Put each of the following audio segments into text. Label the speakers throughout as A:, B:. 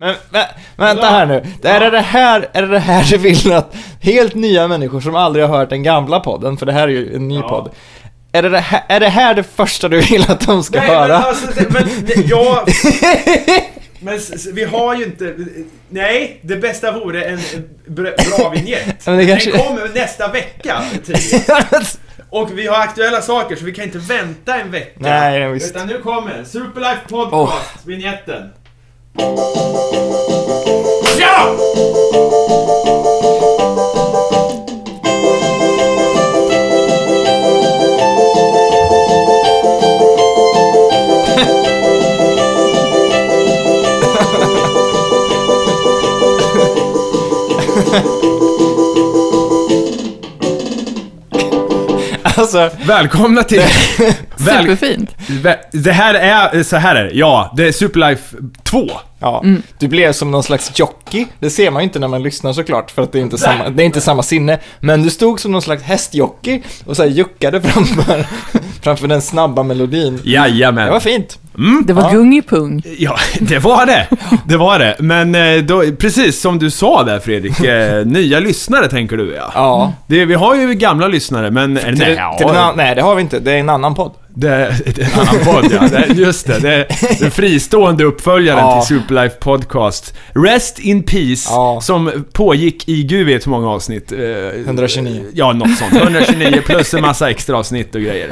A: Men vä- vänta här nu. Det är, det här, är det det här du vill att helt nya människor som aldrig har hört den gamla podden, för det här är ju en ny
B: Ja.
A: podd. Är det det, här, är det här det första du vill att de ska
B: Nej,
A: höra?
B: men alltså, det- men, det- ja... Men s- s- vi har ju inte... Nej, det bästa vore en br- bra vignett.
A: Men det kanske-
B: Den kommer nästa vecka, tydligen. Och vi har aktuella saker, så vi kan inte vänta en vecka.
A: Nej, nej, visst.
B: Utan nu kommer den. Superlife Podcast,
A: Åh.
B: vignetten. Ja!
A: alltså,
B: Välkomna till... Väl...
C: Superfint.
B: vä- Det här är... Så här är det. Ja, det är Superlife 2.
A: ja. Du blev som någon slags jockey. Det ser man ju inte när man lyssnar såklart, för att det är inte samma, det är inte samma sinne. Men du stod som någon slags hästjockey och så här juckade framför, framför den snabba melodin. Det var
B: Jajamän.
A: fint.
C: Det var
A: Mm. Ja.
C: gungipung.
B: Ja, det var det. Det var det. Men eh, då, precis som du sa där Fredrik, eh, nya lyssnare tänker du ja.
A: Ja.
B: Det, vi har ju gamla lyssnare, men... eller
A: Till,
B: nej,
A: nej, till en
B: ja.
A: annan, nej, det har vi inte. Det är en annan podd.
B: Det är en annan podd ja, det, just det. Det är den fristående uppföljaren
A: Ja.
B: till Superlife Podcast. Rest in Peace,
A: Ja.
B: som pågick i gud vet hur många avsnitt. eh,
A: 129.
B: Ja, något sånt. 129 plus en massa extra avsnitt och grejer.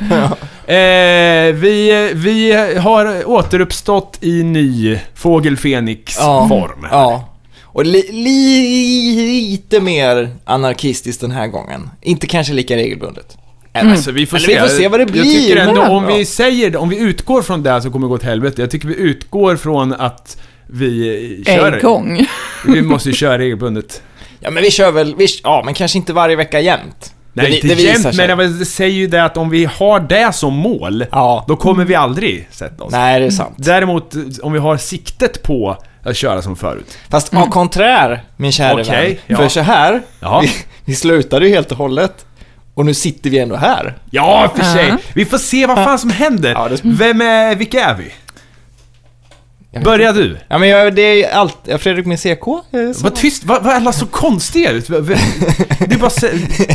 B: Eh, vi, vi har återuppstått i ny Fågel Fenix
A: Ja.
B: form.
A: Ja. Och li, li, lite mer anarkistiskt den här gången. Inte kanske lika regelbundet.
B: Mm. Alltså, vi får,
A: Eller
B: se.
A: vi får se vad det
B: Jag
A: blir,
B: tycker ändå
A: men-
B: om
A: ja.
B: vi säger det, om vi utgår från det så kommer det gå åt helvete. Jag tycker vi utgår från att vi eh, kör.
C: En gång.
B: Vi måste ju köra regelbundet.
A: Ja, men vi kör väl, vi, ja, men kanske inte varje vecka jämt.
B: Nej,
A: vi-
B: inte
A: visar
B: jämt,
A: sig.
B: men jag säger ju det att om vi har det som mål,
A: Ja.
B: då kommer vi aldrig sätta oss.
A: Nej, det är sant.
B: Däremot, eh, om vi har siktet på att köra som förut.
A: Fast
C: Mm.
A: au contraire, min kära
B: Okej,
A: vän.
B: ja.
A: För så här,
B: Ja.
A: vi, vi slutade ju helt och hållet. Och nu sitter vi ändå här.
B: Ja, för sig.
C: Ja.
B: Vi får se vad fan som händer.
A: Ja, det-
B: Vem är, vilka är vi?
A: Jag vet
B: Börja du.
A: Ja, men jag, det är ju allt. Jag Fredrik med CK. eh, så-
B: Vad tyst, vad, vad är alla så konstiga ut? Vad- vad- Det är bara så...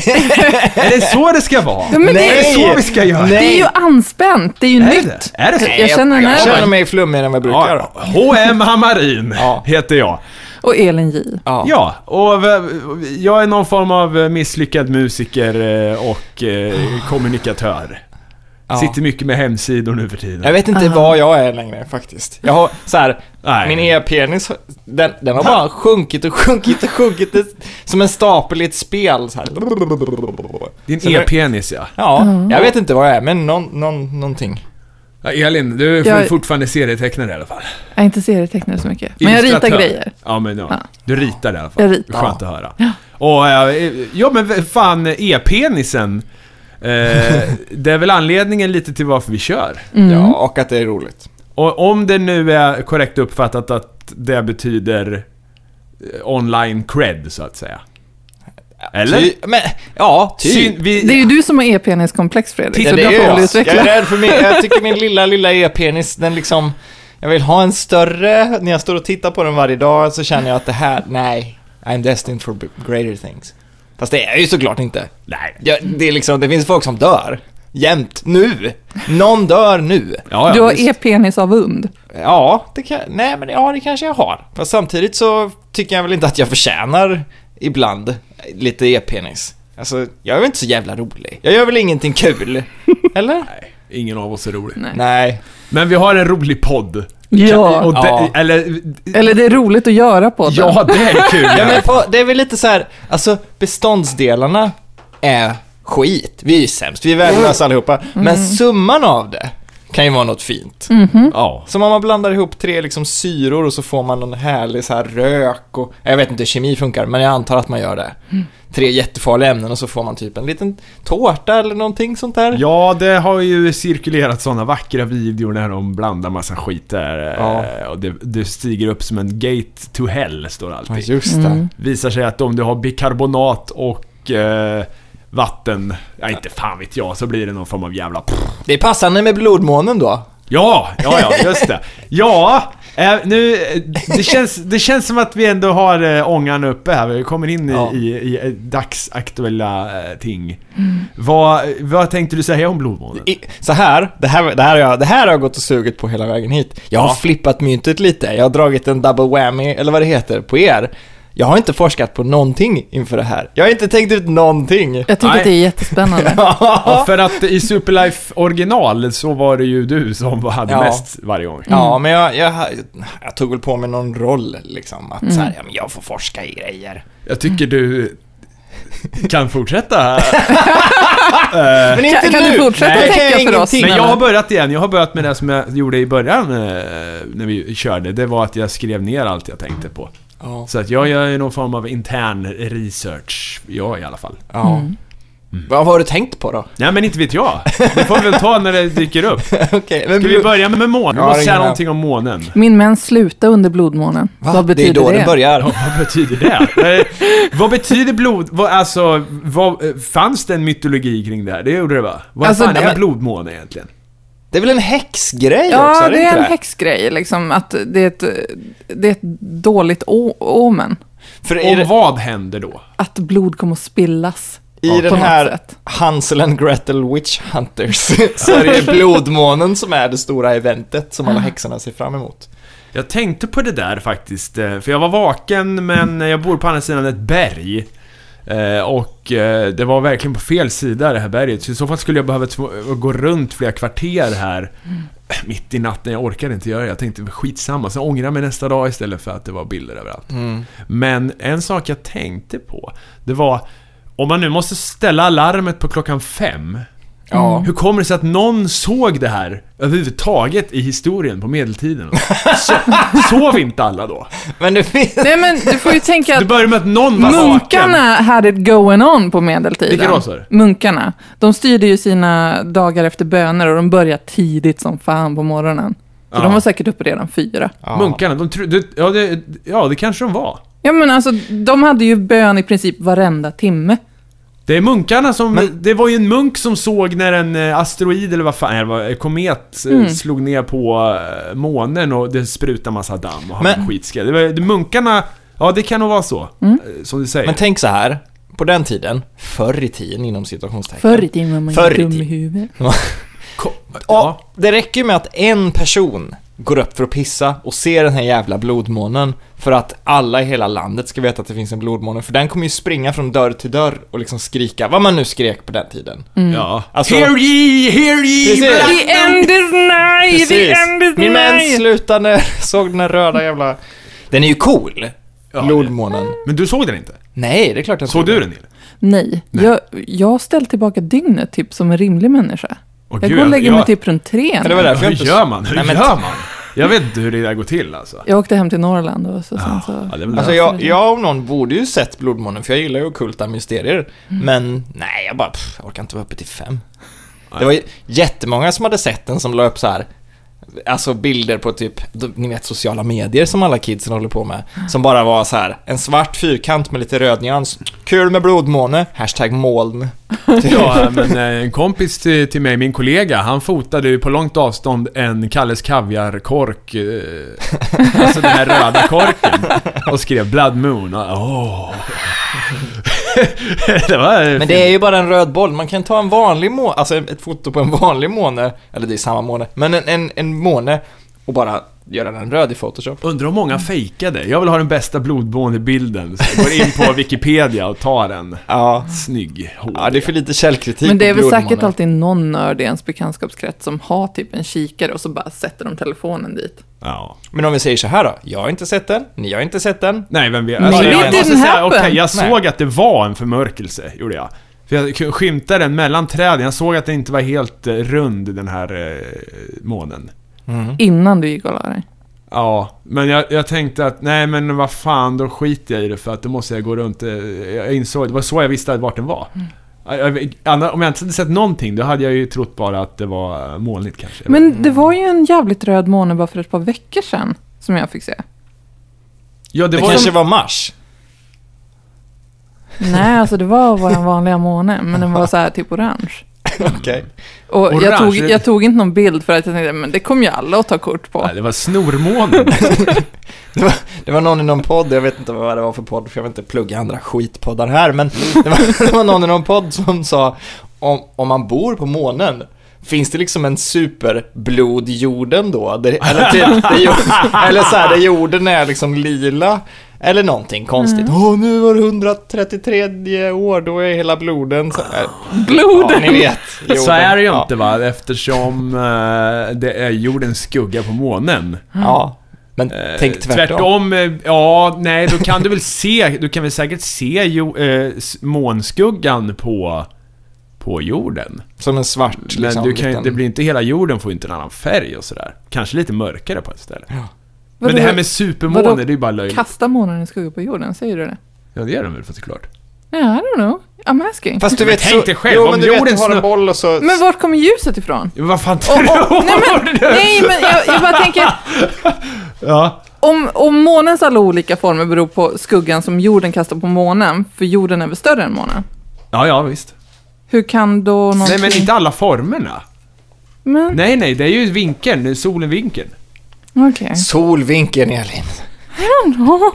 B: Är det så det ska vara?
C: Ja, men
B: Är
C: det,
B: det så vi ska göra?
A: Nej.
C: det är ju anspänt, det är ju
B: Är det?
C: nytt.
B: Är det så?
C: Jag känner den
A: Jag
C: här
A: känner
C: gången.
A: mig flummigare än vad jag brukar.
B: Ja,
A: då.
B: H.M. Hammarin
A: Ja.
B: heter jag.
C: Och Elin J.
A: Ja.
B: Ja, och v- jag är någon form av eh, misslyckad musiker eh, och eh, kommunikatör.
A: Ja.
B: Sitter mycket med hemsidor nu för tiden.
A: Jag vet inte vad jag är längre faktiskt. Jag har så här,
B: Nej.
A: min e-penis, den, den har bara sjunkit och sjunkit och sjunkit det, som en stapel i ett spel så här. Så
B: Din
A: nu-
B: e-penis ja.
A: Ja, jag vet inte vad jag är, men någon, någon, någonting.
B: ja. Elin, du är
C: Jag-
B: fortfarande serietecknare i alla fall.
C: Jag är inte serietecknare så mycket. Men jag ritar
B: Illustratör.
C: grejer.
B: Ja, men ja.
C: Ja.
B: Du ritar i alla fall.
C: Jag ritar.
B: Skönt att höra. Och, eh, ja men v- fan, e-penisen. Eh, det är väl anledningen lite till varför vi kör.
A: Ja, och att det är roligt.
B: Och om det nu är korrekt uppfattat att det betyder eh, online cred, så att säga. Eller?
A: Ty, men, ja, typ.
B: Syn, vi,
C: Det är ju du som har e-peniskomplex Fredrik,
A: Ja,
C: så
A: det är
C: du får
A: jag.
C: väl
A: jag är
C: utveckla.
A: rädd för min, jag tycker min lilla, lilla e-penis, den liksom, jag vill ha en större, när jag står och tittar på den varje dag så känner jag att det här, nej, I'm destined for greater things. Fast det är jag ju såklart inte.
B: Nej.
A: Ja, det, är liksom, det finns folk som dör. Jämt. Nu. Någon dör nu.
B: Ja,
C: Du
B: ja,
C: har
B: visst.
C: e-penis av und.
A: Ja, det, kan, nej, men, ja, det kanske jag har. Fast samtidigt så tycker jag väl inte att jag förtjänar ibland lite e-penis. Alltså, jag är väl inte så jävla rolig. Jag gör väl ingenting kul. Eller?
B: Nej, ingen av oss är rolig.
C: Nej.
A: Nej.
B: Men vi har en rolig podd.
C: Ja.
B: Och det,
A: Ja.
B: Eller...
C: Eller det är roligt att göra på den.
B: Ja, det är kul.
A: Ja, men på, det är väl lite så här, alltså beståndsdelarna är skit. Vi är ju sämst, vi är värdelösa allihopa. Men summan av det kan ju vara något fint.
B: ja.
A: Som om man blandar ihop tre liksom syror och så får man någon härlig så här rök och... Jag vet inte hur kemi funkar, men jag antar att man gör det. Tre jättefarliga ämnen och så får man typ en liten tårta eller någonting sånt där.
B: Ja, det har ju cirkulerat sådana vackra videor när de blandar massa skit där. eh, Och det, det stiger upp som en gate to hell, står det
A: Ja,
B: alltid.
A: just det.
B: Visar sig att om du har bikarbonat och eh, vatten, ja inte fan vet jag, så blir det någon form av jävla...
A: Det är passande med blodmånen då.
B: Ja, ja, ja, just det. Ja, eh, Eh, nu, eh, det, känns, det känns som att vi ändå har eh, ångan uppe här. Vi kommer in i,
A: Ja.
B: i, i eh, dagsaktuella eh, ting. Vad, vad tänkte du säga om blodmånen?
A: I, så här, det här, det, här har jag, det här har jag gått och sugit på hela vägen hit. Jag har
B: Ja.
A: flippat myntet lite, jag har dragit en double whammy, eller vad det heter, på er. Jag har inte forskat på någonting inför det här. Jag har inte tänkt ut någonting.
C: Jag tycker
B: Nej.
C: att det är jättespännande.
B: Ja, för att i Superlife original så var det ju du som hade
A: Ja.
B: mest varje gång.
A: Ja,
C: Mm.
A: men jag, jag, jag tog väl på mig någon roll liksom. Att så
C: Mm.
A: här, ja, men jag får forska i grejer.
B: Jag tycker du kan fortsätta. Eh,
A: Men
C: Kan- kan du fortsätta
A: Nej,
C: tänka
A: jag
C: för oss?
A: ingenting.
B: Men
C: Nej,
B: jag
C: men-
B: har börjat igen. Jag har börjat med det som jag gjorde i början eh, när vi körde. Det var att jag skrev ner allt jag tänkte på.
A: Ja,
B: Så att jag gör ju någon form av intern research. Jag i alla fall.
A: ja.
C: Mm.
B: Mm.
A: Vad har du tänkt på då?
B: Nej men inte vet jag. Det får vi väl ta när det dyker upp. Ska
A: Okej, men...
B: vi börja med månen? Vi
A: Ja,
B: måste
A: det
B: säga
A: gör jag.
B: någonting om månen.
C: Min mens slutade under blodmånen.
A: Va?
C: Vad betyder
A: det? är då
C: det?
A: det, börjar.
B: Ja, vad betyder det? Eh, vad betyder blod... Vad, alltså, vad, eh, fanns det en mytologi kring det här? Det gjorde det va? Vad
C: Alltså,
B: fan
A: nej,
B: är en
A: men-
B: blodmåne egentligen?
A: Det är väl en häxgrej också?
C: Ja, det
A: inte
C: är en häxgrej, liksom, att det är ett, det är ett dåligt å- omen.
A: För i,
B: Och vad händer då?
C: Att blod kommer att spillas.
A: i
C: på
A: den
C: något
A: här
C: sätt.
A: Hansel and Gretel Witch Hunters så är det blodmånen som är det stora eventet som alla
C: Ah.
A: häxorna ser fram emot.
B: Jag tänkte på det där faktiskt, eh, för jag var vaken men jag bor på andra sidan ett berg. Eh, Och eh, det var verkligen på fel sida det här berget, så i så fall skulle jag behöva tv- gå runt flera kvarter här mitt i natten. Jag orkade inte göra det. Jag tänkte skitsamma, så jag ångrar mig nästa dag istället för att det var bilder överallt. Men en sak jag tänkte på, det var om man nu måste ställa alarmet på klockan fem.
A: Ja.
B: Hur kommer det sig att någon såg det här överhuvudtaget i historien på medeltiden? Så, sov inte alla då?
A: Men det finns...
C: Nej, men du får ju tänka
B: Det
C: att
B: börjar med att någon var vaken.
C: munkarna hade it going on på medeltiden.
B: Vilka då, sa du?
C: Munkarna. De styrde ju sina dagar efter böner och de började tidigt som fan på morgonen. Så
B: Ja.
C: de var säkert uppe redan fyra.
A: Ja.
B: Munkarna, de tro, det, ja, det, ja det kanske de var.
C: Ja, men alltså, de hade ju bön i princip varenda timme.
B: Det är munkarna som...
A: Men-
B: det var ju en munk som såg när en eh, asteroid eller vad fan, eller vad- en komet eh,
C: Mm.
B: slog ner på eh, månen och det sprutade massa damm och han
A: Men-
B: var skitskräck. Det var, det, munkarna, ja det kan nog vara så.
C: Mm.
B: eh, Som du säger.
A: Men tänk så här, på den tiden, förr i tiden inom situationstecken.
C: Förr i tiden var man
A: Förr i
C: ju dum i
A: tiden.
C: huvudet.
B: Ko-
A: Ja.
B: ja.
A: Det räcker ju med att en person går upp för att pissa och ser den här jävla blodmånen för att alla i hela landet ska veta att det finns en blodmåne. För den kommer ju springa från dörr till dörr och liksom skrika vad man nu skrek på den tiden.
C: Mm.
B: ja.
A: Alltså-
B: hear ye, hear ye!
A: Precis.
B: men-
C: The end is nigh! The end is
A: Min mens
C: nigh!
A: slutade när jag såg den här röda jävla... Den är ju cool,
B: Ja.
A: blodmånen.
B: Men du såg den inte?
A: Nej, det är klart jag
B: Såg du den Nille?
C: Nej, jag, jag har ställt tillbaka dygnet typ som en rimlig människa.
B: Åh,
C: jag
B: gud,
C: går och lägger mig
B: jag-
C: typ runt tre.
A: Men det var
C: nu.
A: därför jag
B: Hur
A: inte...
B: gör man? Hur
A: Nej, men-
B: gör man? Jag vet inte hur det där går till alltså.
C: Jag åkte hem till Norrland och så, sen så...
B: Ja, det är väl
A: Alltså jag, jag om någon borde ju sett Blodmånen, för jag gillar ju ockulta mysterier. Men nej, jag bara, pff, jag orkar inte vara uppe till fem. Det var ju jättemånga som hade sett den som la upp så här, alltså bilder på typ, ni vet sociala medier som alla kidsen håller på med. Som bara var så här, en svart fyrkant med lite röd nyans. Kul med blodmåne, hashtag moln.
B: Ja, men eh, en kompis till, till mig, min kollega, han fotade ju på långt avstånd en Kalles Kaviar-kork. eh, Alltså den här röda korken. Och skrev Blood Moon. Och, åh. det var...
A: Men det är ju bara en röd boll, man kan ta en vanlig måne, alltså ett foto på en vanlig måne, eller det är samma måne, men en, en, en måne och bara göra den röd i Photoshop.
B: Undrar hur många fejkade. Jag vill ha den bästa blodmånebilden. Så jag går in på Wikipedia och tar den.
A: Ja.
B: Snygg. HD.
A: Ja, det är för lite
B: Typ
A: källkritik
C: Men det är
A: på
C: väl säkert
A: blodmånen.
C: alltid någon nörd i ens bekantskapskrets som har typ en kikare och så bara sätter de telefonen dit.
B: Ja.
A: Men om vi säger så här då, jag har inte sett den, ni har inte sett den.
B: Nej, vem vet? Alltså,
C: Nej,
A: it
B: jag
C: didn't
B: säga,
C: happen.
B: okej, jag
A: Nej.
B: såg att det var en förmörkelse, gjorde jag. För jag kunde skymta den mellan träden, jag såg att den inte var helt eh, rund, den här eh, månen.
C: Mm. Innan du gick och la dig.
B: Ja, men jag, jag tänkte att nej men vad fan, då skiter jag i det för att då måste jag gå runt. eh, Jag insåg, det var så jag visste vart den var.
A: Mm.
B: Jag- jag- anna- Om jag inte hade sett någonting, då hade jag ju trott bara att det var eh, molnigt kanske.
C: Men det var ju en jävligt röd måne bara för ett par veckor sedan som jag fick se.
B: ja,
A: Det,
B: det, var
A: kanske
B: en,
A: var Mars.
C: Nej, alltså det var vår vanliga måne, men den var så här typ orange.
A: Okej.
C: Och jag
B: Orange.
C: tog, jag tog inte någon bild för att jag tänkte, men det kommer ju alla att ta kort på.
B: Nej, det var snormånen.
A: Det var, det var någon i någon podd, jag vet inte vad det var för podd, för jag vill inte plugga andra skitpoddar här, men det var, det var någon i någon podd som sa om, om man bor på månen, finns det liksom en superblodjorden då? Det, eller typ, det, jord- eller så här, där jorden är liksom lila, eller någonting konstigt.
B: Mm.
A: Åh, nu var det 133 år, då är hela bloden så här. Ja,
C: Bloden!
A: ni vet. jorden.
B: Så är det ju
A: Ja.
B: inte va, eftersom eh, det är jordens skugga på månen.
A: Ja, men
B: Eh,
A: tänk tvärtom.
B: eh, ja, nej, då kan du väl se, du kan väl säkert se jo, eh, s- månskuggan på, på jorden.
A: Som en svart
B: Men
A: liksom,
B: du kan, ju-
A: liten-
B: det blir inte hela jorden får ju inte en annan färg och sådär. Kanske lite mörkare på ett ställe.
C: Vadå,
B: Men det här med supermånen, det är ju bara löjligt.
C: Kasta månen i skugga på jorden, säger du det?
B: Ja, det gör de väl såklart.
C: Yeah, I don't know. I'm asking.
A: Fast du
B: Men
A: vet
B: tänk dig själv,
A: jo,
B: om
A: men du vet,
B: jorden
A: du har
B: snö-
A: en boll och så...
C: Men vart kommer ljuset ifrån?
B: Men Vad fan
C: Om-
B: tror
C: om- nej,
B: du?
C: men, nej, men jag, jag bara tänker,
B: Ja.
C: om, om månens alla olika former beror på skuggan som jorden kastar på månen, för jorden är väl större än månen?
B: ja, ja visst.
C: Hur kan då någonting...
B: Nej, men inte alla formerna.
C: Men,
B: Nej, nej, det är ju vinkeln, det är solenvinkeln.
C: okej.
A: Solvinkeln, Elin.
C: Ja,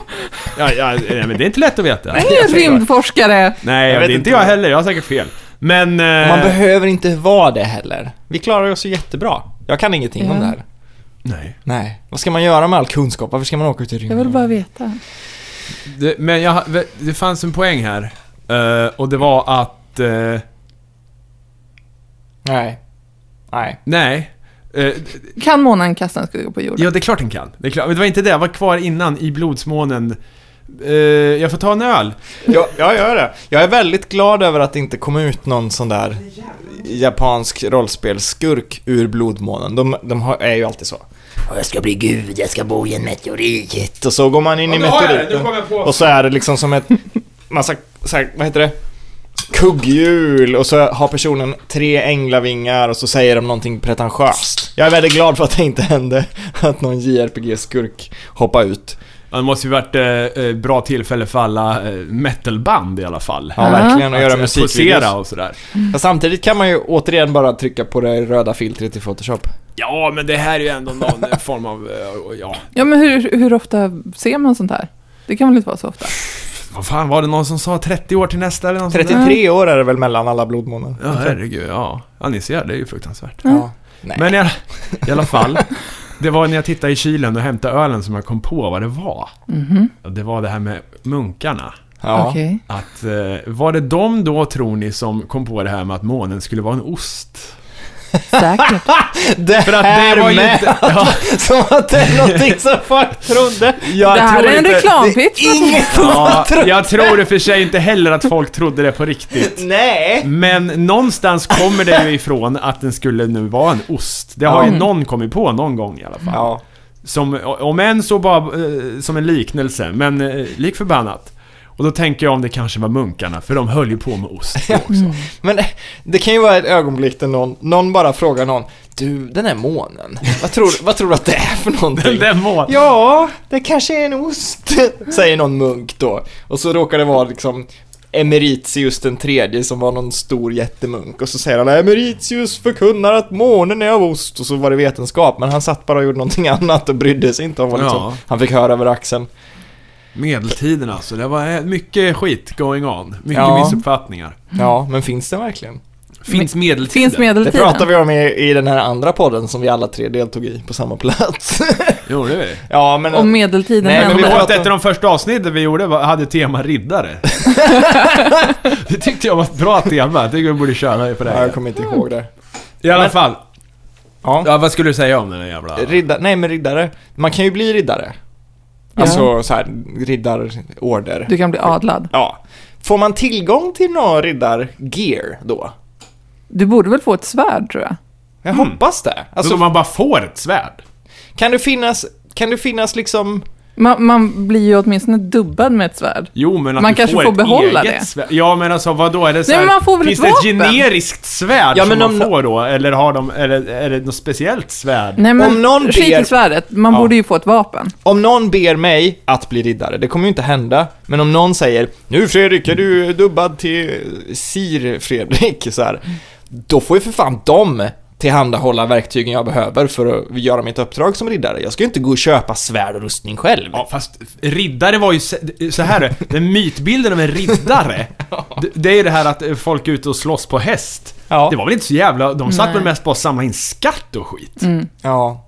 B: Ja, ja, eh, nej, men det är inte lätt att veta.
C: Jag är ju rymdforskare.
B: Nej,
A: Jag
B: det
A: vet
B: är
A: inte.
B: inte jag heller. Jag har säkert fel. Men... eh,
A: Man behöver inte vara det heller. Vi klarar oss ju jättebra. Jag kan ingenting om
C: Ja.
A: det här.
B: nej.
A: Nej. Vad ska man göra med all kunskap? Varför ska man åka ut i
C: Jag
A: rymden?
C: vill bara veta.
B: Det, men jag, det fanns en poäng här. eh, och det var att... eh,
A: Nej. Nej.
B: nej. Eh,
C: Kan månen kasta en skugga på jorden?
B: ja, det är klart den kan. Det, är klart. Men det var inte det. Jag var kvar innan i blodsmånen. Eh, jag får ta en öl.
A: Jag, jag gör det. Jag är väldigt glad över att det inte kom ut någon sån där japansk rollspelsskurk ur blodmånen. De, de har, är ju alltid så.
D: Och Jag ska bli gud, jag ska bo i en meteorit.
A: Och så går man in i
B: nu har jag det. Nu
A: meteoriten.
B: kom jag på.
A: Och så är det liksom som ett massa, så här, vad heter det? Kugghjul och så har personen tre änglavingar och så säger de någonting pretentiöst. Jag är väldigt glad för att det inte hände att någon JRPG-skurk hoppade ut.
B: Ja, Det måste ju varit eh, eh, bra tillfälle för alla eh, metalband i alla fall.
A: Ja, verkligen. Och
B: Att,
A: göra
B: eh, Posera
A: musikvideos.
B: och sådär.
A: Fast Samtidigt kan man ju återigen bara trycka på det röda filtret i Photoshop.
B: Ja, men det här är ju ändå någon eh, form av... eh, Ja,
C: Ja, men hur, hur ofta ser man sånt här? Det kan väl inte vara så ofta?
B: vad fan var det någon som sa 30 år till nästa eller något sånt där?
A: 33 år är det väl mellan alla blodmånader?
B: Ja, herregud. Ja. ja, ni ser, det är ju fruktansvärt.
A: Ja. Alltså- Nej.
B: Men i alla, i alla fall, det var när jag tittade i kylen och hämtade ölen som jag kom på vad det var.
A: Mhm.
B: Och Det var det här med munkarna.
A: Ja.
C: Okej.
B: Att, eh, var det de då, tror ni, som kom på det här med att månen skulle vara en ost?
C: Säkert.
A: Det
B: För att
A: här
B: det var ju
A: med
B: inte... Ja,
A: som att det är någonting som folk trodde.
B: jag
C: Det här
B: tror
C: är en
B: inte-
C: reklampitch.
A: Inget
B: Ja, jag tror i och för sig inte heller att folk trodde det på riktigt.
A: Nej!
B: Men någonstans kommer det ju ifrån att den skulle nu vara en ost. Det har
A: Ja.
B: ju någon kommit på någon gång i alla fall.
A: Ja.
B: Som, om än så bara eh, som en liknelse, men eh, lik förbannat. Och då tänker jag om det kanske var munkarna, för de höll ju på med ost då också.
A: Men det kan ju vara ett ögonblick där någon, någon bara frågar någon Du, den här månen, vad tror, vad tror du att det är för någonting?
B: Den var...
A: Ja, det kanske är en ost, säger någon munk då. Och så råkar det vara liksom Emeritius den tredje som var någon stor jättemunk och så säger han Emeritius förkunnar att månen är av ost och så var det vetenskap men han satt bara och gjorde någonting annat och brydde sig inte om vad liksom,
B: Ja.
A: han fick höra över axeln.
B: Medeltiden alltså, det var eh, mycket skit going on. Mycket
A: Ja.
B: missuppfattningar.
A: Ja, men finns det verkligen?
B: Finns medeltiden?
C: Finns
A: Det
C: medeltiden?
A: pratar vi om i, i den här andra podden som vi alla tre deltog i på samma plats.
B: Gjorde vi?
A: ja, men...
C: Om medeltiden
A: Nej, men vi
C: hände.
A: pratar-
B: Ett av de första avsnitten vi gjorde var, hade tema riddare. det tyckte jag var ett bra tema. Jag tycker vi borde köra på det.
A: Ja,
B: här.
A: jag kommer inte ihåg det.
B: I alla
A: Men-
B: fall.
A: Ja.
B: Ja, vad skulle du säga om den här jävla... Alltså-
A: Ridda, nej, men riddare. Man kan ju bli riddare.
C: Ja.
A: Alltså så här, riddarorder.
C: Du kan bli adlad.
A: Ja. Får man tillgång till någon riddargear då?
C: Du borde väl få ett svärd, tror jag?
A: Jag hoppas det.
B: Alltså,
A: Alltså,
B: man bara får ett svärd.
A: kan det finnas, kan det finnas liksom...
C: Man, man blir ju åtminstone dubbad med ett svärd.
B: Jo, men att
C: Man
B: du
C: kanske
B: får,
C: får
B: ett
C: behålla
B: eget
C: det.
B: Svärd. Ja, men alltså vadå? Är det så
C: Nej,
B: här,
C: men man får väl
B: Finns
C: ett
B: det ett
C: vapen?
B: generiskt svärd
A: Ja,
B: som
A: men
B: man
A: om-
B: får då? Eller har de... Eller är det något speciellt svärd?
C: Nej, men
A: Om någon
C: skit
A: ber-
C: i svärdet. Man
A: Ja.
C: borde ju få ett vapen.
A: Om någon ber mig att bli riddare, det kommer ju inte hända, men om någon säger Nu Fredrik, är du dubbad till Sir Fredrik? Så här, då får ju för fan de tillhandahålla verktygen jag behöver för att göra mitt uppdrag som riddare. Jag ska ju inte gå och köpa svärd och rustning själv.
B: Ja, fast riddare var ju se- så här den mytbilden av en riddare. det, det är ju det här att eh, folk är ute och slåss på häst.
A: Ja.
B: Det var väl inte så jävla... De satt
C: Nej.
B: väl mest på att samla in skatt och skit.
C: Mm.
A: ja.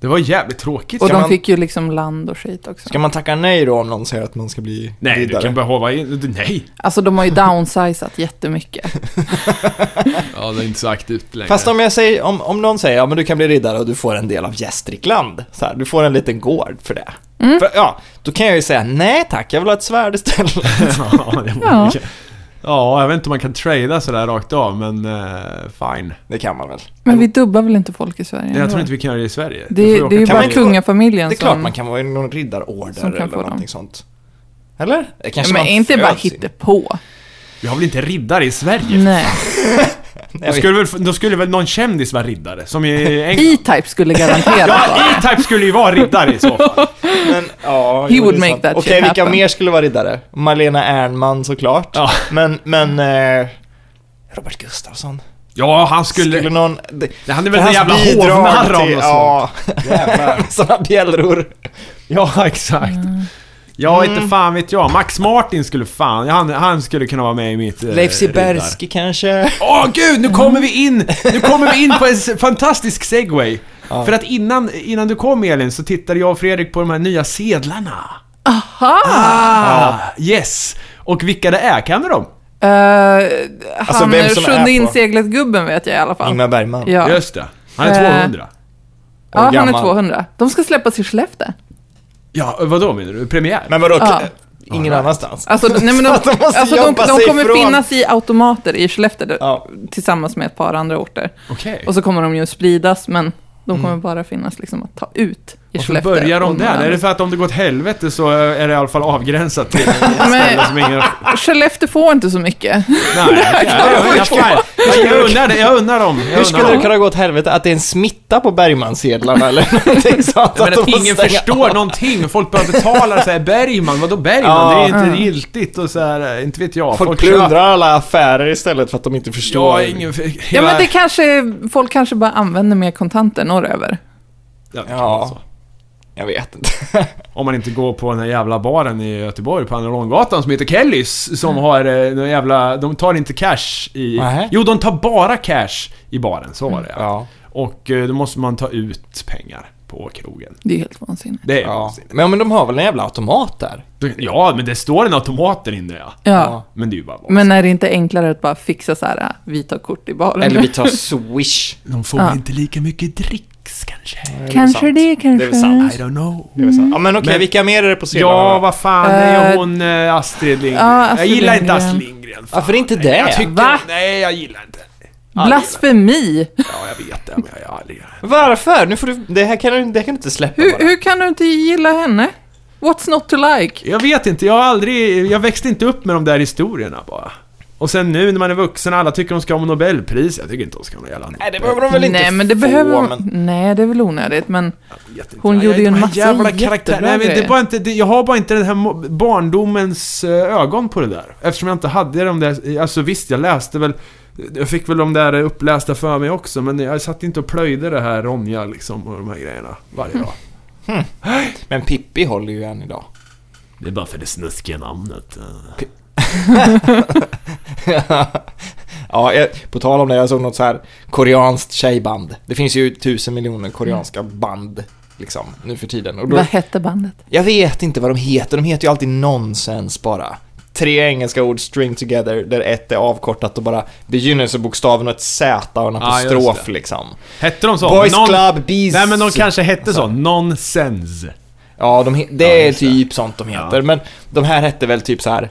B: Det var jävligt tråkigt.
C: Och
A: Ska
C: de
A: man-
C: fick ju liksom land och skit också.
A: Ska man tacka nej då om någon säger att man ska bli
B: Nej,
A: riddare?
B: du kan bara hova in... Nej!
C: Alltså de har ju downsizat jättemycket.
B: Ja, det är inte så aktivt längre.
A: Fast om jag säger, om, om någon säger ja men du kan bli riddare och du får en del av Gästrikland, så här, du får en liten gård för det.
C: Mm.
A: För, ja, då kan jag ju säga nej tack, jag vill ha ett svärd istället.
B: ja, det var
C: Ja.
B: ja. ja, jag vet inte om man kan trada sådär rakt av, men eh, fine.
A: Det kan man väl?
C: Men vi dubbar väl inte folk i Sverige?
B: Jag tror
C: ändå?
B: inte vi kan göra det i Sverige. Vi får
C: det, det är ju
A: Kan
B: åka
C: bara
A: man inte-
C: kungafamiljen
A: Det är
C: som...
A: klart man kan vara i någon
C: som
A: riddarorder
C: kan
A: eller
C: få
A: någonting
C: dem.
A: sånt. Eller? Det
C: Ja,
A: kanske
C: men
A: man
C: inte bara
A: föds in.
C: hittepå.
B: Vi har väl inte riddare i Sverige?
C: Nej.
A: Jag
B: Då
A: vet.
B: skulle, väl, då skulle väl någon kändis vara riddare? Som i England?
C: E-Type skulle garanterat vara.
B: Ja, E-Type skulle ju vara riddare i så fall.
A: Men, ja,
C: He
A: jo,
C: would
A: det är
C: make
A: sant.
C: that shit
A: Okej, vilka
C: happen.
A: mer skulle vara riddare? Malena Ernman såklart.
B: Ja.
A: Men, men... Eh, Robert Gustafsson?
B: Ja, han skulle...
A: Skulle, någon... Det,
B: det, han
A: för
B: är väl en
A: hans
B: jävla
A: bidrag
B: hovnarr av
A: till-
B: något sånt.
A: Ja, sådana bjällror.
B: Ja, exakt.
C: Mm.
B: Ja,
A: Mm.
B: inte fan vet jag. Max Martin skulle fan... ja, Han, han skulle kunna vara med i mitt... eh,
A: Leif
B: riddar.
A: Siberski kanske?
B: Åh gud, nu kommer vi in! Nu kommer vi in på en s- fantastisk segway. För att innan, innan du kom Elin så tittade jag och Fredrik på de här nya sedlarna.
C: Aha!
B: Ah, yes! Och vilka det är, kan du dem?
C: Eh, han
A: Alltså, vem som är på-
C: sjunde inseglet-gubben vet jag i alla fall.
A: Ingmar Bergman.
C: Ja,
B: Just det. Han är
C: Eh.
B: 200.
A: år
C: ja han är
A: gammal.
C: 200. De ska släppas i Skellefteå.
B: Ja, vadå menar du? Premiär?
A: Men vadå?
C: Ja.
A: Ingen annanstans?
C: Alltså, nej, men de,
A: Att de måste
C: alltså, de,
A: jobba
C: de
A: sig
C: kommer
A: ifrån.
C: finnas i automater i Skellefteå
A: Ja.
C: tillsammans med ett par andra orter.
B: Okej.
C: Och så kommer de ju spridas, men de
A: Mm.
C: kommer bara finnas liksom att ta ut i
B: Varför
C: Skellefteå.
B: börjar
C: och
B: de
C: någon
B: där? Är
C: annan.
B: det för att om det går åt helvete så är det i alla fall avgränsat till
C: Men-
B: ställen som ingen...
C: Skellefteå får inte så mycket.
B: Nej, jag, jag, jag, jag, jag unnar det- jag unnar dem. Jag
A: Hur skulle
B: unnar
A: det
B: dem.
A: kunna gå åt helvete att det är en smitta på Bergmansedlarna eller någonting sånt?
B: Nej, men
A: de
B: att
A: måste
B: ingen
A: stänga
B: förstår någonting. Folk börjar betala så här Bergman, vadå Bergman?
A: Ja.
B: Det är inte
C: Mm.
B: giltigt och så här, inte vet jag.
A: Folk, plundrar alla affärer istället för att de inte förstår.
B: Ja, ingen...
C: Ja, men det kanske, folk kanske bara använder mer kontanter norröver.
B: Ja, det kan
A: Ja.
B: vara så.
A: Jag vet inte.
B: Om man inte går på den här jävla baren i Göteborg på Andra Långgatan som heter Kellys
C: Mm.
B: som har eh, någon jävla... De tar inte cash i...
A: Nähä.
B: Jo, de tar bara cash i baren, så var det ja.
A: Mm. Ja.
B: Och eh, då måste man ta ut pengar på krogen.
C: Det är ju helt vansinnigt.
B: Det är
A: Ja.
B: vansinnigt.
A: Men, men de har väl en jävla automat där?
B: Ja, men det står en automat där inne ja.
C: Ja.
A: Ja.
B: Men det är ju bara vansinnigt.
C: Men är det inte enklare att bara fixa så här, vi tar kort i baren?
A: Eller vi tar Swish.
B: De får
C: Mm. Ja.
B: inte lika mycket dricks kanske.
C: Kanske
A: sant.
C: det, kanske.
A: Det är väl sant.
B: I don't know.
A: Det är väl sant. Ja men okej,
B: Men-
A: vilka mer är det på sedlarna
B: Ja,
A: då?
B: vad fan, det är
C: Eh,
B: hon eh, Astrid Lindgren.
C: ja, Astrid
B: jag gillar inte
C: Lindgren.
B: Astrid Lindgren. Fan.
A: Varför inte
B: Nej,
A: det?
B: Jag tycker,
C: Va?
B: Nej, jag gillar inte.
C: Blasfemi!
B: Ja, jag vet det, men jag är aldrig...
A: Varför? Nu får du... Det här kan du, det här kan du inte släppa
C: Hur,
A: bara.
C: hur kan du inte gilla henne? What's not to like?
B: Jag vet inte, jag har aldrig... Jag växte inte upp med de där historierna bara. Och sen nu när man är vuxen, alla tycker de ska ha Nobelpris. Jag tycker inte de ska ha någon jävla...
A: Nej, det behöver de väl inte
C: Nej, men det
A: få,
C: behöver hon...
A: men-
C: Nej, det är väl onödigt, men...
B: Jag vet inte.
C: Hon
B: Jag-
C: gjorde ju en
B: de här
C: massa
B: jävla
C: jättebra
B: karaktär. Nej, men det
C: grejer.
B: är bara inte, det, Jag har bara inte den här mo- barndomens eh, ögon på det där. Eftersom jag inte hade de där... Alltså visst, jag läste väl... Jag fick väl de där upplästa för mig också, men jag satt inte och plöjde det här Ronja liksom och de här grejerna varje dag.
A: Men Pippi håller ju än idag.
B: Det är bara för det snuskiga namnet.
A: ja, jag, på tal om det, jag såg något så här koreanskt tjejband. Det finns ju tusen miljoner koreanska
C: Mm.
A: band liksom nu för tiden. Och då,
C: Vad hette bandet?
A: jag vet inte vad de heter, de heter ju alltid nonsens bara. Tre engelska ord string together där ett är avkortat och bara begynnelsebokstaven och ett Z och en
B: Ja, just
A: apostrof
B: det.
A: liksom.
B: Hette de så?
A: Boys
B: Non-
A: Club, Bees... Alltså.
B: Nej men de kanske hette så. Nonsense.
A: Ja, de he-
B: Ja,
A: det är
B: just det.
A: typ sånt de heter.
B: Ja.
A: Men de här hette väl typ så här...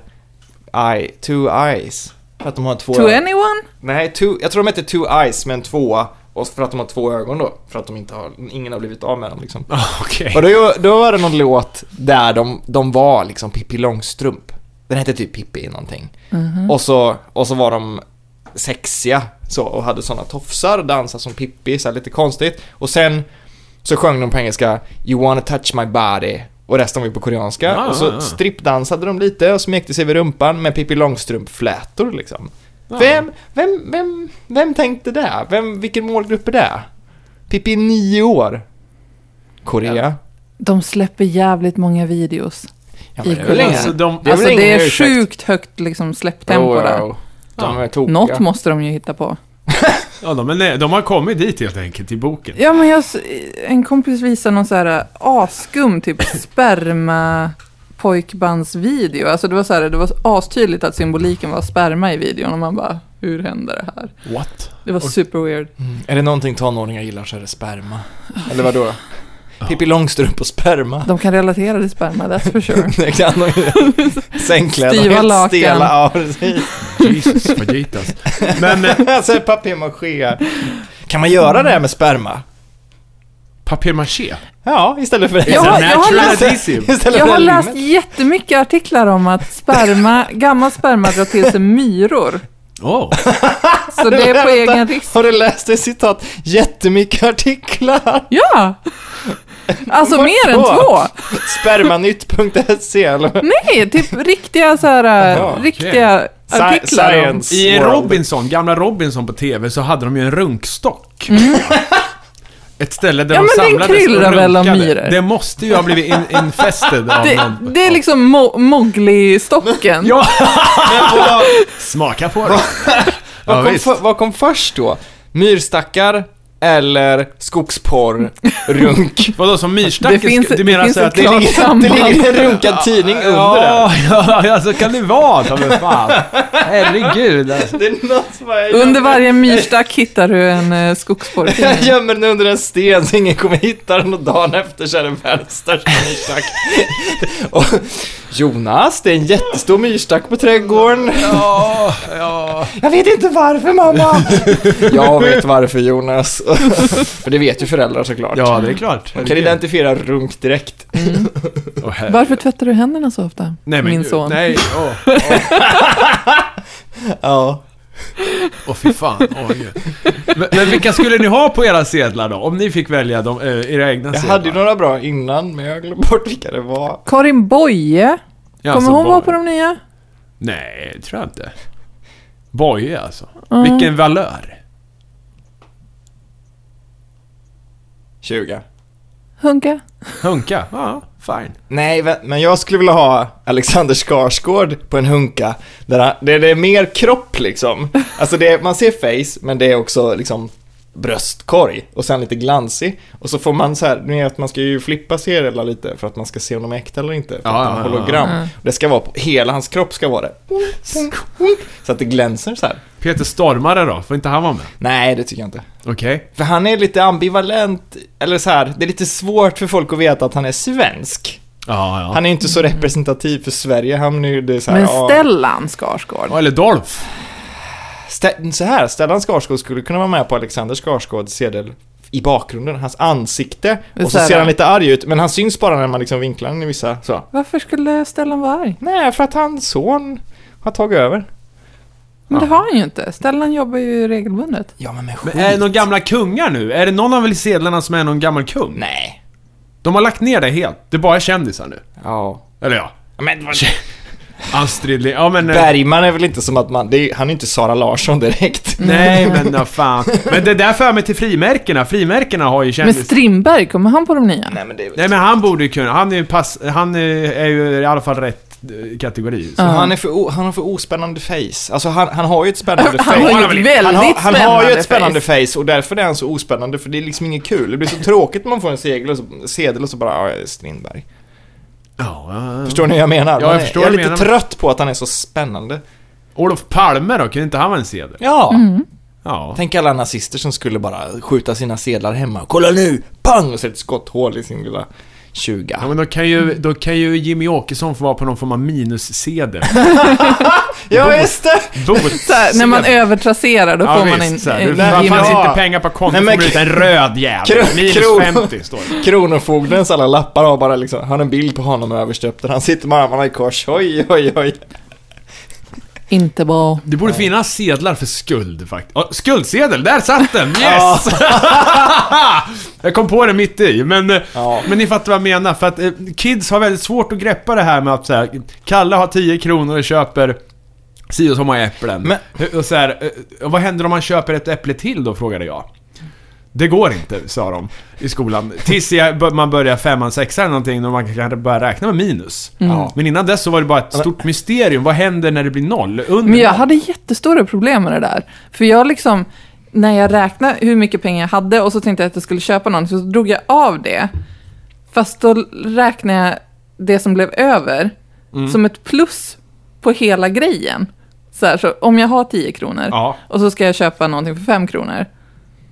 A: I, two eyes. För att de har två
C: To
A: ögon.
C: anyone?
A: Nej, two, jag tror de heter two eyes med en tvåa. Och för att de har två ögon då. För att de inte har, ingen har blivit av med dem liksom.
B: Ah, Okej.
A: Och då, då var det någon låt där de, de var liksom Pippi Långstrump. Den hette typ Pippi någonting. Och, så, och så var de sexiga så, och hade såna tofsar, dansade som Pippi, så här lite konstigt. Och sen så sjöng de på engelska “You wanna touch my body” och resten var ju på koreanska.
B: Ah,
A: och så
B: ah, ah.
A: strippdansade de lite och smekte sig vid rumpan med Pippi Långstrump-flätor liksom.
B: Ah.
A: Vem, vem, vem, vem tänkte det? Vem, vilken målgrupp är det? Pippi är nio år. Korea.
C: De släpper jävligt många videos.
A: Ja,
C: I
A: men det är väl
C: Korea.
A: ingen-
B: Alltså, de,
A: Det är väl
C: alltså det
A: ingen
C: är
A: ursäkt.
C: sjukt högt liksom, släpptempo
A: Jo, jo,
C: där.
A: jo. De är tokiga.
C: Något måste de ju hitta på.
B: ja, de, är, de har kommit dit helt enkelt, i boken.
C: Ja, men jag, s- en kompis visade någon så här asskum typ sperma pojkbandsvideo. Alltså det var så här, det var astydligt att symboliken var sperma i videon och man bara, hur händer det här?
B: What?
C: Det var super weird.
A: Mm. Är det någonting tonåringar gillar så är det sperma. Eller vadå? Pippi Långstrump och sperma.
C: De kan relatera till sperma, that's for sure.
A: Det kan de ju. Sängkläder.
C: Styva
A: helt
C: lakan.
A: Stela, ja precis.
B: Jesus fajitas. Men eh,
A: Alltså papier-maché. Kan man göra det här med sperma?
B: papier-maché?
A: Ja, istället för...
C: Jag har- jag har
B: natural
C: läst-
B: adhesive.
A: istället
C: Jag
A: för
C: har läst alltså,
A: limmet.
C: jättemycket artiklar om att sperma, gammal sperma drar till sig myror.
B: Oh.
C: Så det är på
A: Vänta,
C: egen risk.
A: Har du läst det citat? Jättemycket artiklar.
C: Ja! Alltså
A: Vart
C: mer än
A: då?
C: två.
A: Spermanytt.se E, eller?
C: Nej, typ riktiga så här, eh,
A: Jaha,
C: riktiga
A: okej.
C: artiklar. om-
A: Science.
B: I
A: World.
B: Robinson, gamla Robinson på TV, så hade de ju en runkstock. Ett ställe där
C: Mm. Ja,
B: de
C: men den
B: samlades
C: kryllar
B: och
C: väl av
B: runkade.
C: myror.
B: Det måste ju ha blivit in, infested av
C: Det,
B: någon.
C: det är liksom mo- Mowgli-stocken.
B: Ja.
A: Vad-
B: Smaka på det. ja,
A: vad, kom
B: visst.
A: för, vad kom först då? Myrstackar eller skogsporr, runk?
B: Vadå, som myrstackis?
C: Det finns-
B: du menar
C: det finns
B: så att
C: ett
A: Det
C: Klart
A: ligger,
C: samband.
A: det ligger en runkad tidning under där.
B: Ja, ja, ja, så kan det vara, ta mig fan. Herregud. alltså.
A: Det är något som jag gömmer-
C: Under varje myrstack hittar du en eh,
A: Jag
C: skogsporrtidning.
A: gömmer den under en sten så ingen kommer hitta den och dagen efter så är den världens största myrstack. Och Jonas, det är en jättestor myrstack på trädgården.
B: Ja, ja.
A: Jag vet inte varför mamma. Jag vet varför Jonas. För det vet ju föräldrar såklart.
B: ja, det är klart.
A: Man kan identifiera runk direkt.
B: Åh, herre-
C: Varför tvättar du händerna så ofta,
B: Nej, men
C: min
B: gud,
C: son?
B: Nej, åh. Åh,
A: Ja.
B: åh, fy fan. Åh, gud. men, men vilka skulle ni ha på era sedlar då? Om ni fick välja de, eh, era egna
A: Jag
B: sedlar.
A: hade ju några bra innan, men jag glömde bort vilka det var.
C: Karin Boye,
B: Ja,
C: kommer
B: alltså,
C: hon vara
B: Boy.
C: på de nya?
B: Nej, det tror jag inte. Boje alltså.
C: Mm.
B: Vilken valör.
A: 20.
C: Hunka?
B: Hunka. Ja, fine.
A: Nej, vä- men jag skulle vilja ha Alexander Skarsgård på en hunka. Där han, det, det är mer kropp liksom. Alltså det, är- man ser face, men det är också liksom bröstkorg och sen lite glansig. Och så får man så här, ni vet man ska ju flippa serierna lite för att man ska se om de är äkta eller inte. För
B: Ja,
A: att de
B: ja,
A: är
B: ja, ja.
A: hologram.
C: Mm.
A: Det ska vara på, hela hans kropp ska vara det. Så att det glänser så här.
B: Peter Stormare då? Får inte han vara med?
A: Nej, det tycker jag inte.
B: Okej.
A: För han är lite ambivalent, eller så här, det är lite svårt för folk att veta att han är svensk.
B: Ja, ja.
A: Han är ju inte så representativ för Sverige, han är ju det är så här,
C: Men
A: ja.
C: Stellan Skarsgård?
B: Ja, Eller Dolph.
A: Stä- så här, Stellan Skarsgård skulle kunna vara med på Alexander Skarsgårds sedel i bakgrunden, hans ansikte.
C: Det är
A: Och
C: så
A: så
C: här,
A: ser han
C: ja.
A: lite arg ut, men han syns bara när man liksom vinklar den i vissa så.
C: Varför skulle Stellan vara arg?
A: Nej, för att hans son har tagit över.
C: Men det
B: Ja.
C: har han ju inte. Stellan jobbar ju regelbundet.
A: Ja, men med
B: Men är det några gamla kungar nu? Är det någon av sedlarna som är någon gammal kung?
A: Nej.
B: De har lagt ner det helt. Det är bara kändisar nu.
A: Ja.
B: Eller ja.
A: Men vad-
B: Astrid Lind- Ja men... eh,
A: Bergman är väl inte som att man, det är, han är inte Sara Larsson direkt.
B: Nej men vad fan. Men det där för mig till frimärkena. Frimärkena har ju
C: Men
B: kändis...
C: Strindberg, kommer han på de nya?
A: Nej, men det är väl...
B: Nej men han borde ju kunna. Han är ju pass... Han är är ju i alla fall rätt eh, kategori. Så.
C: Ja.
A: Han, är för, o- han har för ospännande face. Alltså han, han har ju ett spännande face.
C: Han har ju
A: väl inte.
C: ett
A: han har,
C: väldigt
A: han har ju ett
C: spännande
A: spännande face. och därför är han så ospännande för det är liksom inget kul. Det blir så tråkigt när man får en segel och så, sedel och så bara, ja, jag är Strindberg.
B: Ja, ja, eh. ja.
A: Förstår ni vad jag menar?
B: jag
A: Man är-
B: förstår
A: jag är
B: vad du
A: lite
B: menar.
A: trött på att han är så spännande.
B: Olof Palme då? Kunde inte han vara en sedel?
A: Ja.
C: Mm.
B: Ja.
A: Tänk alla nazister som skulle bara skjuta sina sedlar hemma. Kolla nu! Pang! Och så ett skotthål i sin lilla tjuga.
B: Ja men då kan ju, då kan ju Jimmy Åkesson få vara på någon form av minussedel.
A: Ja, just det!
B: Bot.
C: Så här, när man övertrasserar, då
B: Ja,
C: får
B: visst,
C: man en...
B: så här,
C: en
B: du, nej,
A: gym-
B: fanns
A: Ja.
B: inte pengar på kontot,
A: Nej,
B: nej,
A: men-
B: men, ut en röd jävel.
A: Kro-
B: Minus
A: kro-
B: 50 står det.
A: Kronofogdens alla lappar har bara liksom, han har en bild på honom överst där han sitter med armarna i kors. Oj, oj, oj.
C: Inte bra.
B: Det borde finnas sedlar för skuld faktiskt. Ja, skuldsedel, där satt den!
A: Ja.
B: Yes! jag kom på det mitt i, men, eh,
A: Ja.
B: men ni fattar vad jag menar. För att eh, kids har väldigt svårt att greppa det här med att så här, Kalle har 10 kronor och köper Si och så många äpplen.
A: Men-
B: Hur- Och så här, eh, vad händer om man köper ett äpple till då, frågade jag. Det går inte, sa de i skolan. Tills jag, bör- man börjar femman, sexan eller någonting, då man kan börja räkna med minus.
A: Mm.
C: Mm.
A: Ja.
B: Men innan dess så var det bara ett stort mysterium. Vad händer när det blir noll? Under
C: Men jag
B: noll?
C: hade jättestora problem med det där. För jag liksom, när jag räknade hur mycket pengar jag hade och så tänkte jag att jag skulle köpa någon, så drog jag av det. Fast då räknade jag det som blev över som ett plus på hela grejen. Så, här, så om jag har 10 kronor
B: Ja.
C: och så ska jag köpa någonting för 5 kronor,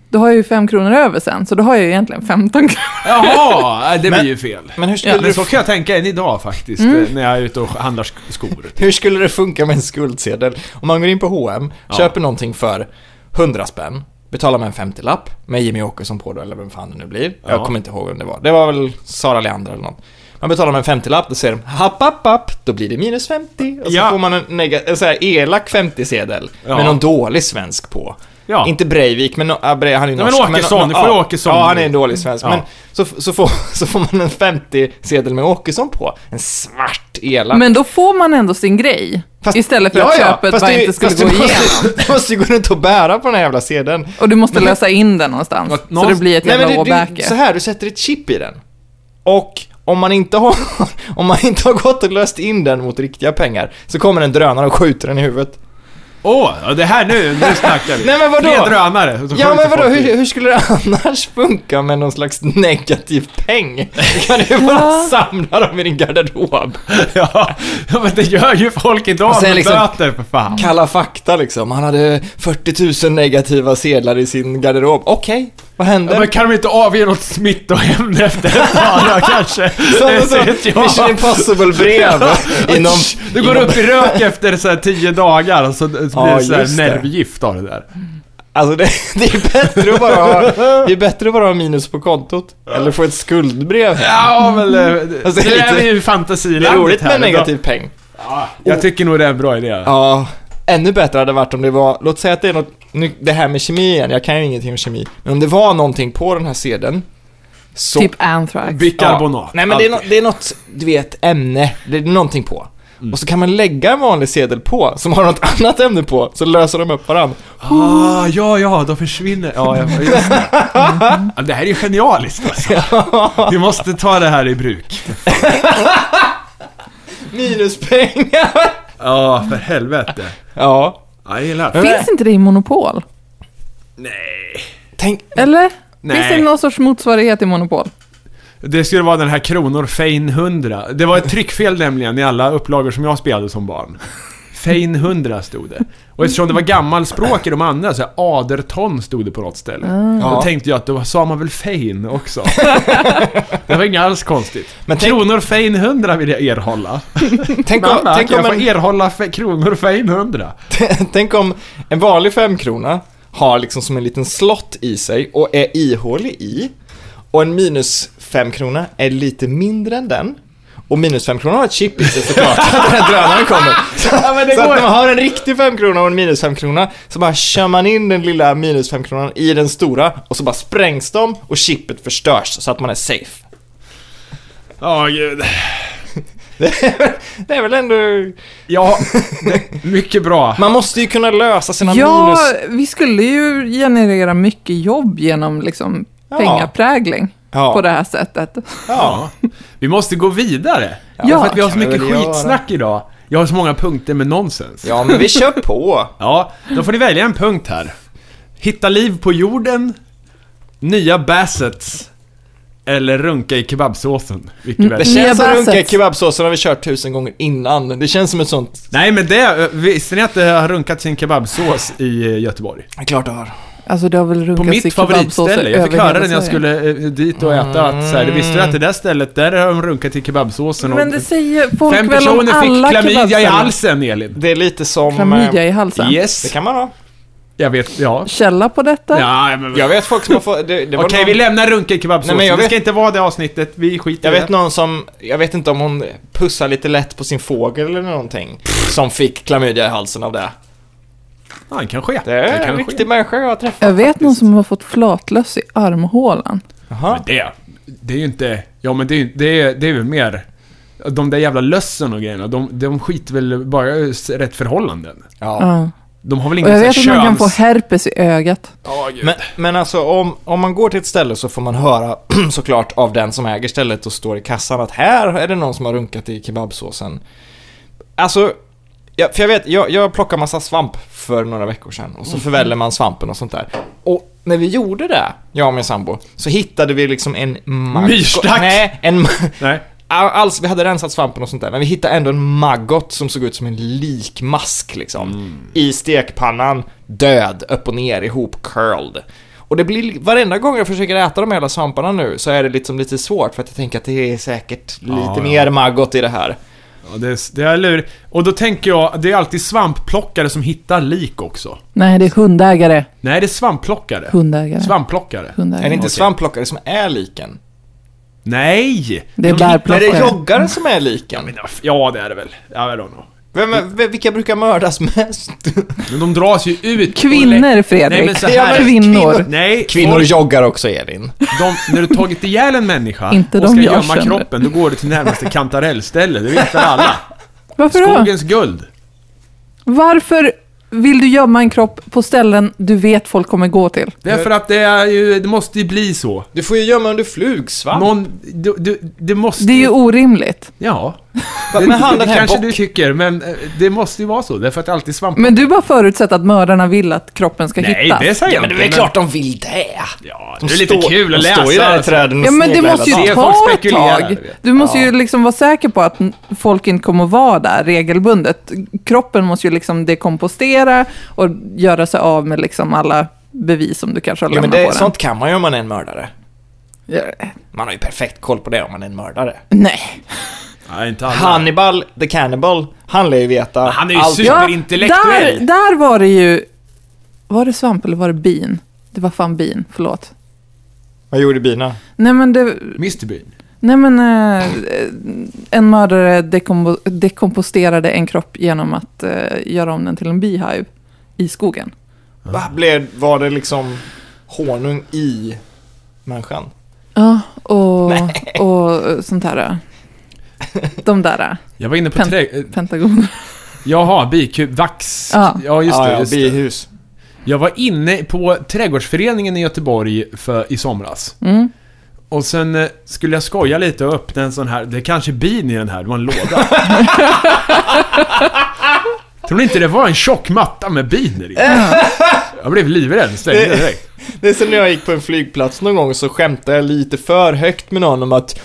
C: då har jag ju 5 kronor över sen, så då har jag ju egentligen 15 kronor.
B: Jaha, äh, det
A: Men-
B: blir ju fel.
A: Men hur skulle,
B: Men
A: det,
B: så kan jag tänka än idag faktiskt,
A: Mm.
B: eh, när jag är ute och handlar sk- skor.
A: hur skulle det funka med en skuldsedel? Om man går in på H&M, köper någonting för 100 spänn, betalar med en 50-lapp med Jimmy Åkesson på då, eller vem fan det nu blir.
B: Ja.
A: Jag kommer inte ihåg vem det var. Det var väl Sara Leander eller något. Man betalar med en 50-lapp, då säger de happ, happ, happ, då blir det minus 50. Och så
B: Ja.
A: får man en, nega- en så här elak 50-sedel
B: Ja.
A: med någon dålig svensk på.
B: Ja.
A: Inte Breivik, men no, ja, Breivik, han är ju
B: Nej, men
A: norsk.
B: Åkesson,
A: no-
B: du
A: no-
B: får ju
A: ja.
B: Åkesson.
A: Ja, han är en dålig svensk.
B: Ja.
A: Men så, så, får, så får man en 50-sedel med Åkesson på. En svart, elak.
C: Men då får man ändå sin grej,
A: Fast-
C: istället för
A: Ja,
C: att
A: ja,
C: köpet
A: fast
C: bara
A: det-
C: inte skulle
A: fast
C: gå
A: du
C: igenom.
A: måste, Du måste ju gå runt och bära på den här jävla sedeln.
C: Och du måste lösa in den någonstans,
B: Nå-
C: så det
B: någonstans-
C: blir ett jävla
A: det- det,
C: åbäke.
A: så här, du sätter ett chip i den. Och om man inte har, om man inte har gått och löst in den mot riktiga pengar så kommer en drönare och skjuter den i huvudet.
B: Åh, ja, det här nu, nu snackar vi.
A: Nej, men vadå?
B: Tre drönare. och så
A: Ja
B: skjuter
A: men vadå,
B: folk i-
A: hur, hur skulle det annars funka med någon slags negativ peng? Du kan ju bara samla dem i din garderob.
B: Ja, men det gör ju folk idag
A: Och sen
B: med
A: liksom-
B: böter för fan.
A: Kalla fakta liksom, han hade 40 000 negativa sedlar i sin garderob. Okej, vad
B: Ja,
A: händer?
B: men kan de inte avge något smittoämne efter en fara kanske?
A: Som
B: Det
A: en sån
B: vet jag.
A: Mission Impossible-brev inom...
B: Du går upp i rök efter så här tio dagar och så blir
A: Ja,
B: det så här
A: just det.
B: nervgift av det där.
A: Alltså det, det är bättre att bara ha, det är bättre att bara ha minus på kontot. Eller få ett skuldbrev.
B: Ja, men eh,
A: Alltså,
B: det
A: det är
B: där
A: lite-
B: är ju
A: Det är
B: fantasilandet
A: roligt med
B: här
A: en
B: idag.
A: negativ peng.
B: Ja, jag tycker nog det är en bra idé.
A: Ja, ännu bättre hade det varit om det var, låt säga att det är något, nu, det här med kemi igen, jag kan ju ingenting om kemi. Men om det var någonting på den här sedeln. Så,
C: Typ Anthrax.
B: Bikarbonat.
A: Nej men det är, nå- det är något, du vet, ämne, det är någonting på.
B: Mm.
A: Och så kan man lägga en vanlig sedel på, som har något annat ämne på, så löser de upp varandra.
B: Ah, ja, ja, de försvinner. Ja, jag, just det. Mm. Ja, det här är ju genialiskt alltså. Vi måste ta det här i bruk.
A: Minuspengar!
B: Ja, för helvete.
A: Ja.
B: Ja, jag gillar det.
C: Finns inte det i Monopol?
B: Nej.
A: Tänk,
C: Eller?
B: Nej.
C: Finns det någon sorts motsvarighet i Monopol?
B: Det skulle vara den här Kronor Fein 100. Det var ett tryckfel nämligen i alla upplagor som jag spelade som barn. Fein 100 stod det. Och eftersom det var gammalspråk i de andra, så här, aderton stod det på något ställe. Då
A: Ja.
B: tänkte jag att då sa man väl Fein också. det var inget alls konstigt.
A: Men tänk-
B: Kronor Fein 100 vill jag erhålla.
A: tänk, om,
B: Mamma,
A: tänk,
B: kan
A: om
B: jag
A: en,
B: få erhålla fe- Kronor Fein 100?
A: tänk om en vanlig femkrona har liksom som en liten slott i sig och är ihålig i. Och en minus femkrona är lite mindre än den. Och minus femkrona har ett chip i sig såklart, så att den här drönaren kommer.
B: Ja, men
A: Så att när man har en riktig femkrona och en minus femkrona så bara kör man in den lilla minus femkronan i den stora och så bara sprängs de och chippet förstörs så att man är safe.
B: Ja, gud.
A: Det är väl ändå...
B: Ja, det- mycket bra.
A: Man måste ju kunna lösa sina
C: Ja,
A: minus...
C: vi skulle ju generera mycket jobb genom liksom
A: Ja.
C: pengaprägling
A: Ja.
C: på det här sättet.
B: Ja. Vi måste gå vidare.
C: Ja,
B: för att vi har så
A: kan vi
B: mycket
A: väl göra.
B: skitsnack idag. Jag har så många punkter med nonsens.
A: Ja, men vi kör på.
B: Ja, då får ni välja en punkt här. Hitta liv på jorden, nya bassets eller runka i kebabsåsen. Vilket
A: Det
B: väl?
C: Nya
A: känns som
C: Bassets.
A: runka i kebabsåsen har vi kört tusen gånger innan. Det känns som ett sånt...
B: Nej men det, visste ni att det har runkat sin kebabsås i eh, Göteborg?
A: Klart du har.
C: Alltså det har väl
B: På
C: runkats i
B: mitt favoritställe. Jag fick höra det när jag skulle eh, dit och äta att så här, visste du att det där stället, där har de runkat i kebabsåsen och
C: Men det säger folk
B: Fem
C: väl om
B: personer
C: alla
B: fick klamydia i
C: kebabställen.
B: halsen Elin.
A: Det är lite som... eh,
C: Klamydia i halsen.
A: Det
B: Yes.
A: kan man ha.
B: Jag vet, ja.
C: Källa på detta?
B: Ja, men...
A: Jag vet folk som har fått... Det, det var
B: Okej,
A: någon,
B: vi lämnar runka i
A: Nej,
B: kebabsåsen.
A: men jag
B: Det
A: vet-
B: ska inte vara det avsnittet, vi skiter
A: Jag
B: i
A: vet
B: det.
A: någon som... Jag vet inte om hon pussar lite lätt på sin fågel eller någonting. Som fick klamydia i halsen av det.
B: Ja, det kan ske.
A: Det är
B: kan
A: en
B: ske.
A: riktig människa jag har träffat.
C: Jag vet någon som har fått flatlöss i armhålan.
A: Jaha.
B: Men det, det är ju inte... Ja, men det, är ju- det, är- det är väl mer... de där jävla lössen och grejerna, de, de skiter väl bara i s- rätt förhållanden.
A: Ja.
C: Ja.
B: De har väl
C: Och
B: ingen
C: jag
B: sån här
C: vet att man kan
B: köns...
C: få herpes i ögat.
B: Ja, gud.
A: Men, men alltså om, om man går till ett ställe så får man höra såklart av den som äger stället och står i kassan att här är det någon som har runkat i kebabsåsen. Alltså, ja, för jag vet, jag, jag plockade massa svamp för några veckor sedan
B: Mm.
A: och så förväller man svampen och sånt där. Och när vi gjorde det, jag och min sambo, så hittade vi liksom en... maggot-
B: Myrstack!
A: Nej, en... ma-
B: Nej.
A: All- Alls, vi hade rensat svampen och sånt där, men vi hittade ändå en maggot som såg ut som en likmask liksom.
B: Mm.
A: I stekpannan, död, upp och ner, ihop, curled. Och det blir, varenda gång jag försöker äta de här jävla svamparna nu så är det liksom lite svårt för att jag tänker att det är säkert lite
B: Ja, ja.
A: mer maggot i det här.
B: Ja, det, är- det är lur. Och då tänker jag, det är alltid svampplockare som hittar lik också.
C: Nej, det är hundägare.
B: Nej, det är svampplockare.
C: Hundägare.
B: Svampplockare.
A: Är det
C: Hundägare.
A: inte
B: Okej.
A: svampplockare som är liken?
B: Nej!
C: Det är
B: De
A: Nej, det
C: bärplockare.
A: är joggare som är liken.
B: hittar- Ja, det är det väl. I don't know.
A: Vem, är- vilka brukar mördas mest?
B: Men de dras ju ut.
C: Kvinnor, Fredrik.
B: Nej, men så
A: Ja,
B: här.
A: men
C: Kvinnor.
B: Nej,
A: Kvinnor
B: folk-
A: joggar också, Elin.
B: de, när du tagit ihjäl en människa
C: Inte
B: och
C: de
B: ska
C: jag
B: gömma
C: känner.
B: kroppen, då går du till närmaste kantarellställe. Det vet väl alla?
C: Varför då?
B: Skogens guld.
C: Varför vill du gömma en kropp på ställen du vet folk kommer gå till?
B: Det är för att det är ju, det måste ju bli så.
A: Du får ju gömma under flugsvamp.
B: Någon, du, du, det måste
C: Det är ju orimligt.
B: Ja.
A: Men han den
B: det
A: här
B: kanske
A: bocken-
B: du tycker, men eh, det måste ju vara så. Därför att det alltid är svamp...
C: Men du bara förutsätter att mördarna vill att kroppen ska
B: Nej,
C: hittas.
B: det säger jag
A: Ja, men det är
B: inte,
A: väl klart de vill det.
B: Ja,
A: De
B: det är lite
A: står-
B: kul att
A: de
B: läsa.
A: står ju där i
B: alltså.
A: träden och
C: Ja men det
A: sneglar
C: måste
A: hela
B: Se,
C: ju
A: tiden.
B: folk
C: ta ett
B: spekulerar,
C: tag.
B: jag vet.
C: Du måste ju liksom vara säker på att n- folk inte kommer vara där regelbundet. Kroppen måste ju liksom dekompostera och göra sig av med liksom alla bevis som du kanske har
A: Ja, men
C: lämnat
A: det,
C: på den.
A: sånt kan man ju om man är en mördare.
C: Ja,
A: Man har ju perfekt koll på det om man är en mördare.
C: Nej.
B: Nej, inte alla.
A: Hannibal, the cannibal, han lär ju veta
B: han är ju
A: allt.
B: super- Superintellektuell.
C: där, där var det ju... Var det svamp eller var det bin? Det var fan bin, förlåt.
A: Vad gjorde bina?
C: Nej men det...
B: Mr Bean.
C: Nej men... eh, en mördare dekombo- dekomposterade en kropp genom att eh, göra om den till en beehive i skogen.
A: Va, blev, var det liksom honung i människan?
C: Ja, och, och sånt här. De där
B: Jag var inne på
C: Pen-
B: trä... eh,
C: pentagoner.
B: Jaha, bikub, vax.
C: Ja.
B: ja just
A: ja,
B: det.
A: ja,
B: Just det.
A: bihus.
B: Jag var inne på Trädgårdsföreningen i Göteborg för, i somras.
C: Mm.
B: Och sen eh, skulle jag skoja lite och öppna en sån här, det är kanske är bin i den här, det var en låda. Tror ni inte det var en tjock matta med bin i? den? Jag blev livrädd, stängde direkt.
A: Det är som när jag gick på en flygplats någon gång så skämtade jag lite för högt med någon om att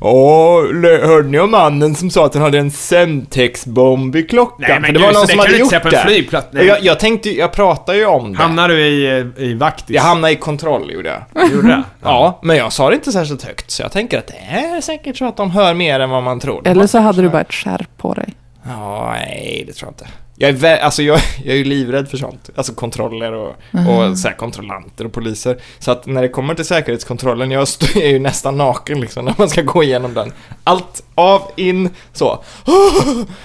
A: Åh, lö- hörde ni om mannen som sa att han hade en Semtex-bomb i klockan?
B: Nej, men
A: För det
B: gud,
A: var någon
B: så det
A: som
B: kan
A: hade
B: du inte
A: gjort
B: säga på en
A: det.
B: flygplats. Nej.
A: Jag, jag tänkte, jag pratade ju om det.
B: Hamnar du i, eh, i vaktis?
A: Jag hamnade i kontroll, gjorde jag.
B: Gjorde det?
A: Ja, men jag sa det inte särskilt högt, så jag tänker att det är säkert så att de hör mer än vad man tror.
C: Eller så hade du bara ett skärp på dig.
A: Ja, nej, det tror jag inte. Jag är, vä- alltså, jag, jag är ju livrädd för sånt. Alltså kontroller och,
C: Mm.
A: och så här, kontrollanter och poliser. Så att när det kommer till säkerhetskontrollen, jag st- är ju nästan naken liksom när man ska gå igenom den. Allt av, in, så.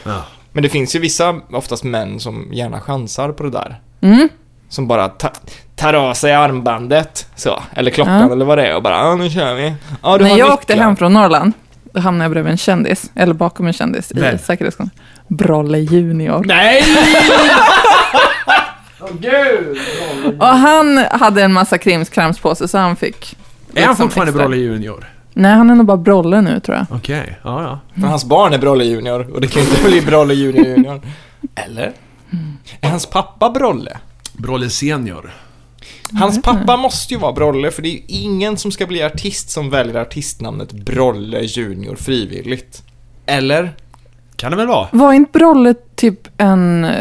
B: Ja.
A: Men det finns ju vissa, oftast män, som gärna chansar på det där.
C: Mm.
A: Som bara ta- tar av sig armbandet, så, eller klockan
C: Ja.
A: eller vad det är och bara ja, nu kör vi. Ja, du
C: När
A: har
C: jag åkte
A: nycklar.
C: hem från Norrland, då hamnade jag bredvid en kändis, eller bakom en kändis
B: Vem?
C: i säkerhetskontrollen. Brolle Junior.
B: Nej! Åh gud!
C: Och han hade en massa krimskrams på sig, så han fick...
B: Är han
C: liksom
B: fortfarande
C: extra-
B: Brolle Junior?
C: Nej, han är nog bara Brolle nu tror jag.
B: Okej, ja ja.
A: Men hans barn är Brolle Junior och det kan ju inte bli Brolle Junior Junior. Eller? Är hans pappa Brolle?
B: Brolle Senior.
A: Hans pappa måste ju vara Brolle för det är ju ingen som ska bli artist som väljer artistnamnet Brolle Junior frivilligt. Eller?
B: Kan det väl vara?
C: Var inte Brolle typ en, eh,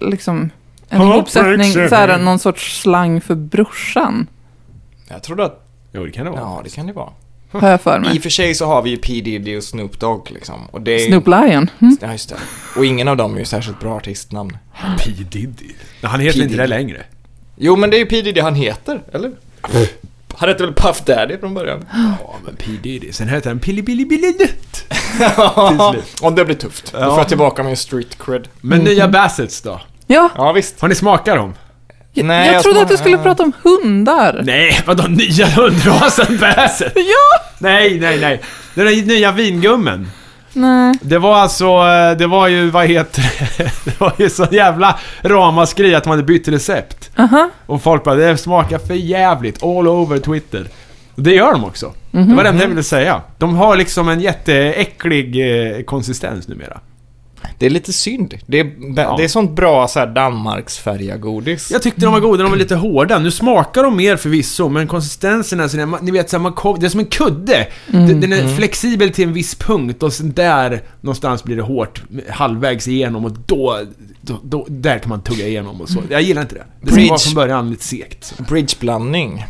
C: liksom, en
B: Ja,
C: ihopsättning,
B: precis.
C: såhär, någon sorts slang för brorsan?
A: Jag trodde att...
B: Jo, det kan det vara.
A: Ja, det kan det vara.
C: Har jag för
A: I och
C: mig.
A: för sig så har vi ju P Diddy och Snoop Dogg liksom. Och det är ju...
C: Snoop Lion. Mm.
A: Ja, just det. Och ingen av dem är ju särskilt bra artistnamn.
B: P Diddy. Nej, han heter
A: P.
B: inte det
A: Diddy.
B: längre.
A: Jo, men det är ju P Diddy han heter, eller? Han hette väl Puff Daddy från början?
B: Ja, men P Diddy. Sen heter han Pilly Billy Billy Dutt. slut.
A: Om det blir tufft. Då får jag tillbaka min street cred.
B: Men nya Bassets då?
C: Ja,
A: Ja, visst.
B: Har ni smakat dem?
C: jag,
A: Nej,
C: jag
A: jag
C: trodde
A: smak-
C: att du skulle
A: äh.
C: prata om hundar.
B: Nej, vadå nya hundrasen Basset?
C: Ja!
B: Nej, nej, nej. Den där nya vingummen.
C: Nej.
B: Det var alltså, eh, det var ju, vad heter det? Det var ju så jävla ramaskri att man hade bytt recept.
C: Aha.
B: Och folk bara, det smakar för jävligt all over Twitter. Det gör de också. Det var det enda jag ville säga. De har liksom en jätteäcklig eh, konsistens numera.
A: Det är lite synd. Det är, det är sånt bra så här Danmarksfärja-godis.
B: Jag tyckte de var goda, de var lite hårda. Nu smakar de mer förvisso, men konsistensen är sådär, man- ni vet såhär, man kom, det är som en kudde. Den, den är flexibel till en viss punkt och sen där någonstans blir det hårt halvvägs igenom och då, då, då där kan man tugga igenom och så. Jag gillar inte det. Det ska vara
A: Preach.
B: från början lite Mm. segt.
A: Bridgeblandning.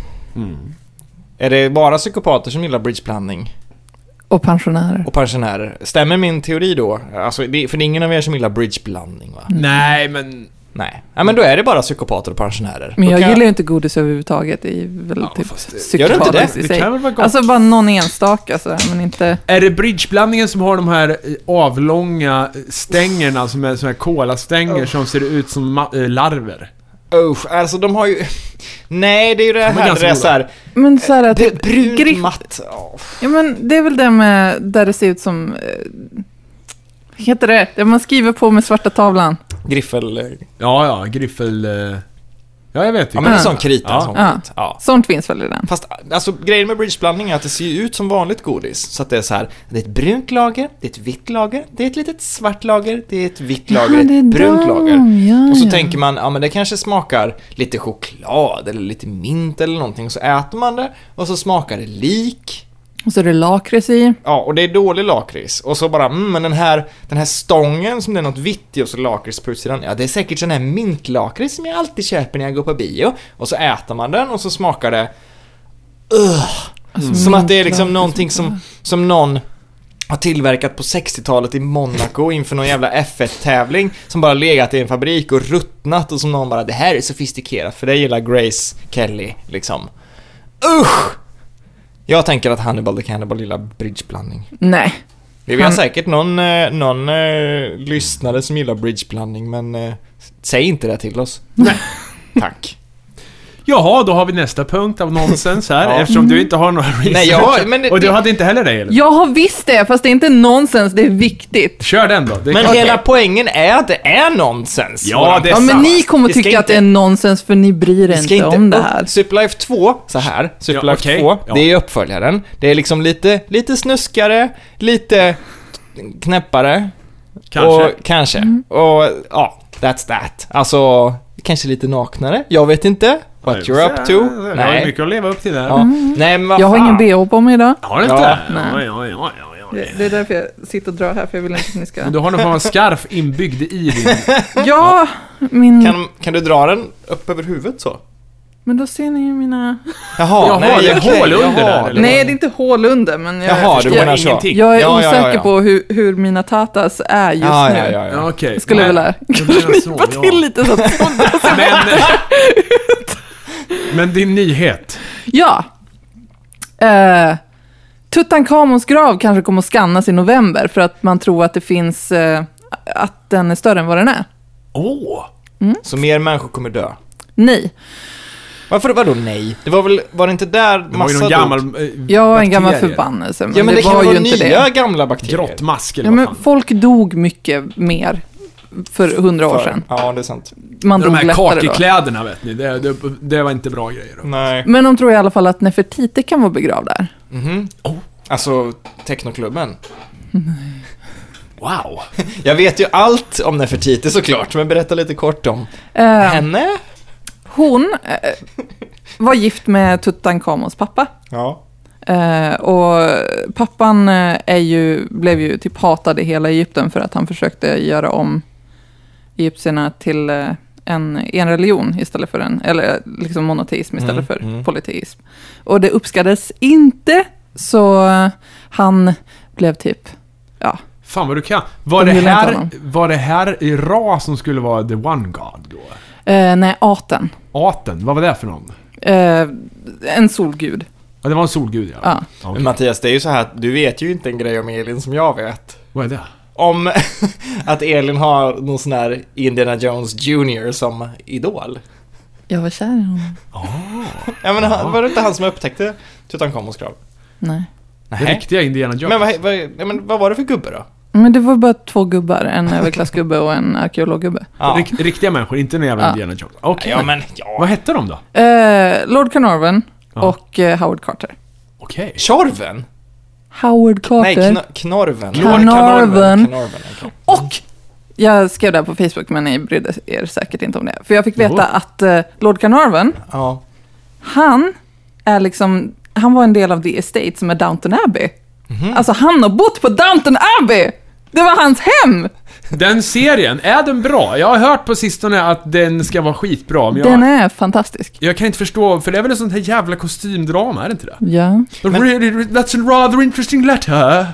A: Är det bara psykopater som gillar bridgeblandning?
C: Och pensionärer.
A: Och pensionärer? Stämmer min teori då? Alltså, det, för det är ingen av er som gillar bridgeblandning va?
B: Nej, men...
A: Nej. Ja, men då är det bara psykopater och pensionärer.
C: Men
A: Då
C: jag
A: kan-
C: gillar ju inte godis överhuvudtaget. Det är väl typ
B: fast det-
A: Gör du inte
C: psykopatiskt
A: det?
C: i
B: Det
C: sig.
B: kan väl vara gott?
C: Alltså bara någon enstaka sådär, men inte...
B: Är det bridgeblandningen som har de här eh, avlånga eh, stängerna som är såna här kolastänger som ser ut som ma- eh, larver?
A: Usch, alltså de har ju... Nej, det är ju det här
B: ganska
A: det är
B: goda.
A: så här...
C: Men såhär att...
A: Eh, Det, brunt,
C: typ griff-
A: matt. Ja.
C: Ja men det är väl det med där det ser ut som... eh, Heter det? Det man skriver på med svarta tavlan.
A: Griffel... eh,
B: Ja, ja, griffel... eh, Ja, jag vet
A: Ja, men en
C: Ja.
A: sån krita.
B: Ja.
A: Sån
C: Ja.
A: Krita. ja.
C: Sånt finns väl i den?
A: Fast alltså, grejen med bridgeblandning är att det ser ju ut som vanligt godis. Så att det är så här, det är ett brunt lager, det är ett vitt lager, det är ett litet svart lager, det är ett vitt lager,
C: Ja,
A: ett
C: det är
A: brunt
C: dem,
A: lager.
C: Ja,
A: Och så
C: ja.
A: tänker man, ja men det kanske smakar lite choklad eller lite mint eller någonting. Och så äter man det och så smakar det lik.
C: Och så är det lakrits i.
A: Ja, och det är dålig lakrits. Och så bara, mm, men den här, den här stången som det är något vitt i och så lakrits på utsidan. Ja, det är säkert sån här mintlakrits som jag alltid köper när jag går på bio. Och så äter man den och så smakar det... Ugh.
C: Alltså,
A: Som att det är
C: mint,
A: liksom
C: lakrits.
A: någonting som, som någon har tillverkat på 60-talet i Monaco inför någon jävla F1-tävling som bara legat i en fabrik och ruttnat och som någon bara “det här är sofistikerat” för det gillar Grace Kelly liksom. Usch! Jag tänker att Hannibal the Cannibal gillar bridgeblandning.
C: Nej.
A: Vi har
C: Han-
A: säkert någon, eh, någon eh, lyssnare som gillar bridgeblandning men eh, säg inte det till oss.
B: Nej.
A: Tack.
B: Jaha, då har vi nästa punkt av nonsens här,
A: Ja.
B: eftersom du inte har några research.
A: Nej, jag har- men det-
B: Och du hade inte heller det, eller?
C: Jag har visst det, fast det är inte nonsens, det är viktigt.
B: Kör den då. Det är
A: Men
B: klart.
A: hela poängen är att det är nonsens.
B: Ja,
A: Våran
B: det är
C: Ja,
A: podcast.
C: men ni kommer
A: Vi ska
C: tycka att
A: inte-
C: det är nonsens för ni bryr er inte, om det här.
A: Superlife 2, så här. Superlife
B: Ja, okej.
A: 2,
B: Ja.
A: det är uppföljaren. Det är liksom lite, lite snuskare, lite knäppare.
B: Kanske.
A: Och, kanske.
C: Mm.
A: Och ja, that's that. Alltså, kanske lite naknare. Jag vet inte. What
B: Nej,
A: you're
B: så-
A: up to.
B: Jag har ju
A: Nej.
B: mycket att leva upp till där.
A: Ja. Nej, men vad
C: Jag har
A: fan.
C: ingen bh på mig idag.
B: Har du inte?
A: Ja.
B: Oj,
C: Nej.
B: oj, oj, oj, oj.
C: Det, det är därför jag sitter och drar här, för jag vill inte att ni ska...
B: Men Du har någon form av skarf inbyggd i din...
C: Ja, min...
A: Kan, kan du dra den upp över huvudet så?
C: Men då ser ni ju mina...
A: Jaha,
B: Jaha,
A: nej,
B: det är
A: okej,
B: hål under
A: jaha,
B: där, eller?
C: Nej, det är inte hål under, men jag...
A: Jaha, du
B: förstår
A: menar så.
B: ingenting.
C: Jag är
A: Ja, ja, ja,
C: osäker
A: ja.
C: på hur, hur mina tatas är just
A: Ja,
C: nu.
A: ja, ja, ja.
B: Ja, okej.
C: Jag skulle
B: Nej.
C: vilja
B: Det blir en sån,
C: klippa
B: ja.
C: till lite så att
B: Men... Men din nyhet.
C: Ja. Eh, Tutankhamons grav kanske kommer att skannas i november för att man tror att det finns... eh, att den är större än vad den är.
B: Åh!
A: Så mer människor kommer dö.
C: Nej.
A: Varför, vadå nej? Det var väl, var det inte där
B: Det var ju
A: massa
B: någon
A: dog?
B: gammal... eh,
C: Jag har en gammal
B: bakterier.
C: förbannelse, men,
A: Ja men det,
C: det,
A: kan
C: var
A: vara
C: ju inte
A: nya
C: det.
A: gamla bakterier.
B: Grottmask eller
C: Ja,
B: vad
C: men
B: fan.
C: folk dog mycket mer för hundra år sedan.
A: Ja, det är sant.
C: Man
B: De
C: dog
B: här
C: lättare då.
B: kakekläderna vet ni, det, det, det var inte bra grejer. Då.
A: Nej.
C: Men de tror i alla fall att Nefertiti kan vara begravd där.
A: Mhm.
B: Oh.
A: Alltså, technoklubben.
B: Wow!
A: Jag vet ju allt om Nefertiti såklart, men berätta lite kort om
C: Eh,
A: henne.
C: hon eh, var gift med Tutankhamons pappa.
A: Ja.
C: Eh, och pappan eh, är ju, blev ju typ hatad i hela Egypten för att han försökte göra om egyptierna till eh, en, en religion istället för en, eller liksom monoteism istället
A: Mm,
C: för
A: mm.
C: polyteism. Och det uppskattades inte, så eh, han blev typ, ja,
B: Fan vad du kan. Var
C: De
B: det,
C: gillar inte
B: här,
C: honom.
B: var det här i Ra som skulle vara the one god då?
C: eh, nej, aten,
B: Aten, vad var det för någon?
C: eh, en solgud.
B: Ja, det var en solgud ja.
C: Ja.
B: Ja, okej.
A: Men Mattias, det är ju så här att du vet ju inte en grej om Elin som jag vet.
B: Vad är det?
A: Om att Elin har någon sån här Indiana Jones Junior som idol.
C: Jag var kär i honom.
A: Ja men han, var det inte han som upptäckte Tutankhamons grav?
C: Nej.
B: Den riktiga Indiana Jones.
A: Men vad, vad, ja, men vad var det för gubbe då?
C: Men det var bara två gubbar, en överklassgubbe och en arkeologgubbe.
A: Ja.
B: Rik- Riktiga människor, inte den jävla
C: Ja.
B: Indiana Jones. Okej.
A: ja, men ja.
B: Vad hette de då?
C: Eh, Lord Carnarvon
B: Ja.
C: och eh, Howard Carter.
B: Okej.
A: Tjorven?
C: Howard
A: Nej,
C: Carter.
A: kn- Knorven.
C: Knorven.
A: Knorven. Knorven, okej.
C: Och! Jag skrev det här på Facebook, men ni brydde er säkert inte om det. För jag fick veta
B: Jo.
C: att eh, Lord Carnarvon,
A: Ja.
C: han är liksom, han var en del av The Estate som är Downton Abbey.
A: Mhm.
C: Alltså han har bott på Downton Abbey! Det var hans hem!
B: Den serien, är den bra? Jag har hört på sistone att den ska vara skitbra, men jag...
C: Den är fantastisk.
B: Jag kan inte förstå, för det är väl en sån här jävla kostymdrama, är det inte det?
C: Ja.
B: Really, that's a rather interesting letter.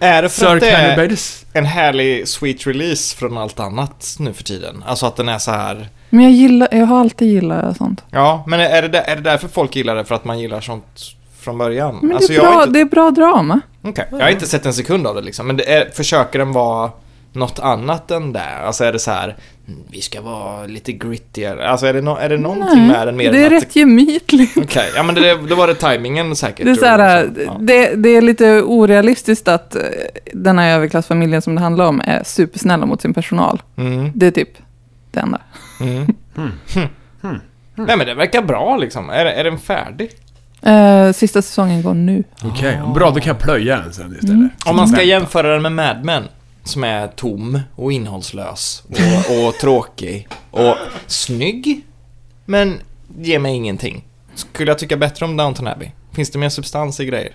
A: Är det för
B: Sir
A: att det är
B: Cannibals.
A: en härlig sweet release från allt annat nu för tiden? Alltså att den är så här...
C: Men jag gillar, jag har alltid gillat sånt.
A: Ja, men är det, där, är det därför folk gillar det? För att man gillar sånt från början?
C: Men
A: alltså,
C: det, är bra,
A: jag, har inte,
C: det är bra drama.
A: okej, jag har inte sett en sekund av det liksom. Men det är, försöker den vara något annat än det? Alltså är det så här... "Mm, Vi ska vara lite grittigare. Alltså är det, no, är det någonting med den mer
C: det är
A: än att-
C: rätt gemytligt.
A: Okej, ja men det, då var det tajmingen säkert.
C: Det är,
A: tror
C: så
A: jag,
C: här, eh,
A: liksom. Ja.
C: det, det är lite orealistiskt att eh, den här överklassfamiljen som det handlar om är supersnälla mot sin personal.
A: Mm,
C: Det är typ det enda.
A: mm. Hm. Nej men det verkar bra liksom. Är, är den färdig?
C: Eh, sista säsongen går nu.
B: Okej, bra då kan jag plöja den sen istället.
C: Mm.
A: Om man ska jämföra den med Mad Men, som är tom och innehållslös och, och tråkig och snygg, men ger mig ingenting. Skulle jag tycka bättre om Downton Abbey? Finns det mer substans i grejer?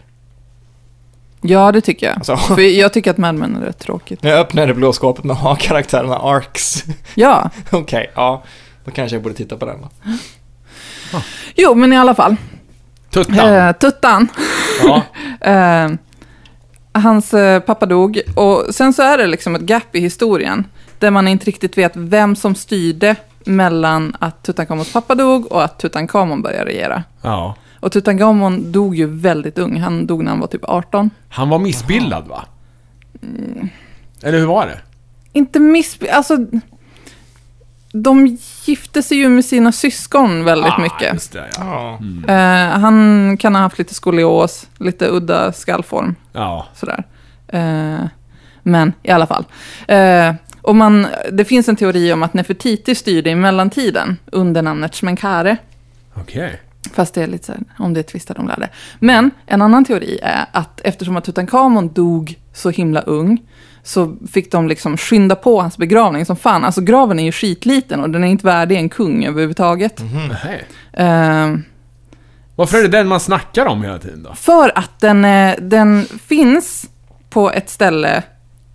C: Ja, det tycker jag.
A: Alltså,
C: För jag tycker att Mad Men är rätt tråkigt.
A: när jag öppnade blå skåpet med ha karaktärerna Arcs.
C: Ja,
A: Okej, ja. Då kanske jag borde titta på den då.
C: jo, men i alla fall.
B: Tuttan.
C: Eh, tuttan.
B: Ja.
C: Eh, hans eh, pappa dog och sen så är det liksom ett gap i historien där man inte riktigt vet vem som styrde mellan att Tutankhamons pappa dog och att Tutankhamon började regera.
B: ja.
C: Och Tutankhamon dog ju väldigt ung. Han dog när han var typ 18.
B: Han var missbildad va?
C: Mm.
B: Eller hur var det?
C: Inte miss... Alltså... De gifte sig ju med sina syskon väldigt mycket.
B: Ah, Just det, ja.
A: Ja.
C: Eh, han kan ha haft lite skolios, lite udda skallform.
B: ja.
C: Sådär. Eh, men i alla fall. Eh, och man, det finns en teori om att Nefertiti styrde i mellantiden under namnet Shmenkare.
B: Okej.
C: Fast det är lite så här, om det är tvistar de lärde. Men en annan teori är att eftersom att Tutankhamon dog så himla ung så fick de liksom skynda på hans begravning som fan. Alltså graven är ju skitliten och den är inte värdig en kung överhuvudtaget.
B: Nej.
C: Eh,
B: Varför är det den man snackar om hela tiden då?
C: För att den, eh, den finns på ett ställe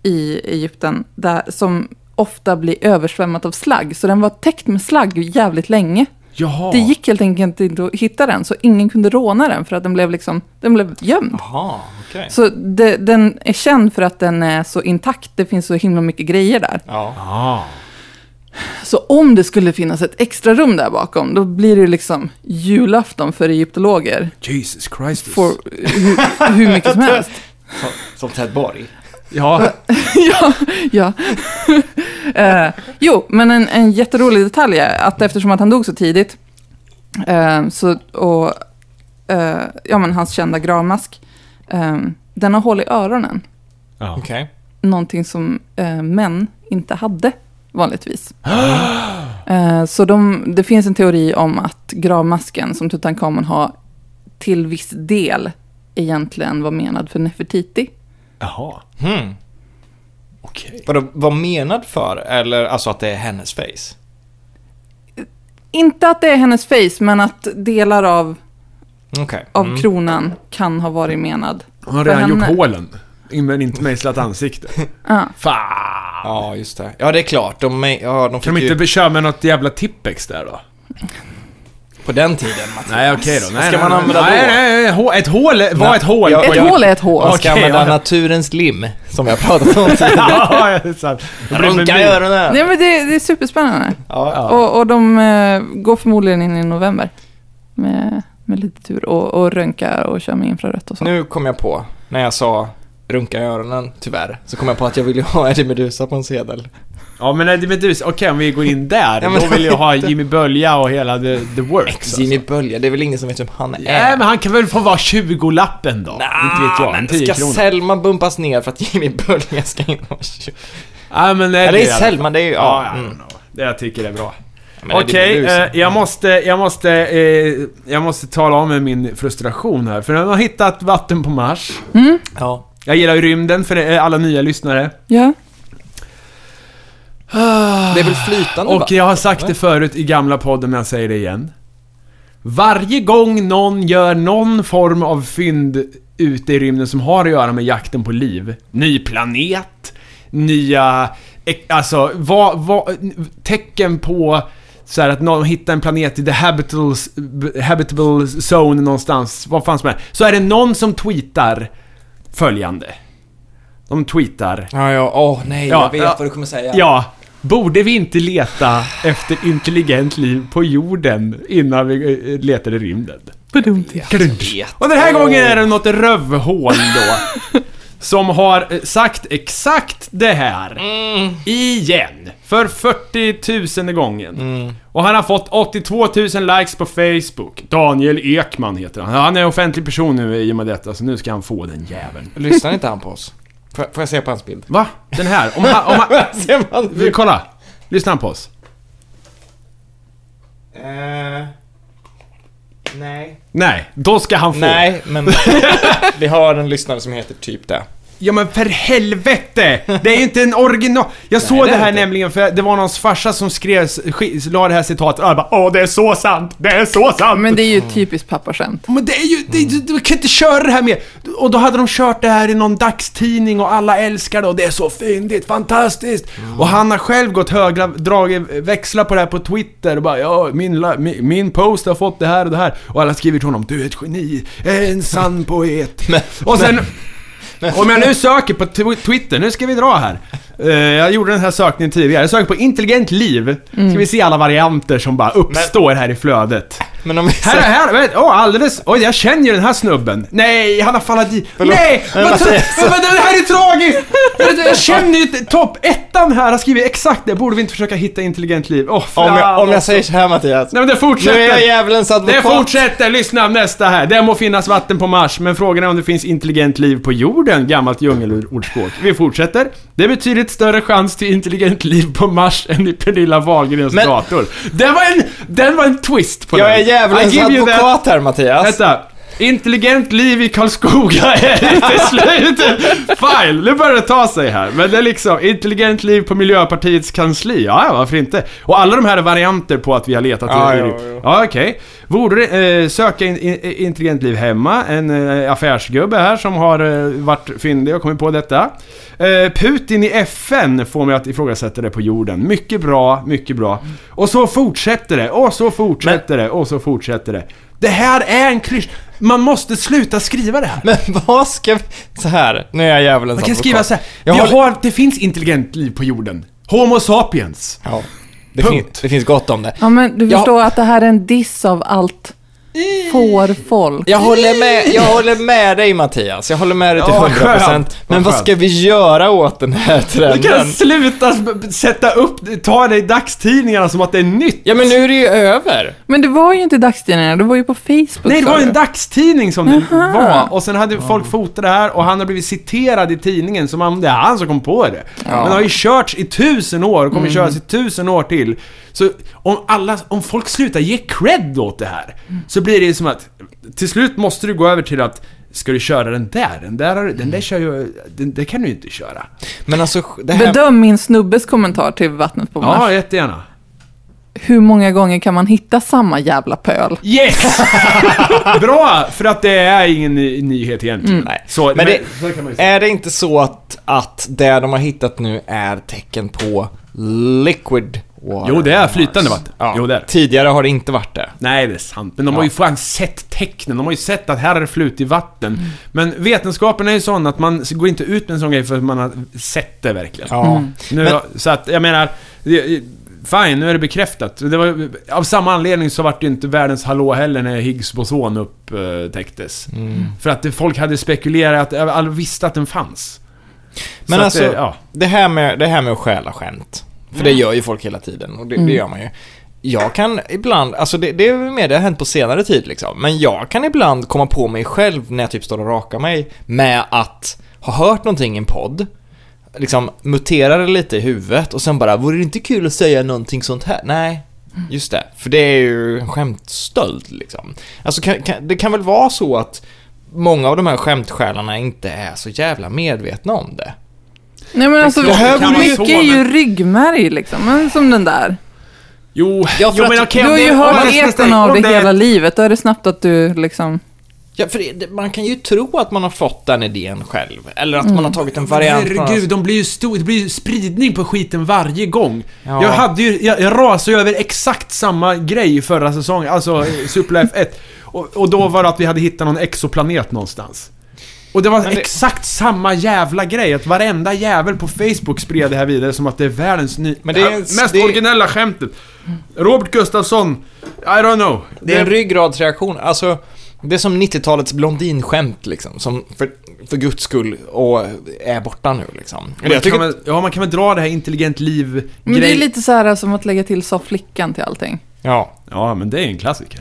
C: i Egypten där, som ofta blir översvämmat av slagg. Så den var täckt med slagg jävligt länge.
B: Jaha.
C: Det gick helt enkelt inte att hitta den, så ingen kunde råna den för att den blev, liksom, den blev gömd.
A: Jaha, okej.
C: Så det, den är känd för att den är så intakt, det finns så himla mycket grejer där.
A: Ja.
B: Ah.
C: Så om det skulle finnas ett extra rum där bakom, då blir det liksom julafton för egyptologer.
B: Jesus Christus.
C: För hur, hur mycket som helst.
A: Som, som Ted Borg.
B: Ja.
C: ja, ja. eh, jo, men en, en jätterolig detalj är att eftersom att han dog så tidigt eh, så, och eh, ja, men hans kända gravmask, eh, den har hål i öronen.
B: ja.
A: Okej.
C: Någonting som eh, män inte hade vanligtvis. eh, så de, det finns en teori om att gravmasken som Tutankhamon har till viss del egentligen var menad för Nefertiti.
B: Jaha.
A: Hmm.
B: Okej.
A: Vadå, vad menad för? Eller alltså att det är hennes face?
C: Inte att det är hennes face, men att delar av,
A: Okej.
C: av
A: Mm.
C: kronan kan ha varit menad.
B: Hon har
C: För
B: redan
C: henne.
B: gjort hålen. Men inte mejslat ansikte.
C: Ja.
B: Fan.
A: Ja, just det. Ja, det är klart. De, me- ja, de
B: Kan
A: fick
B: de
A: ju...
B: inte köra med något jävla tippex där då?
A: På den tiden, Mats.
B: Nej okej då. Nej,
A: ska
B: nej,
A: man använda
B: nej,
A: då?
B: Nej, nej, hå- ett hål, är- vad
A: Nej.
B: ett hål?
A: Ja,
C: Ett
A: jag-
C: hål är ett hål.
A: Man ska
B: Okej,
A: använda
B: ja.
A: naturens lim, som jag pratat om tidigare.
B: ja, det är sant. Det blir
A: Runka i
B: menyn.
A: öronen!
C: Nej, men det, det är superspännande.
A: Ja, ja.
C: Och, och de eh, går förmodligen in i november med, med lite tur och, och röntgar och kör med infrarött och så.
A: Nu kom jag på, när jag sa runka i öronen, tyvärr. Så kom jag på att jag vill ju ha Eddie Meduza på en sedel.
B: Ja men Eddie Meduza, okej om vi går in där,
A: Ja, men-
B: då vill jag ha Jimmy Bölja och hela the, the works
A: Jimmy Bölja, det är väl ingen som vet vem han är?
B: alltså. Nej men han kan väl få vara 20-lappen då? Inte vet jag,
A: Ah, men
B: 10
A: ska
B: kronor.
A: Selma bumpas ner för att Jimmy Bölja ska in och
B: Ja, men Eddie,
A: Eller
B: i
A: är
B: alla
A: Selma, det är ju...
B: fall. Ja,
A: Ja,
B: I don't
A: mm.
B: know. Det jag tycker är bra.
A: Men Eddie
B: Okej,
A: Meduza.
B: eh, jag måste, jag måste, eh, jag måste tala om med min frustration här. För de har hittat vatten på Mars.
A: Ja.
B: Jag gillar ju rymden för eh, alla nya lyssnare.
C: Ja.
A: Det är väl flytande va?
B: Och jag har sagt det förut i gamla podden, men jag säger det igen. Varje gång någon gör någon form av fynd ute i rymden som har att göra med jakten på liv. Ny planet, nya... ek- Alltså, vad, vad, tecken på så här att någon hittar en planet i the habitable, habitable zone någonstans, vad fan som helst. Så är det någon som tweetar följande. De tweetar...
A: Ja, ja, åh nej,
B: Ja,
A: jag vet
B: ja.
A: vad du kommer säga.
B: Ja, borde vi inte leta efter intelligent liv på jorden innan vi eh, letar i rymden?
C: Badumti.
A: vet.
B: Och den här gången är det något rövhål då. Som har eh, sagt exakt det här. Igen. För 40 000 gången. Och han har fått 82 000 likes på Facebook. Daniel Ekman heter han. Han är offentlig person nu i och med detta, så nu ska han få den jäveln.
A: Lyssnar inte han på oss? Får, får jag se på hans bild?
B: Va? Den här? Om han... Om han
A: Ser man hans bild?
B: kolla. Lyssna på oss.
A: Eh, nej.
B: Nej, då ska han få.
A: Nej, men vi har en lyssnare som heter typ det.
B: Ja men för helvete! Det är ju inte en original... Jag såg
A: det är
B: det här
A: inte.
B: nämligen för det var någons farsa som skrev, sk- la det här citatet och alla bara Åh det är så sant! Det är så sant!
C: Men det är ju ett typiskt pappaskämt.
B: Men det är ju, det, du, du kan inte köra det här mer. Och då hade de kört det här i någon dagstidning och alla älskar det och det är så fyndigt, fantastiskt. Och han har själv gått högra, dragit växlar på det här på Twitter och bara ja, min, la- min, min post har fått det här och det här. Och alla skriver till honom, du är ett geni, en sann poet. och sen... Om jag nu söker på tw- Twitter, nu ska vi dra här. Eh, jag gjorde den här sökningen tidigare. Jag söker på intelligent liv. Ska vi se alla varianter som bara uppstår här i flödet.
A: Men om vi
B: Här, här, här, åh alldeles, oj jag känner ju den här snubben. Nej, han har fallit i. Nej! Vad, vad, vad, det här är tragiskt! Jag- Jag känner ju t- topp ettan här har skrivit exakt det, borde vi inte försöka hitta intelligent liv? Åh fan
A: om jag, om jag
B: också.
A: säger så här Mattias.
B: Nej men det
A: nu är jag
B: fortsätter.
A: djävulens
B: Det
A: advokat.
B: fortsätter, lyssna nästa här. Det må finnas vatten på Mars, men frågan är om det finns intelligent liv på jorden, gammalt djungelordspråk. Vi fortsätter. Det är betydligt större chans till intelligent liv på Mars än i Pernilla Wahlgrens
A: Men-
B: dator. Det var en, den var en twist på
A: Jag
B: den.
A: är djävulens
B: I give you that.
A: advokat här Mattias.
B: Vänta. Intelligent liv i Karlskoga är inte slut. Fine, nu börjar det ta sig här. Men det är liksom intelligent liv på Miljöpartiets kansli. Ja, ja, varför inte? Och alla de här är varianter på att vi har letat
A: Ja,
B: i...
A: ja,
B: ja.
A: ja.
B: okej. Borde eh, söka in, in, intelligent liv hemma. En eh, affärsgubbe här som har eh, varit fyndig och kommit på detta. Eh, Putin i FN får mig att ifrågasätta det på jorden. Mycket bra, mycket bra. Och så fortsätter det, och så fortsätter det, och så fortsätter det. Det här är en klysch... Man måste sluta skriva det här.
A: Men vad ska vi... Så här, nu är jag djävulens
B: Man kan
A: advokat.
B: skriva så här.
A: Jag
B: vi
A: håller-
B: har, det finns intelligent liv på jorden. Homo sapiens.
A: Ja, det,
B: Punkt.
A: fin- det finns gott om det.
C: Ja, men du
A: Jag-
C: förstår att det här är en diss av allt får folk.
A: Jag håller, med, jag håller med dig Mattias, jag håller med dig till
B: Ja,
A: 100%
B: skönt. Vad
A: Men vad
B: skönt.
A: ska vi göra åt den här
B: Du kan
A: trenden?
B: sluta s- sätta upp, ta det i dagstidningarna som att det är nytt.
A: Ja men nu är det ju över!
C: Men det var ju inte i dagstidningarna, det var ju på Facebook.
B: Nej, det
C: sa
B: var
C: du.
B: en dagstidning som det var. Och sen hade folk fotat det här och han har blivit citerad i tidningen som om det är han som kom på det. Men det har ju körts i tusen år och kommer köras i tusen år till. Så om, alla, om folk slutar ge cred åt det här så blir det ju som att till slut måste du gå över till att Ska du köra den där? Den där, har, den där kör ju... Den, det kan du ju inte köra.
A: Men alltså, det här...
C: Bedöm min snubbes kommentar till Vattnet på Mars.
B: Ja, jättegärna.
C: Hur många gånger kan man hitta samma jävla pöl?
B: Yes! Bra! För att det är ingen ny, nyhet egentligen.
A: Nej.
B: Så,
A: men
B: men-
A: det,
B: så kan man ju säga.
A: är det inte så att, att det de har hittat nu är tecken på liquid water?
B: Jo, det är
A: on Mars?
B: flytande vatten.
A: Ja.
B: Jo, det är det.
A: Tidigare har det inte varit det.
B: Nej, det är sant. Men de har ju fan sett tecknen. De har ju sett att här är det flut i vatten. Men vetenskapen är ju sån att man går inte ut med en sån grej för att man har sett det verkligen.
A: Ja.
B: Nu,
A: Men-
B: Så att, jag menar... det- Fine, nu är det bekräftat. Det var, av samma anledning så vart det ju inte världens hallå heller när Higgs boson upptäcktes. För att det, folk hade spekulerat, alla visste att den fanns.
A: Men
B: så
A: alltså-
B: Att, det- ja.
A: Det här med, det här med att stjäla skämt. För det gör ju folk hela tiden och det, det gör man ju. Jag kan ibland, alltså det, det är väl mer det har hänt på senare tid liksom. Men jag kan ibland komma på mig själv när jag typ står och rakar mig med att ha hört någonting i en podd. Liksom mutera det lite i huvudet och sen bara, vore det inte kul att säga någonting sånt här? Nej, just det. För det är ju en skämtstöld liksom. Alltså kan, kan, det kan väl vara så att många av de här skämtsjälarna inte är så jävla medvetna om det.
C: Nej men alltså,
B: klart det kan vara
C: mycket
B: så,
C: är ju
B: men-
C: ryggmärg liksom. Men som den där.
B: Jo,
A: Ja, för
B: jo
A: att-
B: men okej.
C: Du
A: Ja,
C: har
B: om det-
C: ju
B: om
C: hört
B: det-
C: ekon av
B: om
C: det hela livet. Då är det snabbt att du liksom...
A: Ja, för det- det, man kan ju tro att man har fått den idén själv. Eller att man har tagit en variant. från-
B: Mm. Herregud, de blir ju stor, det blir ju spridning på skiten varje gång.
A: Ja.
B: Jag hade ju, jag, jag rasade ju över exakt samma grej förra säsongen, alltså eh, Superlife 1. Och, och då var det att vi hade hittat någon exoplanet någonstans. Och det var
A: Men det-
B: exakt samma jävla grej, att varenda jävel på Facebook spred det här vidare som att det är världens ny...
A: Men det är-
B: här mest
A: det-
B: originella skämtet. Robert Gustafsson, I don't know.
A: Det är en ryggradsreaktion. Alltså, det är som 90-talets blondinskämt liksom. Som för, för guds skull och är borta nu liksom.
B: man,
A: jag tycker,
B: kan väl, ja, man kan väl dra det här intelligent liv
C: Men det är lite så här som att lägga till sa flickan till allting.
A: Ja.
B: Ja, men det är en klassiker.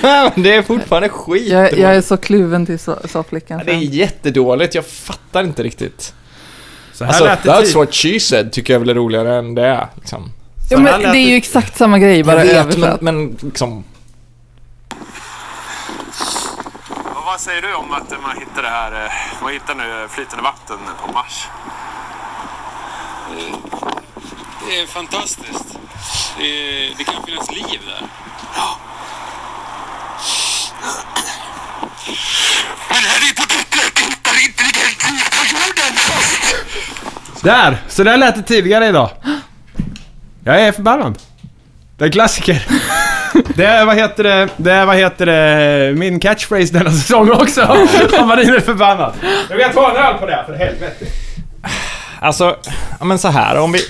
A: Men det är fortfarande skit.
C: Jag, jag är så kluven till sa sa flickan.
A: Det är jättedåligt. Jag fattar inte riktigt.
B: Så här
A: Alltså,
B: lät det typ.
A: that's
B: tid-
A: what she said tycker jag väl är roligare än det är. Liksom.
B: så
C: Ja,
B: här
C: men
B: lät
C: det är ju exakt samma grej, bara
A: typ- Jag vet, men,
C: översatt.
A: men liksom...
E: Och vad säger du om att man hittar det här, eh, man hittar nu flytande vatten på Mars?
F: Det är fantastiskt. Det, det kan finnas liv där.
E: Men Harry Potter hittar intelligent liv på jorden!
B: Där! Så där lät det tidigare idag. Jag är förbannad. Det är en klassiker. Det är, vad heter det, det är, vad heter det, min catchphrase denna säsong också. Om man är förbannad. Jag vill ta en öl på det här, för helvete.
A: Alltså, ja, men så här om vi...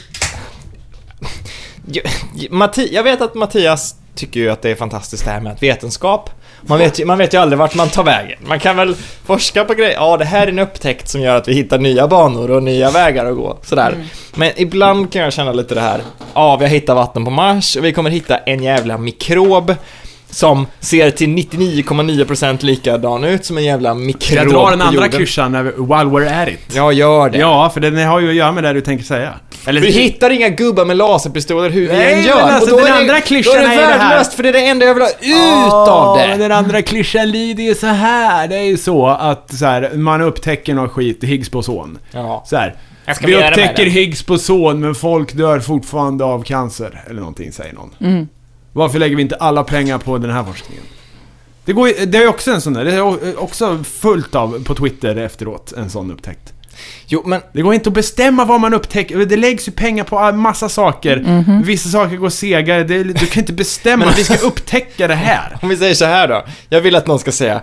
A: Jo, Matti, jag vet att Mattias tycker ju att det är fantastiskt det här med att vetenskap. Man vet, ju, man vet ju aldrig vart man tar vägen. Man kan väl forska på grejer. Ja, det här är en upptäckt som gör att vi hittar nya banor och nya vägar att gå. Sådär.
B: Mm.
A: Men ibland kan jag känna lite det här. Ja, vi har hittat vatten på Mars och vi kommer hitta en jävla mikrob som ser till 99,9% likadan ut som en jävla mikrob
B: Jag drar den
A: på
B: andra
A: jorden.
B: kursan när vi, while we're at it.
A: Ja, gör det.
B: Ja, för det har ju att göra med det du tänker säga. Eller,
A: Vi hittar inga gubbar med laserpistoler hur vi
B: Nej,
A: än
B: men
A: gör.
B: alltså,
A: och då
B: den
A: är det,
B: andra klyschan
A: då är
B: är
A: det
B: ju det här.
A: värdelöst för det är det enda jag vill ha ut av
B: Ja,
A: det.
B: Den andra klyschan lyder ju så här. Det är ju så att så här, man upptäcker någon skit i Higgs boson.
A: Ja.
B: Så här.
A: Jag ska
B: Vi
A: göra det med
B: upptäcker
A: den.
B: Higgs boson men folk dör fortfarande av cancer. Eller någonting säger någon. Varför lägger vi inte alla pengar på den här forskningen? Det, går, ju- det är ju också en sån där. Det är o- också fullt av på Twitter efteråt. En sån upptäckt.
A: Jo, men
B: Det går inte att bestämma vad man upptäcker. Det läggs ju pengar på all- massa saker. Vissa saker går segare. Det, är- du kan inte bestämma
A: Men-
B: att vi ska upptäcka det här.
A: om vi säger så här då. Jag vill att någon ska säga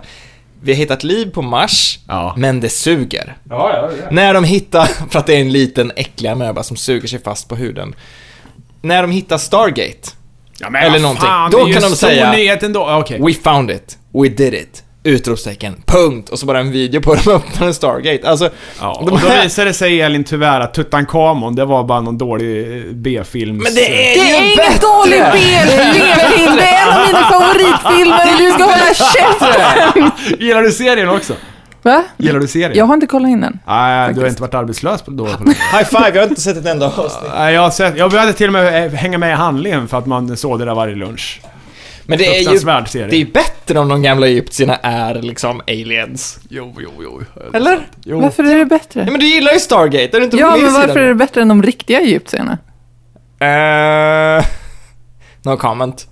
A: vi har hittat liv på Mars,
B: Ja.
A: men det suger.
B: Ja, ja, ja.
A: När de hittar, för att det är en liten äcklig amöba som suger sig fast på huden. När de hittar Stargate,
B: Ja, men
A: Eller
B: vad
A: någonting.
B: Fan,
A: Då
B: det är ju
A: kan de
B: en stor
A: säga-
B: nyhet ändå. Ja, Okej.
A: we found it, we did it, utropstecken, punkt. Och så bara en video på hur de öppnar en Stargate. Alltså,
B: Ja,
A: de
B: och då
A: här-
B: visade det sig Elin tyvärr att Tutankhamon, det var bara någon dålig eh, B-films...
A: men det är
C: Det är
A: ju
C: inget
A: bättre!
C: dålig B-film! Det är en av mina favoritfilmer! Du ska hålla käften!
B: Gillar du serien också?
C: Va?
B: Gillar du serien?
C: Jag har inte kollat in den.
B: Nej, du har
C: Faktiskt.
B: inte varit arbetslös på då? på länge.
A: High five, jag har inte sett ett enda avsnitt.
B: Nej, jag, har sett, jag började till och med eh, hänga med i handlingen för att man såg det där varje lunch.
A: Men det är ju
B: Fruktansvärd serie.
A: det är ju bättre om de gamla egyptierna är liksom aliens.
B: Jo, jo, jo.
A: Eller?
B: jo.
C: Varför är det bättre?
A: Nej men du gillar ju Stargate, är du inte på
C: Ja,
A: min
C: men
A: sida
C: varför
A: nu?
C: är det bättre än de riktiga egyptierna?
A: Eh, no comment.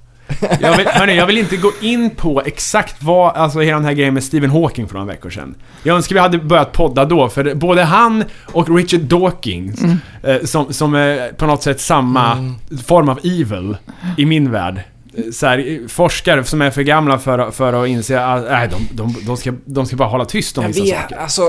B: Jag vill, hörni, jag vill inte gå in på exakt vad, alltså hela den här grejen med Stephen Hawking för några veckor sedan. Jag önskar vi hade börjat podda då, för både han och Richard Dawkins,
A: Mm.
B: eh, som, som är på något sätt samma form av evil i min värld. Eh, Så här, eh, forskare som är eh, för gamla för, att- för att inse att nej, de, de, de, ska, de ska bara hålla tyst om vissa saker.
A: alltså,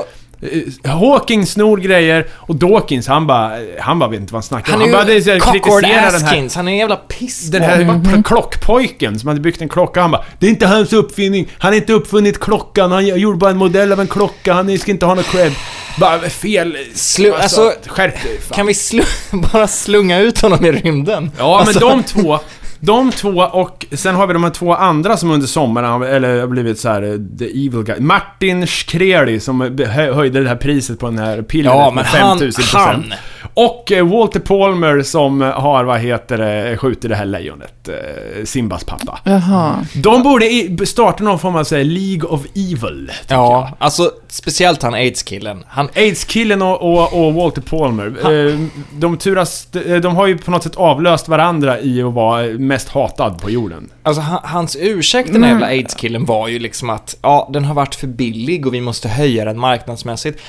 B: eh, Hawking snor grejer och Dawkins han bara, eh, han bara vet inte vad han snackar om.
A: Han är
B: Han bara det är
A: ju
B: så här,
A: cockord
B: kritiserar den här
A: Askins, han är en jävla piss.
B: den här pl- klockpojken som hade byggt en klocka, han bara Det är inte hans uppfinning, han har inte uppfunnit klockan, han gjorde bara en modell av en klocka, han ska inte ha någon cred. Bara fel...
A: Slu- alltså,
B: skärp dig fan.
A: Kan vi slu- bara slunga ut honom i rymden?
B: Ja,
A: Alltså,
B: men de två. De två och sen har vi de här två andra som under sommaren har, eller har blivit så här eh, the evil guy. Martin Shkreli som be- hö- höjde det här priset på den här pillret
A: Ja, men
B: med
A: han-
B: 5000
A: han.
B: Och eh, Walter Palmer som eh, har, vad heter det, skjutit det här lejonet. eh, Simbas pappa.
C: Jaha.
B: De borde i- starta någon form av så här League of Evil.
A: Ja, alltså speciellt han aids-killen. Han...
B: AIDS-killen och, och, och Walter Palmer. eh, De turas, de de har ju på något sätt avlöst varandra i att vara mest hatad på jorden.
A: Alltså han, hans ursäkt den här jävla aids-killen var ju liksom att ja, den har varit för billig och vi måste höja den marknadsmässigt.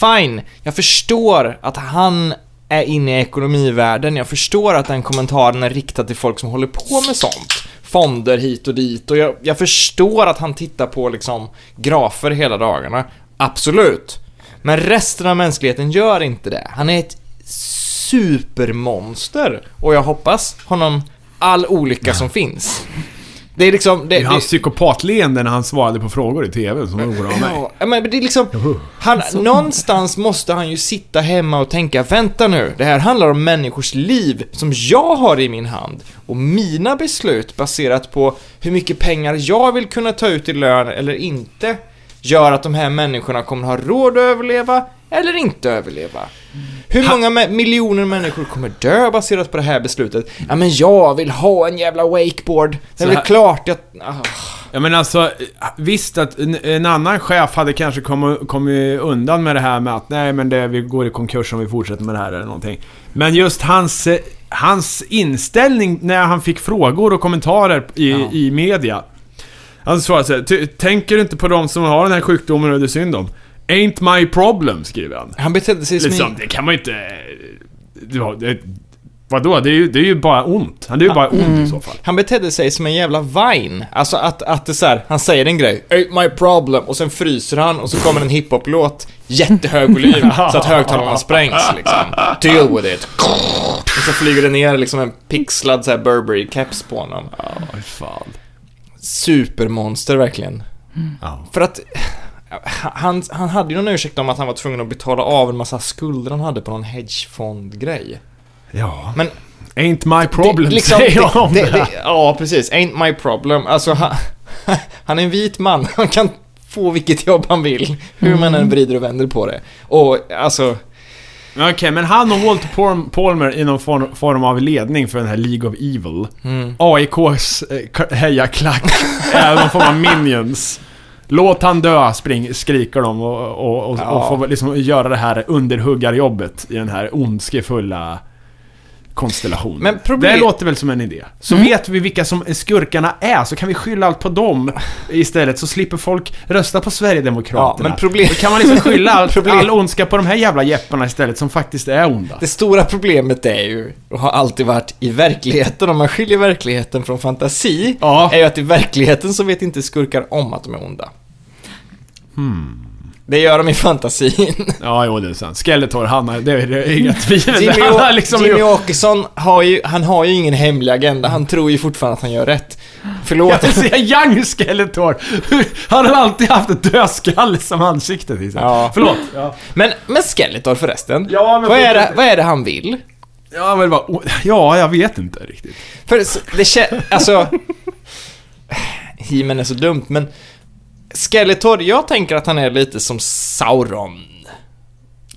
A: Fine, jag förstår att han är inne i ekonomivärlden. Jag förstår att den kommentaren är riktad till folk som håller på med sånt. Fonder hit och dit och jag, jag förstår att han tittar på liksom grafer hela dagarna. Absolut. Men resten av mänskligheten gör inte det. Han är ett supermonster och jag hoppas honom all olycka som finns. Det är liksom... Det,
B: Det är hans psykopatleende när han svarade på frågor i TV som oroade mig.
A: Ja, men det är liksom, han, någonstans måste han ju sitta hemma och tänka, vänta nu, det här handlar om människors liv som jag har i min hand och mina beslut baserat på hur mycket pengar jag vill kunna ta ut i lön eller inte gör att de här människorna kommer ha råd att överleva eller inte överleva. Hur många mä- miljoner människor kommer dö baserat på det här beslutet? Ja, men jag vill ha en jävla wakeboard. Det är
B: Så
A: väl
B: här-
A: klart jag... Ah.
B: Ja men alltså, visst att en, en annan chef hade kanske kommit, kommit undan med det här med att nej men det, vi går i konkurs om vi fortsätter med det här eller någonting. Men just hans, eh, hans inställning när han fick frågor och kommentarer i, i media. Alltså, Han svarade såhär, "Ty- tänker du inte på de som har den här sjukdomen och det är synd om? Ain't my problem, skriver han.
A: Han betedde sig som...
B: Liksom, det kan man ju inte... Du har, det, vadå? Det är, ju, det är ju bara ont. Han är ju bara ont i så fall.
A: Han betedde sig som en jävla vine. Alltså att, att det så här, han säger en grej, ain't my problem, och sen fryser han och så kommer en hiphop-låt, jättehög volym, så att högtalarna sprängs liksom. Deal with it. Och så flyger det ner liksom en pixlad så här Burberry-keps på honom.
B: Oj, fan.
A: Supermonster verkligen.
B: Ja.
A: För att... Han, han hade ju någon ursäkt om att han var tvungen att betala av en massa skulder han hade på någon hedgefondgrej.
B: Ja.
A: Men
B: Ain't my problem,
A: Det- liksom,
B: säger jag om det,
A: det, Ja, precis. Ain't my problem. Alltså, han, han är en vit man. Han kan få vilket jobb han vill. Hur man
B: Mm.
A: än vrider och vänder på det. Och alltså,
B: Okej, men han och Walter Palm- Palmer i någon form, form av ledning för den här League of Evil.
A: Mm.
B: AIKs eh, k- hejaklack är någon form av minions. Låt han dö, spring, skriker de och, och, och,
A: Ja.
B: och får liksom göra det här underhuggarjobbet i den här ondskefulla konstellationen.
A: Men problem- Mm.
B: Det låter väl som en idé. Så vet vi vilka som skurkarna är, så kan vi skylla allt på dem istället, så slipper folk rösta på Sverigedemokraterna.
A: Ja, men problem-
B: Då kan man liksom skylla allt,
A: Problem-
B: all ondska på de här jävla jepparna istället, som faktiskt är onda.
A: det stora problemet är ju, och har alltid varit i verkligheten, om man skiljer verkligheten från fantasi,
B: Ja.
A: är ju att i verkligheten så vet inte skurkar om att de är onda.
B: Hmm.
A: Det gör de i fantasin.
B: Ja, jo, det är sant. Skeletor, han har, det är det är inga tvivel.
A: Jimmy,
B: han har
A: Å-
B: liksom
A: Jimmy Åkesson har ju, han har ju ingen hemlig agenda, han tror ju fortfarande att han gör rätt. Förlåt.
B: Jag vill säga young Skeletor! Han har alltid haft ett dödskalle som ansikte till sig.
A: Ja.
B: Förlåt. Ja.
A: Men, men Skeletor förresten.
B: Ja, men
A: vad, är
B: fortsätt.
A: det, vad är det han vill?
B: Ja, men bara, oh, ja, jag vet inte riktigt.
A: För s- det känns, alltså... He-Man är så dumt, men... Skeletor, jag tänker att han är lite som Sauron.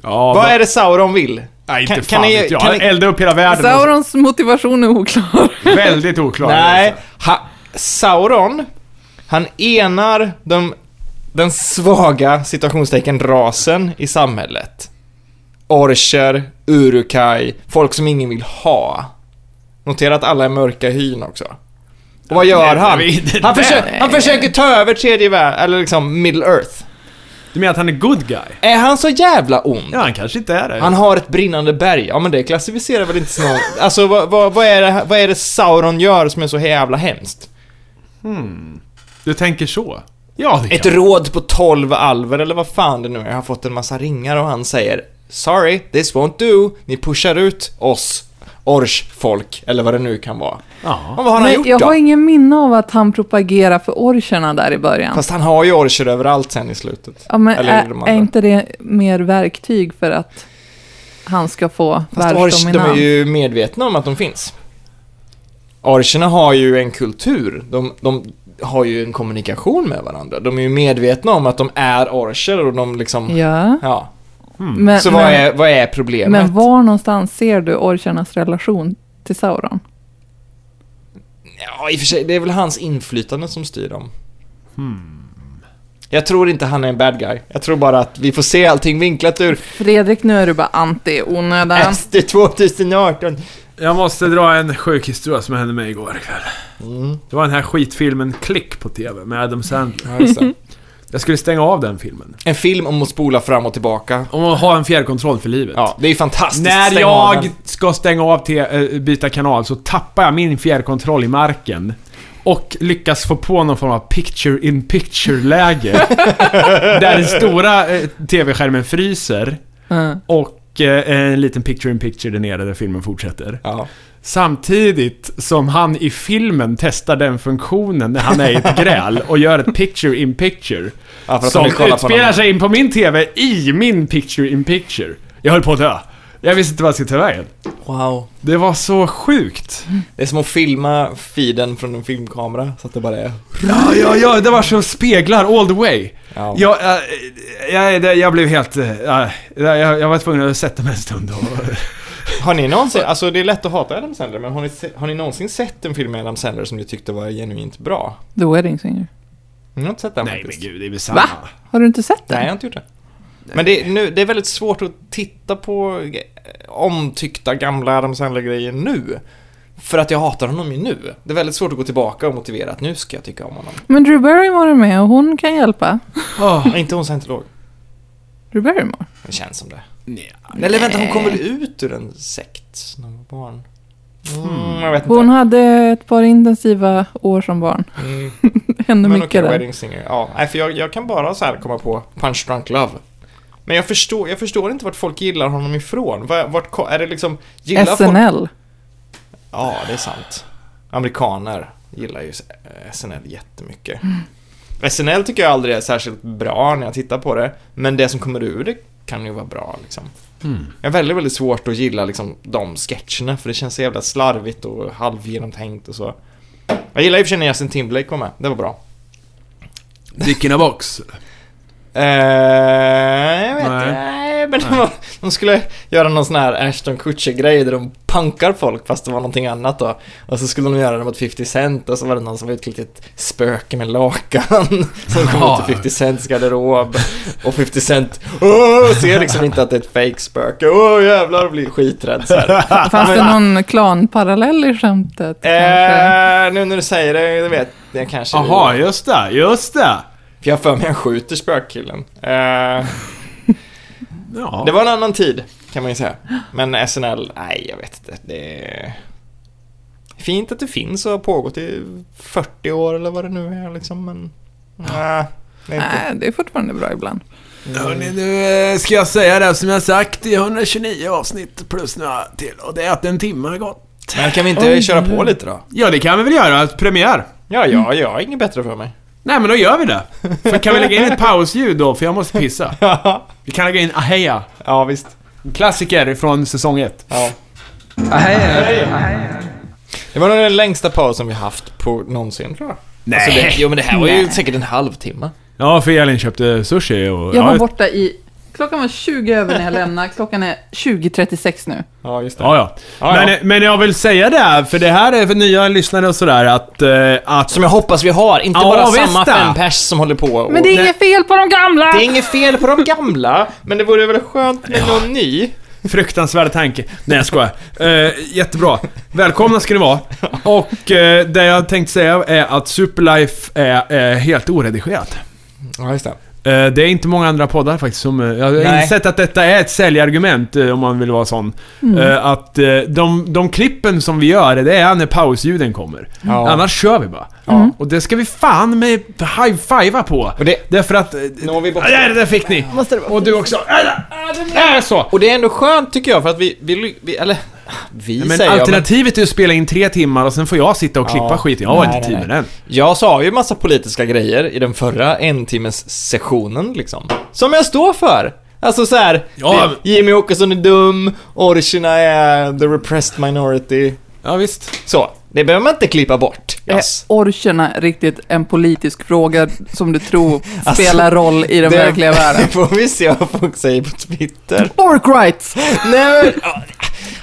B: Ja,
A: vad
B: men-
A: är det Sauron vill?
B: Nej, inte
A: Kan-
B: fan
A: kan ni-
B: vet jag.
A: kan
B: Han
A: ni-
B: eldade upp hela världen.
C: Saurons motivation är oklar.
B: Väldigt oklar.
A: Nej, ha, Sauron, han enar de, den svaga, citationstecken, rasen i samhället. Orcher, urukai, folk som ingen vill ha. Notera att alla är mörka i hyn också. Och vad gör han?
B: Nej, det
A: Han,
B: där-
A: försöker, han försöker ta över tredje världen, eller liksom middle earth.
B: Du menar att han är good guy?
A: Är han så jävla ond?
B: Ja, han kanske inte är det.
A: Han har ett brinnande berg. Ja men det klassificerar väl inte som någon... Alltså vad, vad, vad, är det, vad är det Sauron gör som är så jävla hemskt?
B: Du tänker så? Ja, det
A: Ett
B: kan
A: råd på 12 alver eller vad fan det nu är. Jag har fått en massa ringar och han säger Sorry, this won't do. Ni pushar ut oss, ors folk, eller vad det nu kan vara.
B: ja.
A: Men vad har han
C: Men
A: gjort
C: jag
A: då?
C: har ingen minne av att han propagerar för orcherna där i början.
A: Fast han har ju orcher överallt sen i slutet.
C: ja, men
A: eller
C: är,
A: de andra.
C: är inte det mer verktyg för att han ska få
A: Fast orch, de är
C: världsdominans?
A: ju medvetna om att de finns. Orcherna har ju en kultur. De, de har ju en kommunikation med varandra. De är ju medvetna om att de är orcher och de liksom...
C: Ja,
A: Ja.
C: men,
A: Mm. Så vad
C: men,
A: är, vad är problemet?
C: men var någonstans ser du orchernas relation till Sauron?
A: Ja, i och för sig, det är väl hans inflytande som styr dem.
B: Hmm.
A: Jag tror inte han är en bad guy. Jag tror bara att vi får se allting vinklat ur
C: Fredrik, nu är du bara anti i onödan.
A: SD 2018.
B: Jag måste dra en sjuk historia som hände mig igår kväll.
A: Mm.
B: Det var den här skitfilmen Klick på TV med Adam Sandler.
A: Ja, just det.
B: Jag skulle stänga av den filmen.
A: En film om att spola fram och tillbaka.
B: Om att ha en fjärrkontroll för livet.
A: Ja, det är fantastiskt.
B: När
A: Stäng av
B: jag
A: den.
B: ska stänga av till, eh, byta kanal så tappar jag min fjärrkontroll i marken. Och lyckas få på någon form av picture in picture-läge. där den stora eh, TV-skärmen fryser
C: Mm.
B: och eh, en liten picture in picture där nere där filmen fortsätter.
A: Ja.
B: Samtidigt som han i filmen testar den funktionen när han är i ett gräl och gör ett picture in picture.
A: Ja, för att
B: som
A: han vill kolla på
B: utspelar
A: någon.
B: sig in på min TV i min picture in picture. Jag höll på att dö. Jag visste inte vad jag skulle ta vägen.
A: Wow.
B: Det var så sjukt.
A: Det är som att filma feeden från en filmkamera, så att det bara är...
B: Ja, ja, ja, det var så speglar all the way.
A: Ja.
B: Jag, äh, jag, det- jag blev helt... Äh, jag, jag var tvungen att sätta mig en stund och...
A: Har ni någonsin, alltså det är lätt att hata Adam Sandler, men har ni, se- har ni någonsin sett en film med Adam Sandler som ni tyckte var genuint bra?
C: The Wedding Singer.
A: Jag har inte sett den
B: Nej men
A: faktiskt.
B: gud, det är väl samma. Va?
C: Har du inte sett den?
A: Nej, jag har inte gjort det. Men det, är- nu, det är väldigt svårt att titta på eh, omtyckta gamla Adam Sandler-grejer nu. För att jag hatar honom ju nu. Det är väldigt svårt att gå tillbaka och motivera att nu ska jag tycka om honom.
C: Men Drew Barrymore är med och hon kan hjälpa.
A: Är inte hon scientolog?
C: Drew Barrymore?
A: Det känns som det. Nej. Eller vänta, hon kom väl ut ur en sekt när hon var barn? Mm, jag vet inte.
C: Hon hade ett par intensiva år som barn.
A: Mm,
C: Hände
A: men okej,
C: mycket där.
A: Wedding Singer. Ja, nej, för jag, jag kan bara så här komma på Punch Drunk Love. Men jag förstår, jag förstår inte vart folk gillar honom ifrån. Vart, vart ko- är det liksom... Gillar folk
C: SNL.
A: Ja, det är sant. Amerikaner gillar ju eh, SNL jättemycket. SNL tycker jag aldrig är särskilt bra när jag tittar på det, men det som kommer ur det kan ju vara bra liksom. Jag har väldigt, väldigt svårt att gilla liksom de sketcherna, för det känns så jävla slarvigt och halvgenomtänkt och så. Jag gillar i och för sig när Justin Timberlake var med, det var bra.
B: Dick in a box.
A: Eh, jag vet
B: Nej.
A: inte, nej, men de, de skulle göra någon sån här Ashton Kutcher-grej där de punkar folk fast det var någonting annat då. Och så skulle de göra det mot 50 Cent och så var det någon som var utklädd till ett spöke med lakan som kom
B: Ja.
A: ut till 50 Cents garderob. Och 50 Cent åh, ser liksom inte att det är ett fake spöke åh jävlar, blir skiträdd så här.
C: Fanns det någon klanparallell i skämtet? kanske?
A: Eh, nu när du säger det, jag vet jag kanske...
B: Jaha, just det, just det.
A: För jag har för mig han skjuter spökkillen. Eh,
B: Ja.
A: Det var en annan tid, kan man ju säga. Men SNL, nej jag vet inte. Det är fint att det finns och har pågått i 40 år eller vad det nu är liksom, men... Nej, det är inte. Mm.
C: Nej, det är fortfarande bra ibland. Äh,
B: Hörrni, nu eh, ska jag säga det som jag sagt i 129 avsnitt plus några till. Och det är att en timme har gått.
A: Men kan vi inte köra på lite då? Mm.
B: Ja, det kan vi väl göra. Premiär.
A: Ja, ja, jag har inget bättre för mig.
B: Nej, men då gör vi det. För kan vi lägga in ett pausljud då? För jag måste pissa. Vi kan lägga in Aheja.
A: ja, visst.
B: En klassiker från säsong ett.
A: Ja. Det var nog den längsta pausen vi haft på någonsin tror jag.
B: Nej.
A: Alltså,
C: Äh.
A: det, jo men det här var ju säkert en halvtimme.
B: Ja, för Elin köpte sushi och...
C: Jag var
B: ja,
C: borta i... Klockan var 20 över när jag lämnade. Klockan är 20.36 nu.
A: Ja, just det.
B: Ja, ja.
A: Ja, ja.
B: Men, eh, men jag vill säga det, här, för det här är för nya lyssnare och sådär, att... eh, att
A: Som jag hoppas vi har, inte
B: Ja,
A: bara
B: visst
A: samma
B: det.
A: fem pers som håller på och...
C: Men det är inget fel på de gamla!
A: Det är inget fel på de gamla, men det vore väl skönt med någon ny?
B: Fruktansvärd tanke. Nej jag skojar. Eh, jättebra. Välkomna ska ni vara. Och eh, det jag tänkte säga är att Superlife är eh, helt oredigerat.
A: Ja, just det.
B: Eh, Det är inte många andra poddar faktiskt som... eh, Jag har
A: Nej.
B: insett att detta är ett säljargument eh, om man vill vara sån.
A: Mm.
B: Eh, Att eh, de, de klippen som vi gör, det är när pausljuden kommer.
A: Ja. Mm.
B: Annars kör vi bara. Och det ska vi fan med high-fivea på.
A: Och det-
B: Därför att... eh,
A: Nu har vi bort-
B: Ah, Där, där fick ni! Och du också. Ah, ah, den där, så!
A: Och det är ändå skönt tycker jag för att vi, vi, ly- vi eller vi
B: Men
A: säger jag, men
B: alternativet är att spela in tre timmar och sen får jag sitta och klippa
A: Ja.
B: skiten. Jag har
A: Nej,
B: inte tid
A: nej,
B: med den.
A: jag sa ju massa politiska grejer i den förra en timmes sessionen liksom. Som jag står för! Alltså så här,
B: Ja.
A: det- Jimmy Åkesson är dum, orcherna är the repressed minority.
B: Ja, visst.
A: Så, det behöver man inte klippa bort. Yes.
C: Är orcherna riktigt en politisk fråga som du tror spelar roll i den
A: Det-
C: verkliga världen?
A: Det får vi se vad folk säger på Twitter.
C: Orc rights!
A: Nej men, ja,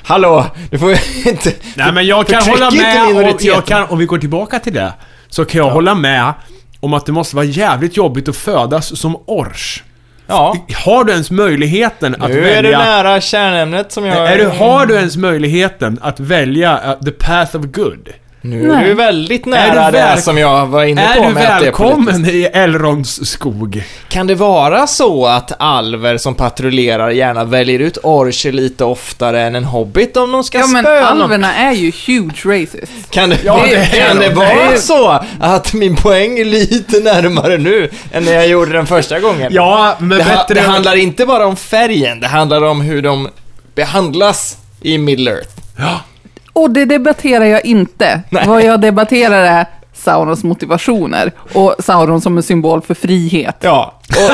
A: hallå, du får ju inte...
B: Nej men jag kan
A: Förtryck
B: hålla
A: inte
B: med om,
A: minoriteten.
B: jag kan, om vi går tillbaka till det. Så kan jag hålla med om att det måste vara jävligt jobbigt att födas som ors.
A: Ja,
B: Har du ens möjligheten att
A: nu är du
B: välja...
A: nära kärnämnet som jag...
B: är du, har du ens möjligheten att välja eh, the path of good?
A: Nu är
C: Nej.
A: du väldigt nära
B: Är du väl-
A: det som jag var inne på
B: Är du
A: med att det är politiskt.
B: välkommen i Elrons skog?
A: Kan det vara så att alver som patrullerar gärna väljer ut orcher lite oftare än en hobbit om de ska
C: Ja men
A: spöa någon?
C: alverna är ju huge racists.
A: Kan det,
B: det är
A: kan
B: de.
A: det vara
B: Nej.
A: så att min poäng är lite närmare nu än när jag gjorde den första gången?
B: Ja, men
A: det, ha,
B: bättre...
A: det handlar inte bara om färgen, det handlar om hur de behandlas i Middle Earth.
C: Och det debatterar jag inte.
A: Nej.
C: Vad jag debatterar är Saurons motivationer och Sauron som en symbol för frihet.
A: Ja. Och...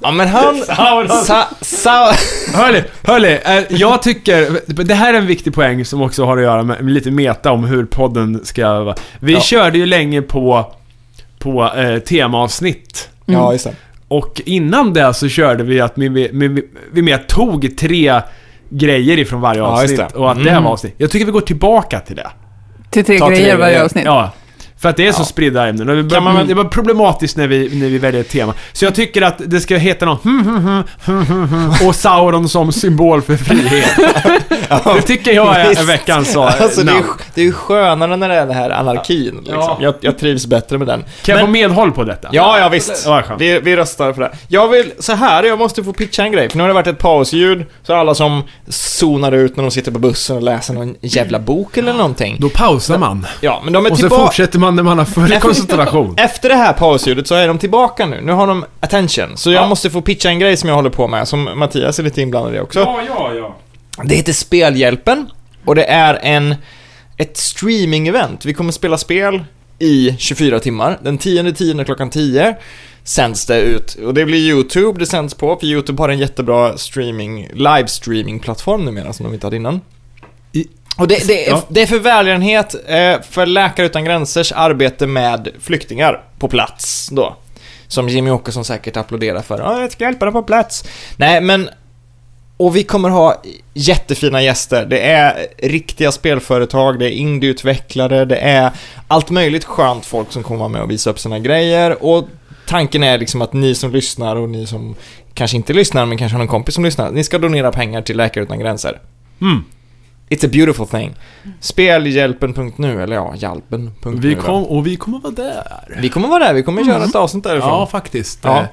A: ja men han... Sa, sa,
B: Hörni, hörni, eh, jag tycker, det här är en viktig poäng som också har att göra med med lite meta om hur podden ska vara. Vi
A: Ja.
B: körde ju länge på, på eh, temaavsnitt.
A: ja, just det.
B: Och innan det så körde vi att vi, vi, vi, vi mer tog tre grejer ifrån varje
A: Ja, just
B: avsnitt.
A: det.
B: Och att det
A: Mm.
B: var avsnitt. Jag tycker vi går tillbaka till det.
C: Till tre
A: Ta tre
C: grejer varje
A: grejer.
C: avsnitt.
B: Ja. För att det är så spridda ämnen. Och vi bör,
A: man väl-
B: det var problematiskt när vi, när vi väljer ett tema. Så jag tycker att det ska heta något hmm, hmm, hmm, hmm, hmm, hmm, och Sauron som symbol för frihet. Det tycker jag är
A: visst.
B: veckans så,
A: Alltså det är,
B: namn.
A: ju- det är ju skönare när det är den här anarkin liksom.
B: Ja.
A: jag, jag trivs bättre med den.
B: Kan jag få medhåll på detta?
A: Ja, ja visst.
B: Det var skönt.
A: Vi, vi röstar för det. Jag vill, så här, jag måste få pitcha en grej. För nu har det varit ett pausljud, så alla som zonar ut när de sitter på bussen och läser någon jävla bok eller någonting.
B: Då pausar man.
A: Ja, men de är
B: Och så
A: tillbaka.
B: fortsätter man när man har full koncentration.
A: Efter det här pausljudet så är de tillbaka nu. Nu har de attention. Så jag
B: Ja.
A: måste få pitcha en grej som jag håller på med, som Mattias är lite inblandad i också.
B: ja, ja.
A: Det heter Spelhjälpen och det är en, ett streaming-event. Vi kommer spela spel i 24 timmar. Den 10 10 klockan 10 sänds det ut. Och det blir YouTube det sänds på, för YouTube har en jättebra streaming, livestreaming-plattform numera som de inte hade innan.
B: I-
A: Och det, det, är,
B: Ja.
A: det är för välgörenhet eh, för Läkare Utan Gränsers arbete med flyktingar på plats då. Som Jimmy Åkesson säkert applåderar för. Ja, jag ska hjälpa dem på plats. Nej, men och vi kommer ha jättefina gäster. Det är riktiga spelföretag, det är indieutvecklare, det är allt möjligt skönt folk som kommer vara med och visa upp sina grejer. Och tanken är liksom att ni som lyssnar och ni som kanske inte lyssnar men kanske har någon kompis som lyssnar, ni ska donera pengar till Läkare Utan Gränser.
B: Mm.
A: It's a beautiful thing. Spelhjälpen.nu, eller ja, hjälpen.nu.
B: Vi
A: då.
B: kom, och vi kommer vara där.
A: vi kommer vara där, vi kommer köra ett avsnitt därifrån.
B: Ja,
A: Mm. Ja.
B: faktiskt.
A: Ja.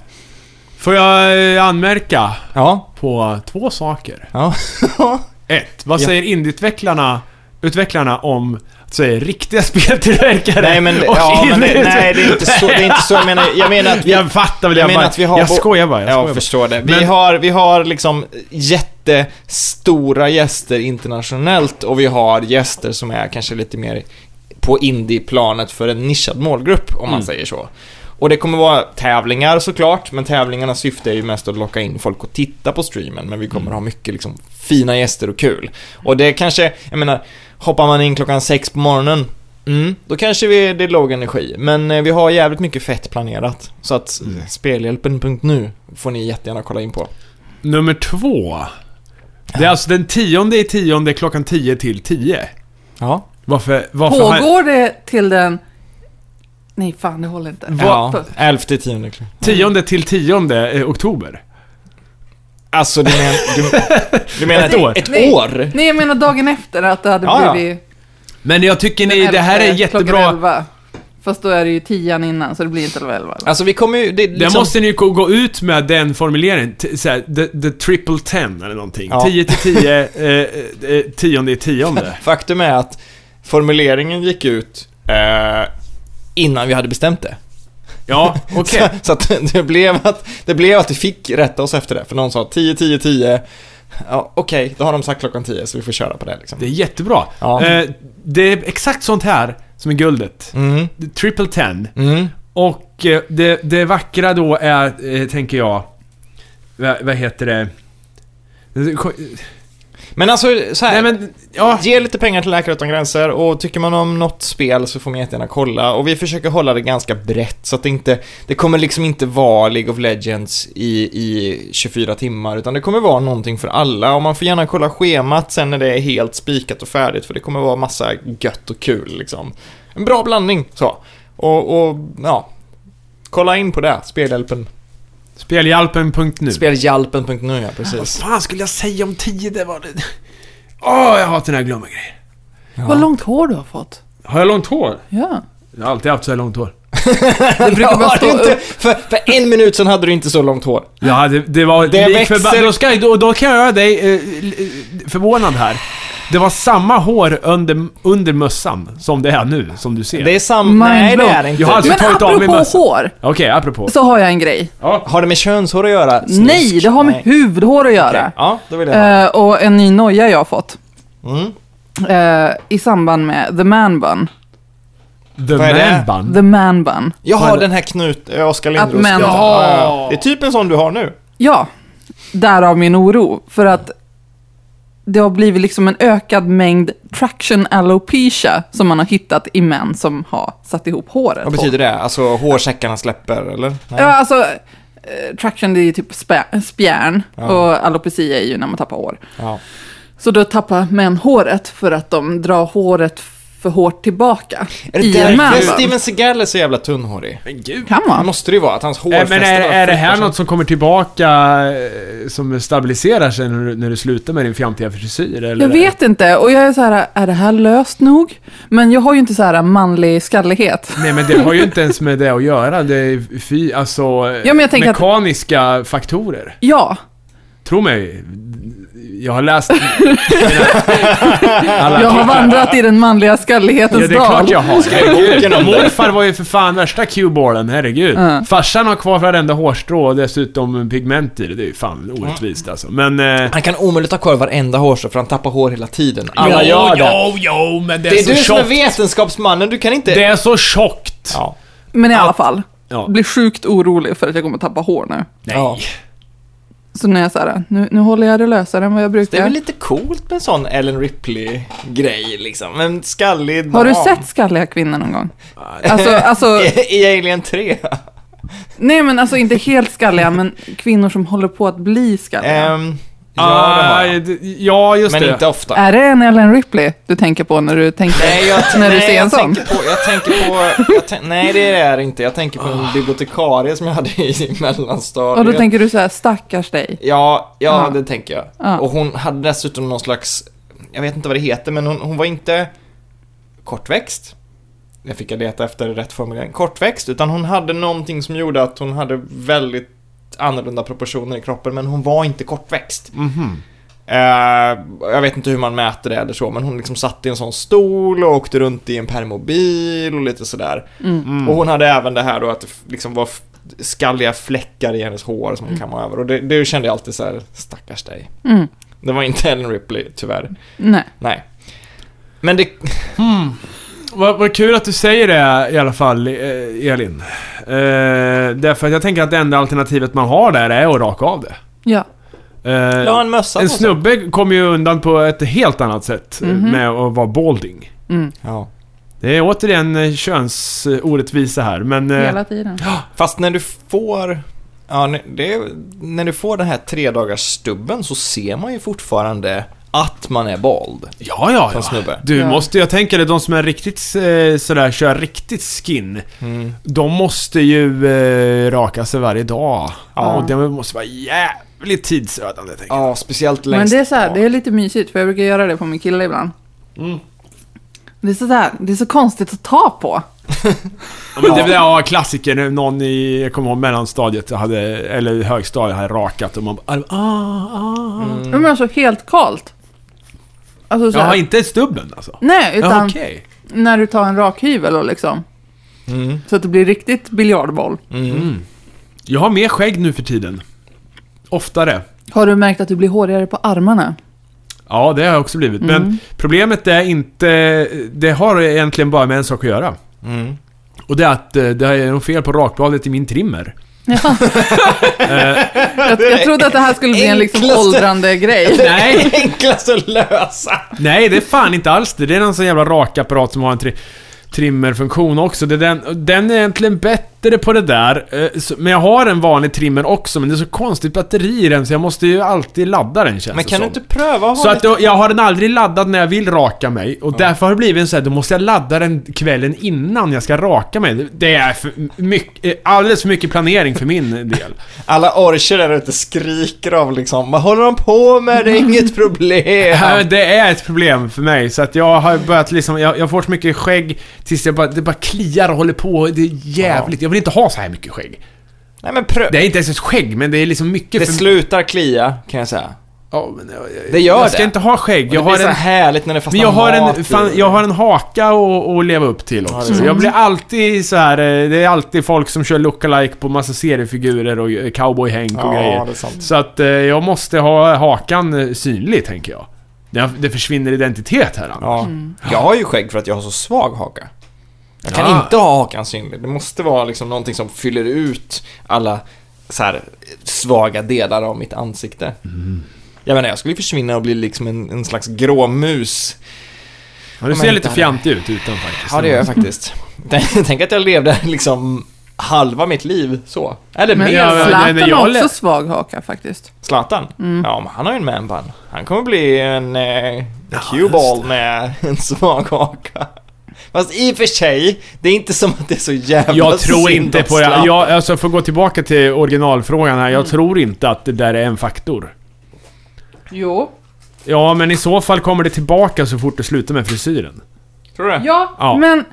B: Får jag eh, anmärka
A: Ja.
B: på två saker?
A: ja.
B: Ett, vad
A: Ja.
B: säger indieutvecklarna utvecklarna om att säga riktiga speltillverkare?
A: nej men,
B: och
A: ja, men det,
B: indie-
A: nej, det är inte så, det är inte så jag menar. Jag menar att vi,
B: Jag fattar väl,
A: jag
B: jag,
A: menar
B: bara,
A: att vi har
B: jag
A: bo-
B: skojar bara. Jag
A: Ja,
B: skojar
A: jag
B: bara.
A: förstår det. Vi,
B: Men-
A: har, vi har liksom jättestora gäster internationellt och vi har gäster som är kanske lite mer på indie-planet för en nischad målgrupp, om man
B: Mm.
A: säger så. Och det kommer vara tävlingar såklart, men tävlingarnas syfte är ju mest att locka in folk och titta på streamen, men vi
B: Mm.
A: kommer ha mycket liksom fina gäster och kul. Och det kanske, jag menar, hoppar man in klockan sex på morgonen, mm, då kanske vi, det är låg energi. Men eh, vi har jävligt mycket fett planerat. Så att
B: Mm.
A: eh, spelhjälpen.nu får ni jättegärna kolla in på.
B: Nummer två. Det är alltså den tionde i tionde klockan 10 till 10.
A: Ja.
B: Varför, varför har...
C: Pågår det till den... Nej, fan det håller inte.
A: Ja, elfte tionde.
B: Tionde till tionde eh, oktober?
A: Alltså du menar... Du, du menar
B: Ett år.
A: Ett
C: Nej.
A: år?
C: Nej, jag menar dagen efter att det hade
A: Ja, ja.
C: blivit...
B: Men jag tycker
C: den
B: ni, det här är
C: elfte klockan
B: jättebra...
C: elva. Fast då är det ju tian innan, så det blir inte elva elva. eller?
A: Alltså vi kommer ju... Det, är
B: Det
A: liksom,
B: måste ni gå gå ut med den formuleringen. T- såhär, the, the triple ten eller någonting.
A: Ja.
B: 10 till 10, eh, eh, tionde i tionde.
A: Faktum är att formuleringen gick ut eh, innan vi hade bestämt det.
B: Ja, okej.
A: Så, så att det blev att, det blev att vi fick rätta oss efter det. För någon sa 10, 10, 10. Ja, Okej, då har de sagt klockan 10 så vi får köra på det liksom.
B: Det är jättebra.
A: Ja.
B: Eh, det är exakt sånt här som är guldet.
A: Mm,
B: Triple ten.
A: mm.
B: Och eh, det, det vackra då är, eh, tänker jag... Vad, vad heter det?
A: Men alltså så här.
B: Nej men, ja.
A: Ge lite pengar till Läkare Utan Gränser och tycker man om något spel så får man jättegärna kolla. Och vi försöker hålla det ganska brett så att det inte, det kommer liksom inte vara League of Legends i, i 24 timmar utan det kommer vara någonting för alla. Och man får gärna kolla schemat sen när det är helt spikat och färdigt för det kommer vara massa gött och kul liksom. En bra blandning så. Och, och ja, kolla in på det, spelhjälpen.
B: Spelhjälpen.nu.
A: Spelhjälpen.nu ja, precis.
B: fan skulle jag säga om 10? Det var det... Åh, jag hatar när jag glömmer grejer.
C: Vad långt hår du har fått.
B: Har jag långt hår?
C: Ja.
B: Jag har alltid haft så här långt hår.
C: Det brukar bara
A: Har
C: stå
A: du inte,
C: upp.
A: för, för en minut sen hade du inte så långt hår.
B: Ja, det, det var...
A: Det
B: lik
A: växer-
B: förba- Då, ska, jag- då, då kan jag göra dig eh, l- eh, förvånad här. Det var samma hår under, under mössan som det är nu, som du ser.
A: Det är samma...
C: Mind
A: Nej, det
C: blown.
A: är det inte.
B: Jag har alltså
C: Men
B: tagit av mig
C: apropå
B: mössan.
C: hår,
B: Okej, apropå.
C: så har jag en grej.
B: Ja.
A: Har det med könshår att göra? Snusk.
C: Nej, det har med huvudhår att göra.
A: Okej, Ja, då vill jag ha.
C: Eh, och en ny noja jag har fått.
A: Mm.
C: Eh, I samband med the man bun.
B: The
A: Vad är det?
B: Man Bun.
C: The man bun.
A: Jag har den här Knut, eh, Oskar Lindros.
C: Att män-
A: Ja, ja, ja. Det är typ en sån du har nu.
C: Ja, därav min oro. För att det har blivit liksom en ökad mängd traction alopecia som man har hittat i män som har satt ihop håret.
A: Vad
C: på.
A: betyder det? Alltså hårsäckarna släpper, eller? Nej.
C: Ja, alltså eh, traction det är ju typ spä- spjärn och alopecia är ju när man tappar hår.
A: Ja.
C: Så då tappar män håret för att de drar håret för hårt tillbaka.
A: Är det
C: i en man.
A: därför Steven Seagal är så jävla tunnhårig?
B: Men gud.
C: Kan
A: Det
C: vara.
A: måste det ju vara, att hans
B: Äh,
A: hårfäste
B: men är,
A: bara
B: är det här
A: flyttar
B: något som kommer tillbaka, eh, som stabiliserar sig när du, när du slutar med din fjantiga frisyr? Eller?
C: Jag vet inte och jag är så här, är det här löst nog? Men jag har ju inte så här manlig skallighet.
B: Nej men det har ju inte ens med det att göra. Det är fy, alltså,
C: Ja, men jag tänker att-
B: mekaniska faktorer.
C: Ja,
B: Tro mig, jag har läst... alla
C: jag har
B: artiklar.
C: vandrat i den manliga skallighetens
B: Ja, det är klart
C: dal.
B: jag har.
A: boken om
B: Herregud.
A: det.
B: Morfar var ju för fan värsta Q-ballen, herregud.
C: Ja.
B: Farsan har kvar varenda hårstrå och dessutom pigment i det. Det är ju fan orättvist alltså. Men... Eh,
A: sig. Han kan omöjligt ha kvar varenda hårstrå, för han tappar hår hela tiden. Alla
B: jo,
A: gör det.
B: Jo, jo, men det är,
A: Det är
B: så
A: du som är
B: tjockt.
A: vetenskapsmannen, du kan inte...
B: Det är så tjockt.
A: Ja.
C: Men i alla fall,
B: Ja.
C: blir sjukt orolig för att jag kommer tappa hår nu.
B: Nej.
A: Ja.
C: Så nu är jag så här, nu, nu håller jag det lösare än vad jag
A: Det är
C: brukar.
A: väl lite coolt med en sån Ellen Ripley-grej liksom. En skallig
C: Har du
A: dam.
C: sett skalliga kvinnor någon gång?
A: Ah.
C: Alltså, alltså,
A: I, I Alien 3?
C: nej men alltså inte helt skalliga, men kvinnor som håller på att bli skalliga.
A: Ehm, ja, det har
B: Ah,
A: jag.
B: d- ja, just
A: Men
B: det.
A: inte ofta.
C: Är det en Ellen Ripley du tänker på när du tänker,
A: Nej, jag,
C: när
A: nej,
C: du ser en
A: jag
C: sån?
A: tänker på, jag tänker på, jag tän- nej det är det inte. Jag tänker på en bibliotekarie som jag hade i mellanstadiet.
C: Och då tänker du så här, stackars dig.
A: Ja, ja
C: Ja.
A: det tänker jag.
C: Ja.
A: Och hon hade dessutom någon slags, jag vet inte vad det heter, men hon, hon var inte kortväxt. Jag fick jag leta efter rätt formulering. Kortväxt, utan hon hade någonting som gjorde att hon hade väldigt annorlunda proportioner i kroppen, men hon var inte kortväxt.
B: Mhm.
A: Eh, jag vet inte hur man mäter det eller så, men hon liksom satt i en sån stol och åkte runt i en permobil och lite sådär.
C: Mm.
A: Och hon hade även det här då att det f- liksom var f- skalliga fläckar i hennes hår som hon kammade över. Och det, det kände jag alltid så här: stackars dig.
C: Mm.
A: Det var inte Ellen Ripley, tyvärr.
C: Nej.
A: Nej. Men det,
B: Vad, vad kul att du säger det i alla fall, eh, Elin. Eh, därför att jag tänker att det enda alternativet man har där är att raka av det.
C: Ja.
B: Eh,
A: la en mössa på
B: en
A: sig.
B: snubbe kommer ju undan på ett helt annat sätt eh,
A: Mhm.
B: med att vara balding.
C: Mm.
A: Ja.
B: Det är återigen eh, könsorättvisa här, men... eh,
C: Hela tiden.
A: Fast när du får, ja, n- det, är- när du får den här tre dagars stubben så ser man ju fortfarande att man är bald.
B: Ja, ja,
A: Som
B: ja.
A: snubbe.
B: Du
C: Ja.
B: måste, jag tänker det, de som är riktigt eh, sådär, kör riktigt skin. De måste ju eh, raka sig varje dag. Ja. Och det måste vara jävligt tidsödande, tänker jag.
A: Ja, speciellt längst
C: Men det är så här,
A: bak. Mm.
C: det är lite mysigt, för jag brukar göra det på min kille ibland. Det, är så där, det är så konstigt att ta på.
B: Ja, men det var ja, klassiker. Någon i, jag kommer ihåg, mellanstadiet hade, eller högstadiet hade rakat och man bara ah, ah.
A: Mm.
C: Men alltså helt kallt. Alltså så
B: Jaha,
C: här,
B: inte stubben alltså?
C: Nej, utan
B: Ja, okej.
C: när du tar en rakhyvel och liksom.
B: Mm.
C: Så att det blir riktigt biljardboll.
B: Jag har mer skägg nu för tiden. Oftare.
C: Har du märkt att du blir hårigare på armarna?
B: Ja, det har jag också blivit. Men problemet är inte... Det har egentligen bara med en sak att göra.
A: Mm.
B: Och det är att eh, det är något fel på rakbladet i min trimmer.
C: Jag, jag trodde att det här skulle bli en liksom
A: Enklaste-
C: åldrande grej.
B: Nej,
A: Enklast att lösa.
B: nej det är fan inte alls det. Det är någon sån jävla rakapparat som har en tri trimmerfunktion också. Det är den, den är egentligen bättre på det där. eh, så- Men jag har en vanlig trimmer också, men det är så konstigt batteri i den så jag måste ju alltid ladda den känns
A: Men
B: det
A: kan du
B: som.
A: inte pröva att
B: Så
A: ha
B: att
A: lite...
B: jag, jag har den aldrig laddad när jag vill raka mig och därför har det blivit en sån här, då måste jag ladda den kvällen innan jag ska raka mig. Det- Det är för mycket, eh, alldeles för mycket planering för min del.
A: Alla orcher där ute skriker av liksom, vad håller de på med? Det är inget problem.
B: Ja, Eh, Det är ett problem för mig så att jag har börjat liksom, jag, jag får så mycket skägg tills jag bara, det bara kliar och håller på. Det är jävligt, jag vill inte ha så här mycket skägg.
A: Nej men pröv.
B: Det
A: Det,
B: är inte ens ett skägg men det är liksom mycket för...
A: slutar klia, kan jag säga.
B: Ja, men jag, jag,
A: Det gör
B: jag ska
A: det.
B: inte ha skägg.
A: Och det
B: Jag
A: blir
B: har
A: så
B: en
A: härligt när det fastnar
B: Men jag har,
A: mat i.
B: en, fan, jag har en haka att att leva upp till också. Jag blir alltid så här. eh, det är alltid folk som kör lookalike på massa seriefigurer och eh, cowboyhänk och
A: Ja,
B: grejer.
A: det är sant.
B: Så att eh, jag måste ha hakan eh, synlig, tänker jag. Det, det försvinner identitet här. Anders.
A: Ja. Jag har ju skägg för att jag har så svag haka. Jag kan
B: Ja.
A: inte ha hakan synlig. Det måste vara liksom någonting som fyller ut alla så här svaga delar av mitt ansikte.
B: Mm.
A: Jag menar, jag skulle ju försvinna och bli liksom en, en slags gråmus.
B: Ja, du
A: men
B: ser
A: inte
B: lite
A: hade-
B: fjantig ut utan faktiskt.
A: Ja, det gör jag faktiskt. Tänk att jag levde liksom halva mitt liv så. Eller
C: Men
A: mer.
B: Ja, men-
C: Zlatan
B: men jag
C: har
B: lä-
C: också svag haka faktiskt.
A: Zlatan?
C: Mm.
A: Ja, men han har ju en manbun. Han kommer bli en eh, Q-ball med en svag haka. Fast i och för sig, det är inte som att det är så jävla
B: Jag tror
A: synd
B: inte
A: om
B: på det.
A: Zlatan.
B: Jag, alltså, för att gå tillbaka till originalfrågan här.
A: Mm.
B: Jag tror inte att det där är en faktor.
C: Jo.
B: Ja, men i så fall kommer det tillbaka så fort du slutar med frisyren.
A: Tror du det?
C: Ja,
B: Ja.
C: men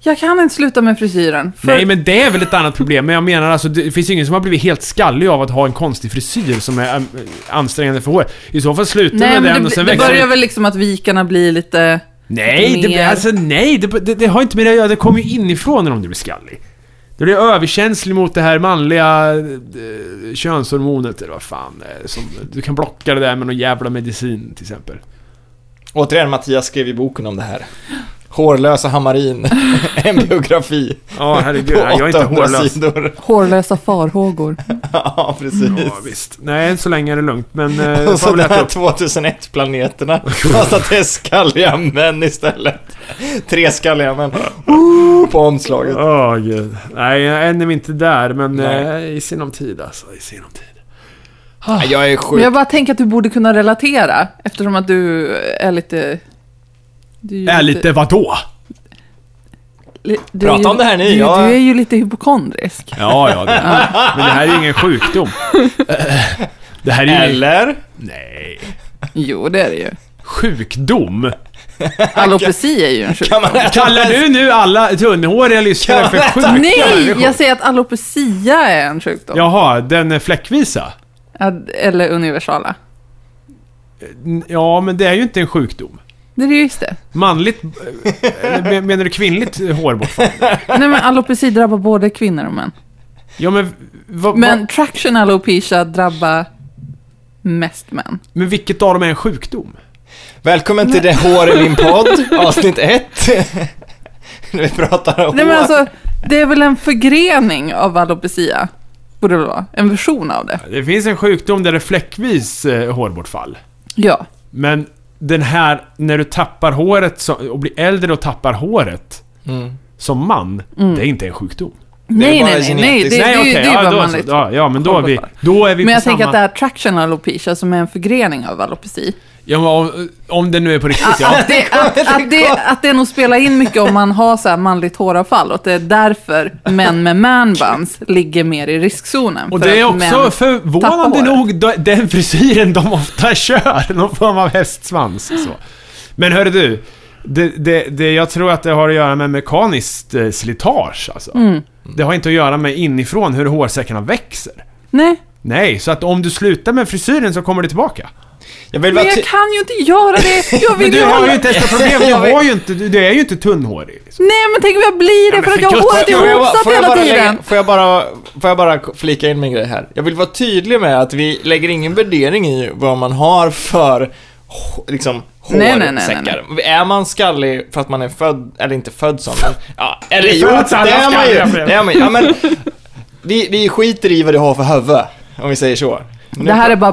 C: jag kan inte sluta med frisyren. För
B: Nej men det är väl ett annat problem, men jag menar alltså det finns ju ingen som har blivit helt skallig av att ha en konstig frisyr som är äm, äh, ansträngande för håret. I så fall slutar
C: Nej,
B: med
C: men
B: den
C: det,
B: och sen
C: det
B: växer
C: börjar väl liksom att vikarna blir lite...
B: Nej, det,
C: mer.
B: alltså, nej det, det, det har inte med det att göra. Det kommer ju inifrån om du blir skallig. Du blir överkänslig mot det här manliga eh, könshormonet eller vad fan det är som, Du kan blocka det där med någon jävla medicin till exempel.
A: Återigen, Mattias skrev ju boken om det här. Hårlösa Hammarin, en biografi
B: Ja, herregud.
A: på
B: jag är inte
A: 800
B: hårlös.
A: sidor.
C: Hårlösa farhågor.
A: Ja, precis.
B: Ja, visst. Nej, än så länge är det lugnt, men... eh,
A: Och
B: får
A: så
B: väl
A: de
B: äta
A: här
B: upp.
A: 2001-planeterna. Fast att det är skalliga män istället. Tre skalliga män. Ooh, på omslaget.
B: Åh gud. Nej, jag är ännu inte där, men
A: Nej.
B: eh, i sinom tid alltså. I sinom tid.
A: Nej, Ah, Jag är
C: Men
A: sjuk.
C: jag bara tänker att du borde kunna relatera eftersom att du är lite... Du är ju
B: Är lite vadå?
C: li- du är
A: Prata
C: ju-
A: om det här ni,
C: Du,
A: jag-
C: du är ju lite hypokondrisk.
B: Ja, ja. Det. Men det här är ju ingen sjukdom. Det här är ju... ingen-
A: Eller?
B: Nej.
C: Jo, det är det ju.
B: Sjukdom?
C: Alopeci är ju en sjukdom.
A: Kan man äta
B: Kallar
A: mest-
B: du nu alla tunnhåriga lyssnare för sjuka
C: Nej,
B: människor?
C: jag säger att alopecia är en sjukdom.
B: Jaha, den är fläckvisa?
C: Ad- Eller universala.
B: N- Ja, men det är ju inte en sjukdom.
C: Det är det ju visst det.
B: Manligt... eh, men- Menar du kvinnligt hårbortfall?
C: Nej, men alopeci drabbar både kvinnor och män.
B: Ja, men... Vad,
C: Men
B: vad,
C: traction alopecia drabbar mest män.
B: men vilket av dem är en sjukdom?
A: Välkommen till Det hår i min podd, avsnitt 1. Vi pratar om
C: Nej, men
A: hår.
C: alltså, det är väl en förgrening av alopecia? Borde det väl vara. En version av det.
B: Det finns en sjukdom där det är fläckvis eh, hårbortfall.
C: Ja.
B: Men den här, när du tappar håret så, och blir äldre och tappar håret
A: Mm.
B: som man, det är inte en sjukdom.
C: Nej,
A: bara
C: nej, nej, nej.
A: genetiskt.
C: Det, Mm. det, det, är ju- det är ju
B: ja,
C: bara
B: då, så,
C: manligt.
B: ja, ja, men då är vi,
C: Hårbortfall.
B: då är vi
C: Men
B: på
C: jag
B: samma...
C: tänker att det här traction alopecia som är en förgrening av alopeci.
B: ja, men om, om det nu är på riktigt, ja.
C: Att det, att, att, det, att det nog spelar in mycket om man har så här manligt håravfall och att det är därför män med manbuns ligger mer i riskzonen.
B: Och
C: För
B: det är
C: att
B: också
C: män
B: förvånande
C: tappar
B: nog de- den frisyren de ofta kör. Någon form av hästsvans. Så. Men hörru du. Det, det, det, jag tror att det har att göra med mekaniskt eh, slitage alltså.
C: Mm.
B: Det har inte att göra med inifrån hur hårsäckarna växer.
C: Nej,
B: Nej, så att om du slutar med frisyren så kommer det tillbaka.
A: Jag vill
C: men
A: bara...
C: jag
A: ty-
C: kan ju inte göra det. Jag
B: Men
C: vill
B: du
C: ju
B: har
C: hålla...
B: ju inte ens något problem, du,
A: Jag vet.
B: har ju inte, du, du är ju inte tunnhårig. Liksom.
C: Nej, men tänk om jag blir det för att jag har håret
A: Får jag bara-
C: ihopsatt
A: får jag
C: hela
A: bara lägga-
C: tiden.
A: Får jag, bara, får jag bara flika in min grej här? Jag vill vara tydlig med att vi lägger ingen värdering i vad man har för h- liksom
C: Nej, nej, nej, nej,
A: hårsäckar. Är man skallig för att man är född, eller inte född som, men, ja, eller jo,
B: föds
A: det
B: alla
A: är man
B: skalliga
A: ju.
B: för det.
A: Det är man ju. Ja, men, vi, vi skiter i vad du har för huvud, om vi säger så. Nu
C: Det här är bara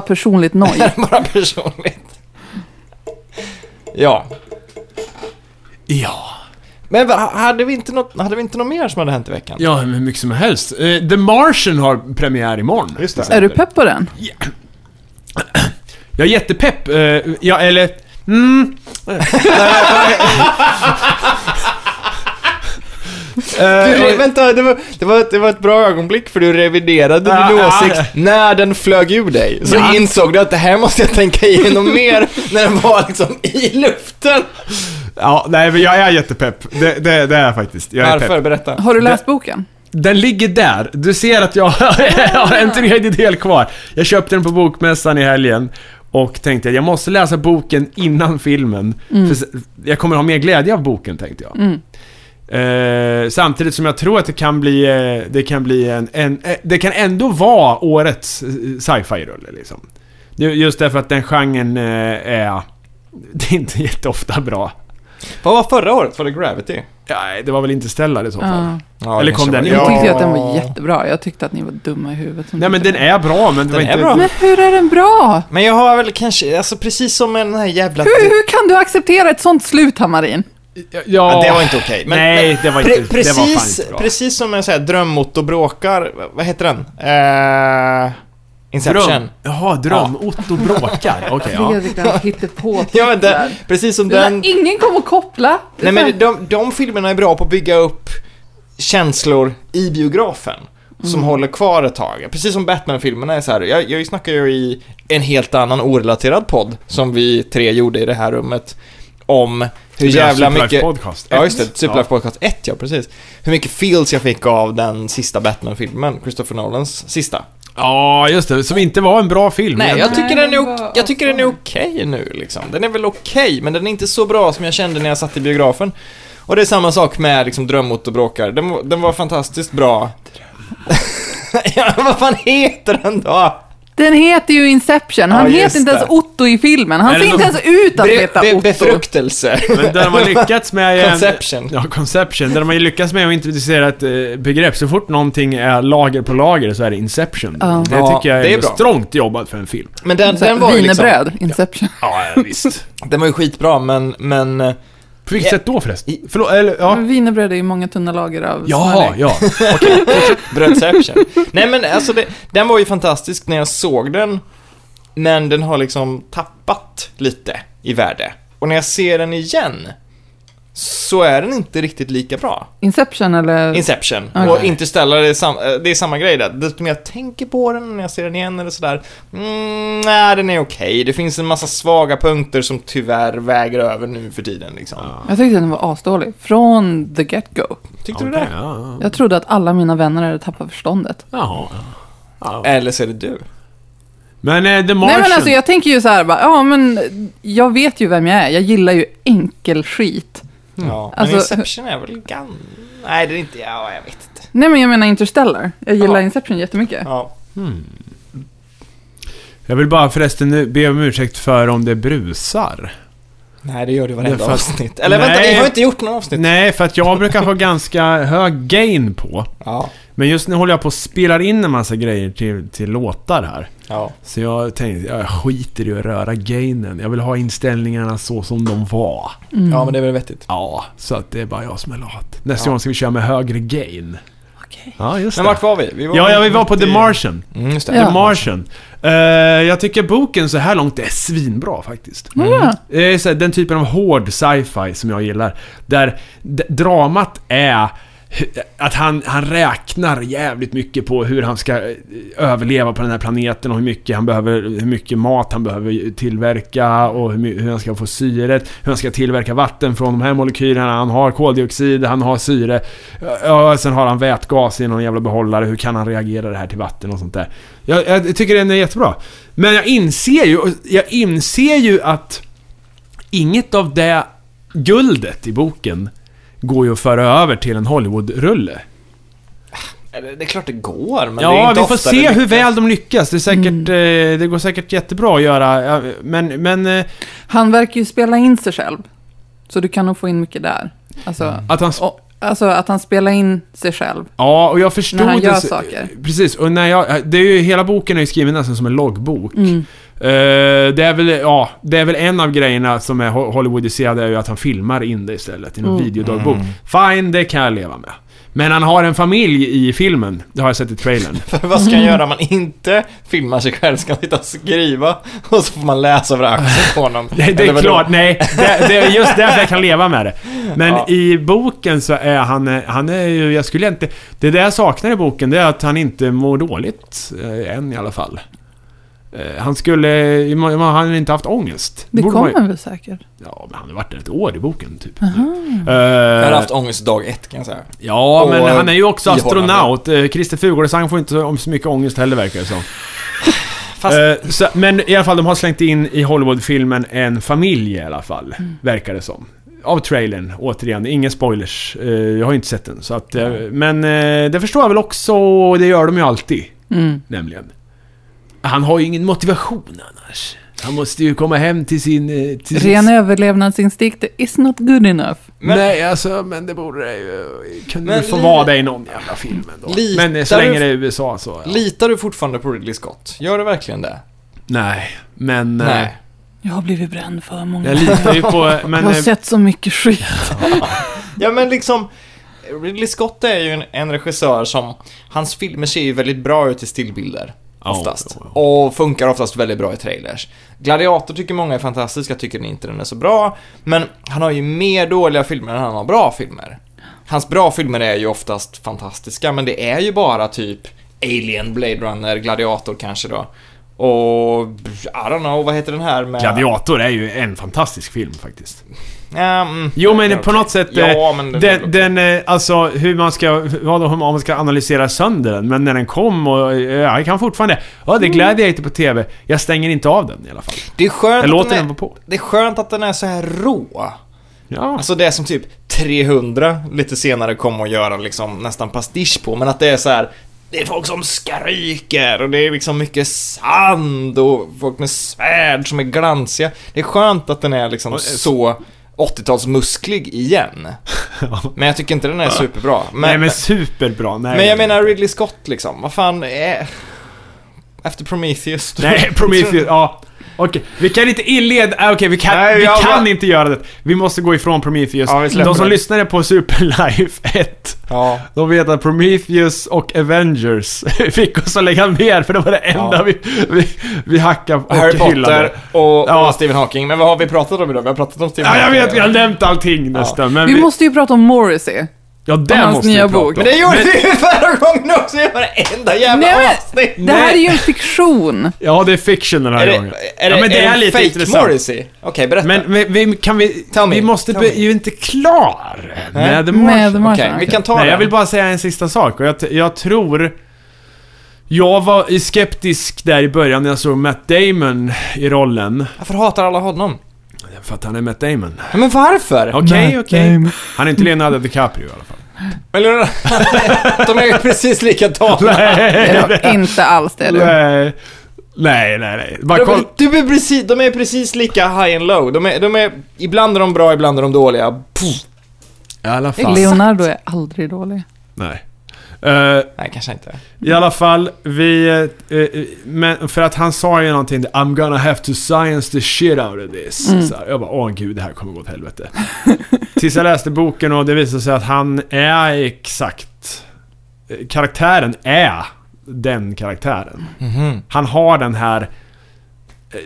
C: personligt noj.
A: pratar jag bara personligt. Ja.
B: Ja.
A: Men vad- hade vi inte något, hade vi inte något mer som hade hänt i veckan?
B: Ja, hur mycket som helst. Eh, The Martian har premiär imorgon.
A: Just det.
C: Är du pepp på den?
B: Jag är jättepepp. Eh, ja, eller... Mm.
A: Du, re- vänta, det var, det, var, det var ett bra ögonblick för du reviderade
B: Ah,
A: din
B: ah.
A: åsikt när den flög ur dig. Så
B: Ja.
A: insåg du att det här måste jag tänka igenom mer när den var liksom i luften.
B: Ja, nej men jag är jättepepp. Det, det, det är jag faktiskt. Jag är
A: Varför?
B: pepp.
A: Berätta.
C: Har du läst boken?
B: Den ligger där. Du ser att jag har en tredjedel kvar. Jag köpte den på bokmässan i helgen. Och tänkte jag, jag måste läsa boken innan filmen.
A: Mm.
B: För s- jag kommer ha mer glädje av boken tänkte jag.
C: Mm.
B: Eh, samtidigt som jag tror att det kan bli, eh, det kan bli en, en eh, det kan ändå vara årets eh, sci-fi-rulle liksom. Ju- Just därför att den genren eh, är, det är inte jätteofta bra.
A: Vad var förra året? Var det Gravity?
B: Nej, det var väl inte Stella i så fall.
C: Ja.
A: Ja,
B: Eller kom
A: kanske
B: den
A: var-
B: in?
C: Jag tyckte
A: Ja.
C: ju att den var jättebra. Jag tyckte att ni var dumma i huvudet. som
B: Nej men
C: tyckte
B: den är bra men det
A: Den
B: var inte...
A: är bra.
C: Men hur är den bra?
A: Men jag har väl kanske, alltså precis som med den här jävla...
C: Hur, hur kan du acceptera ett sånt slut, Hamarin?
B: Ja,
A: Ja, det var inte okej. Men-
B: Nej,
A: men-
B: det var
A: pre-
B: inte... det var fan
A: precis,
B: inte bra.
A: precis som en sån här drömmotor bråkar, vad heter den? Eh, Inception.
B: Dröm. Jaha, dröm. Otto bråkar. Okej, ja.
C: Fredrik, den hittar på
A: Ja, men det, precis som den...
C: Ingen kommer att koppla. Det är
A: Nej men de, de filmerna är bra på att bygga upp känslor i biografen. Som håller kvar ett tag. Precis som Batman-filmerna är så här. Jag, jag snackar ju i en helt annan orelaterad podd som vi tre gjorde i det här rummet. Om hur
B: Vi har
A: jävla
B: Superlife
A: mycket...
B: Podcast.
A: Ja
B: Ett.
A: just det, Superlife Podcast 1 ja, precis. Hur mycket feels jag fick av den sista Batman-filmen, Christopher Nolans sista.
B: Ja, just det. Som inte var en bra film.
A: Nej, jag tycker
C: Nej,
A: den är,
C: den var
A: ok- jag tycker den är okej nu liksom. Den är väl okej, men den är inte så bra som jag kände när jag satt i biografen. Och det är samma sak med liksom Drömmot och bråkar. Den, var- den var fantastiskt bra. ja, vad fan heter den då?
C: Den heter ju Inception. Han
A: Ja, just
C: heter inte ens
A: det.
C: Otto i filmen. Han
B: Är
C: ser
B: det
C: inte
B: någon-
C: ens ut att
A: Be,
C: heta
A: be,
C: Otto.
A: befruktelse.
B: Men där de har lyckats med... en-
A: Conception.
B: Ja, conception. Där de har ju lyckats med att introducera ett eh, begrepp. Så fort någonting är lager på lager så är det inception.
C: Ja.
B: Det
A: Ja,
B: tycker jag är,
A: det är bra.
B: strångt jobbat för en film.
A: Men den,
C: Så här,
A: den var ju liksom,
C: Wienerbröd, Inception.
B: Ja, ja, visst.
A: Den var ju skitbra, men, men... eh,
B: På vilket sätt då förresten?
A: I-
B: Förlåt, eller ja.
C: Men Wienerbröd är ju många tunna lager av
B: Jaha,
C: smörlök.
B: ja.
A: Brödception. Nej men alltså, det, den var ju fantastisk när jag såg den, men den har liksom tappat lite i värde. Och när jag ser den igen, så är den inte riktigt lika bra.
C: Inception eller?
A: Inception.
C: Okej.
A: Och Interstellar, det är, sam, eh, det är samma grej där. Desto mer jag tänker på den när jag ser den igen eller sådär, mm, nej den är okej. Det finns en massa svaga punkter som tyvärr väger över nu för tiden liksom.
C: jag tyckte den var asdålig. Från the get-go.
A: Tyckte
B: Okej,
A: du det?
B: ja, ja.
C: Jag trodde att alla mina vänner hade tappat förståndet.
B: Jaha. Eh,
A: Eller så är det
C: Mm.
A: du.
B: Men eh, The
C: Nej
B: Martian.
C: men alltså jag tänker ju så här bara, ja men jag vet ju vem jag är. Jag gillar ju enkel skit.
A: Ja. Men
C: Alltså-
A: Inception är väl gan... Nej, det är inte... Ja, jag vet inte.
C: Nej men jag menar Interstellar. Jag gillar
A: Ja.
C: Inception jättemycket.
A: Ja.
B: Jag vill bara förresten nu be om ursäkt för om det brusar.
A: Nej, det Mm. gör du varenda
B: Det är för-
A: avsnitt. Eller vänta,
B: Nej.
A: vi har inte gjort några avsnitt.
B: Nej, för att jag brukar ha ganska hög gain på.
A: Ja,
B: Men just nu håller jag på och spelar in en massa grejer till, till låtar här.
A: ja.
B: Så jag tänkte, jag skiter i att röra gainen. Jag vill ha inställningarna så som de var.
A: ja, men det är väl vettigt.
B: Ja, så att det är bara jag som är lat. Nästa gång ska vi köra med högre gain. Okej. Ja, just
A: Men
B: det.
A: vart var vi? vi var
B: Ja, ja, vi var på
A: mitt
B: The
A: i-
B: Martian.
A: Mm, just det.
C: Ja.
B: The Martian. Eh, jag tycker boken så här långt är svinbra faktiskt. Mm.
C: Ja.
B: Det är så här, den typen av hård sci-fi som jag gillar. Där d- dramat är hu- Att han, han räknar jävligt mycket på hur han ska eh, överleva på den här planeten och hur mycket han behöver, hur mycket mat han behöver tillverka och hur, my- hur han ska få syret, hur han ska tillverka vatten från de här molekylerna. Han har koldioxid, han har syre, ja, och sen har han vätgas i någon jävla behållare. Hur kan han reagera det här till vatten och sånt där? Jag, jag tycker den är jättebra. Men jag inser ju, jag inser ju att inget av det guldet i boken går ju att föra över till en Hollywood-rulle.
A: Eller, Det är klart det går, men det är
B: Ja,
A: inte
B: vi får
A: ofta
B: se
A: det
B: hur väl de lyckas. Det, är säkert,
C: Mm.
B: eh, det går säkert jättebra att göra, ja, men... men eh,
C: Han verkar ju spela in sig själv. Så du kan nog få in mycket där. Alltså,
B: att han...
C: och, alltså att han spelar in sig själv.
B: Ja, och jag förstod...
C: När han gör
B: det så-
C: saker.
B: Precis, och när jag... eh, Det är ju, hela boken är ju skriven nästan som en loggbok.
C: Mm.
B: Eh, det, är väl, ja, det är väl en av grejerna som är ho- Hollywoodiserad är ju att han filmar in det istället i någon
C: Mm.
B: videodagbok.
A: Mm.
B: Fine, det kan jag leva med. Men han har en familj i filmen. Det har jag sett i trailern.
A: För vad ska han göra om man inte filmar sig själv? Ska han sitta och skriva? Och så får man läsa över axeln på honom.
B: Det, det
A: Eller
B: är
A: vadå?
B: klart, nej. Det, det är just därför jag kan leva med det. Men
A: Ja.
B: i boken så är han, han är ju, jag skulle inte... Det där jag saknar i boken, det är att han inte mår dåligt. eh, Än i alla fall. Eh, Han skulle, man- han har inte haft ångest.
C: Det
B: Borde man ju-
C: kommer väl säkert.
B: Ja, men han har varit där ett år i boken typ.
C: Mm.
A: Jag
B: Eh,
A: har haft ångest dag ett kan jag säga.
B: Ja, men
A: Och eh,
B: han är ju också
A: ihållande.
B: astronaut. Eh, Christer Fuglesang får inte om så mycket ångest heller verkar det som.
A: Fast-
B: Eh, så, men i alla fall, de har slängt in i Hollywoodfilmen en familj i alla fall.
A: Mm.
B: Verkar det som. Av trailern, återigen. Inga spoilers. Eh, jag har ju inte sett den. Så att, eh, men eh, det förstår jag väl också, och det gör de ju alltid.
C: Mm.
B: Nämligen. Han har ju ingen motivation annars. Han måste ju komma hem till sin... eh, Till sin-
C: Ren överlevnadsinstinkt is not good enough.
A: Men-
B: Nej, alltså, men det borde det ju... Kunde
A: Men
B: väl få
A: li-
B: vara det i någon jävla film ändå.
A: Litar
B: Men eh, så länge
A: du-
B: det är USA så... Ja.
A: Litar du fortfarande på Ridley Scott? Gör du verkligen det?
B: Nej, men... eh,
C: Jag har blivit bränd för många.
B: Jag litar ju på... Men,
C: jag har
B: eh,
C: sett så mycket skit.
A: Ja men liksom, Ridley Scott är ju en, en regissör som, hans filmer ser ju väldigt bra ut i stillbilder.
B: Ja,
A: Oftast.
B: ja,
A: Och funkar oftast väldigt bra i trailers. Gladiator tycker många är fantastisk, jag tycker inte den är så bra. Men han har ju mer dåliga filmer än han har bra filmer. Hans bra filmer är ju oftast fantastiska, men det är ju bara typ Alien, Blade Runner, Gladiator kanske då. Och, I don't know, vad heter den här med...
B: Gladiator är ju en fantastisk film faktiskt.
A: Ehm,
B: Jo men
A: ja,
B: på något sätt... eh,
A: Ja, men den-
B: den, den, eh, alltså hur man ska, vad, om man ska analysera sönder den. Men när den kom och, eh, ja, jag kan fortfarande... Ja,
A: Mm.
B: det är Gladiator på TV. Jag stänger inte av den i alla fall.
A: Det är skönt
B: Jag
A: att
B: låter
A: den
B: den
A: är,
B: vara på.
A: Det är skönt att den är så här rå.
B: Ja.
A: Alltså det är som typ 300 lite senare kom att göra liksom nästan pastisch på, men att det är så här. Det är folk som skriker och det är liksom mycket sand och folk med svärd som är glansiga. Det är skönt att den är liksom
B: eh,
A: så 80-talsmusklig igen. Men jag tycker inte den är superbra. Alltså, Men,
B: nej men superbra. Nej,
A: men jag menar Ridley Scott liksom, vad fan är... Efter Prometheus.
B: Nej, Prometheus. Ja. Okej, vi kan inte inleda... ah, Okej, vi kan,
A: Nej,
B: vi
A: jag
B: kan
A: bara-
B: inte göra det. Vi måste gå ifrån Prometheus.
A: Ja, vi släpper
B: De som
A: det.
B: lyssnade på Superlife 1,
A: Ja.
B: de vet att Prometheus och Avengers fick oss att lägga ner, för det var det enda
A: Ja.
B: vi, vi, vi hackade och
A: Harry
B: hyllade.
A: Potter och,
B: Ja.
A: och Stephen Hawking. Men vad har vi pratat om idag? Vi har pratat om Stephen
B: Ja, jag
A: Hawking.
B: vet, vi har nämnt allting nästan. Men
C: Vi måste ju prata om Morrissey.
B: ja, det
C: om hans
B: måste
C: nya
B: vi prata
C: bok.
A: Men
B: om.
A: det gjorde vi ju förra gången också i varenda jävla
C: Nej, men-
A: avsnitt!
C: Det här
B: Nej.
C: är ju en fiktion.
B: Ja, det är fiction den här
A: Är det,
B: gången.
A: är det,
B: ja, men det är,
A: en
B: lite
A: fake
B: intressant.
A: Morrissey? Okej, berätta.
B: Men vi, vi, kan vi...
A: Tell me,
B: vi måste...
A: tell
B: Be,
A: me.
B: ju inte klar med The Martian.
C: Med
A: Okej,
C: Martin.
A: vi kan ta
B: Nej,
A: det.
B: jag vill bara säga en sista sak och jag, t- jag tror... Jag var skeptisk där i början när jag såg Matt Damon i rollen.
A: Varför hatar alla honom?
B: För att han är Matt Damon.
A: Ja, men varför?
B: Okej, okej.
C: Matt Damon.
B: Han är inte Leonardo DiCaprio i alla fall.
A: Eller, de är ju precis likadana.
C: Det
B: Nej,
C: är dock inte alls det du.
B: nej, nej, nej. Bara
A: De är,
B: koll.
A: du är precis, de är precis lika high and low. De är, de är, ibland är de bra, ibland är de dåliga. Pff,
B: I alla fall.
C: Leonardo är aldrig dålig.
B: Nej. Eh,
A: nej, kanske inte.
B: I alla fall, vi... eh, eh, men för att han sa ju någonting I'm gonna have to science the shit out of this. Så här, jag bara, åh gud, det här kommer gå åt helvete. Tills jag läste boken och det visade sig att han är exakt... eh, Karaktären är den karaktären. Han har den här eh,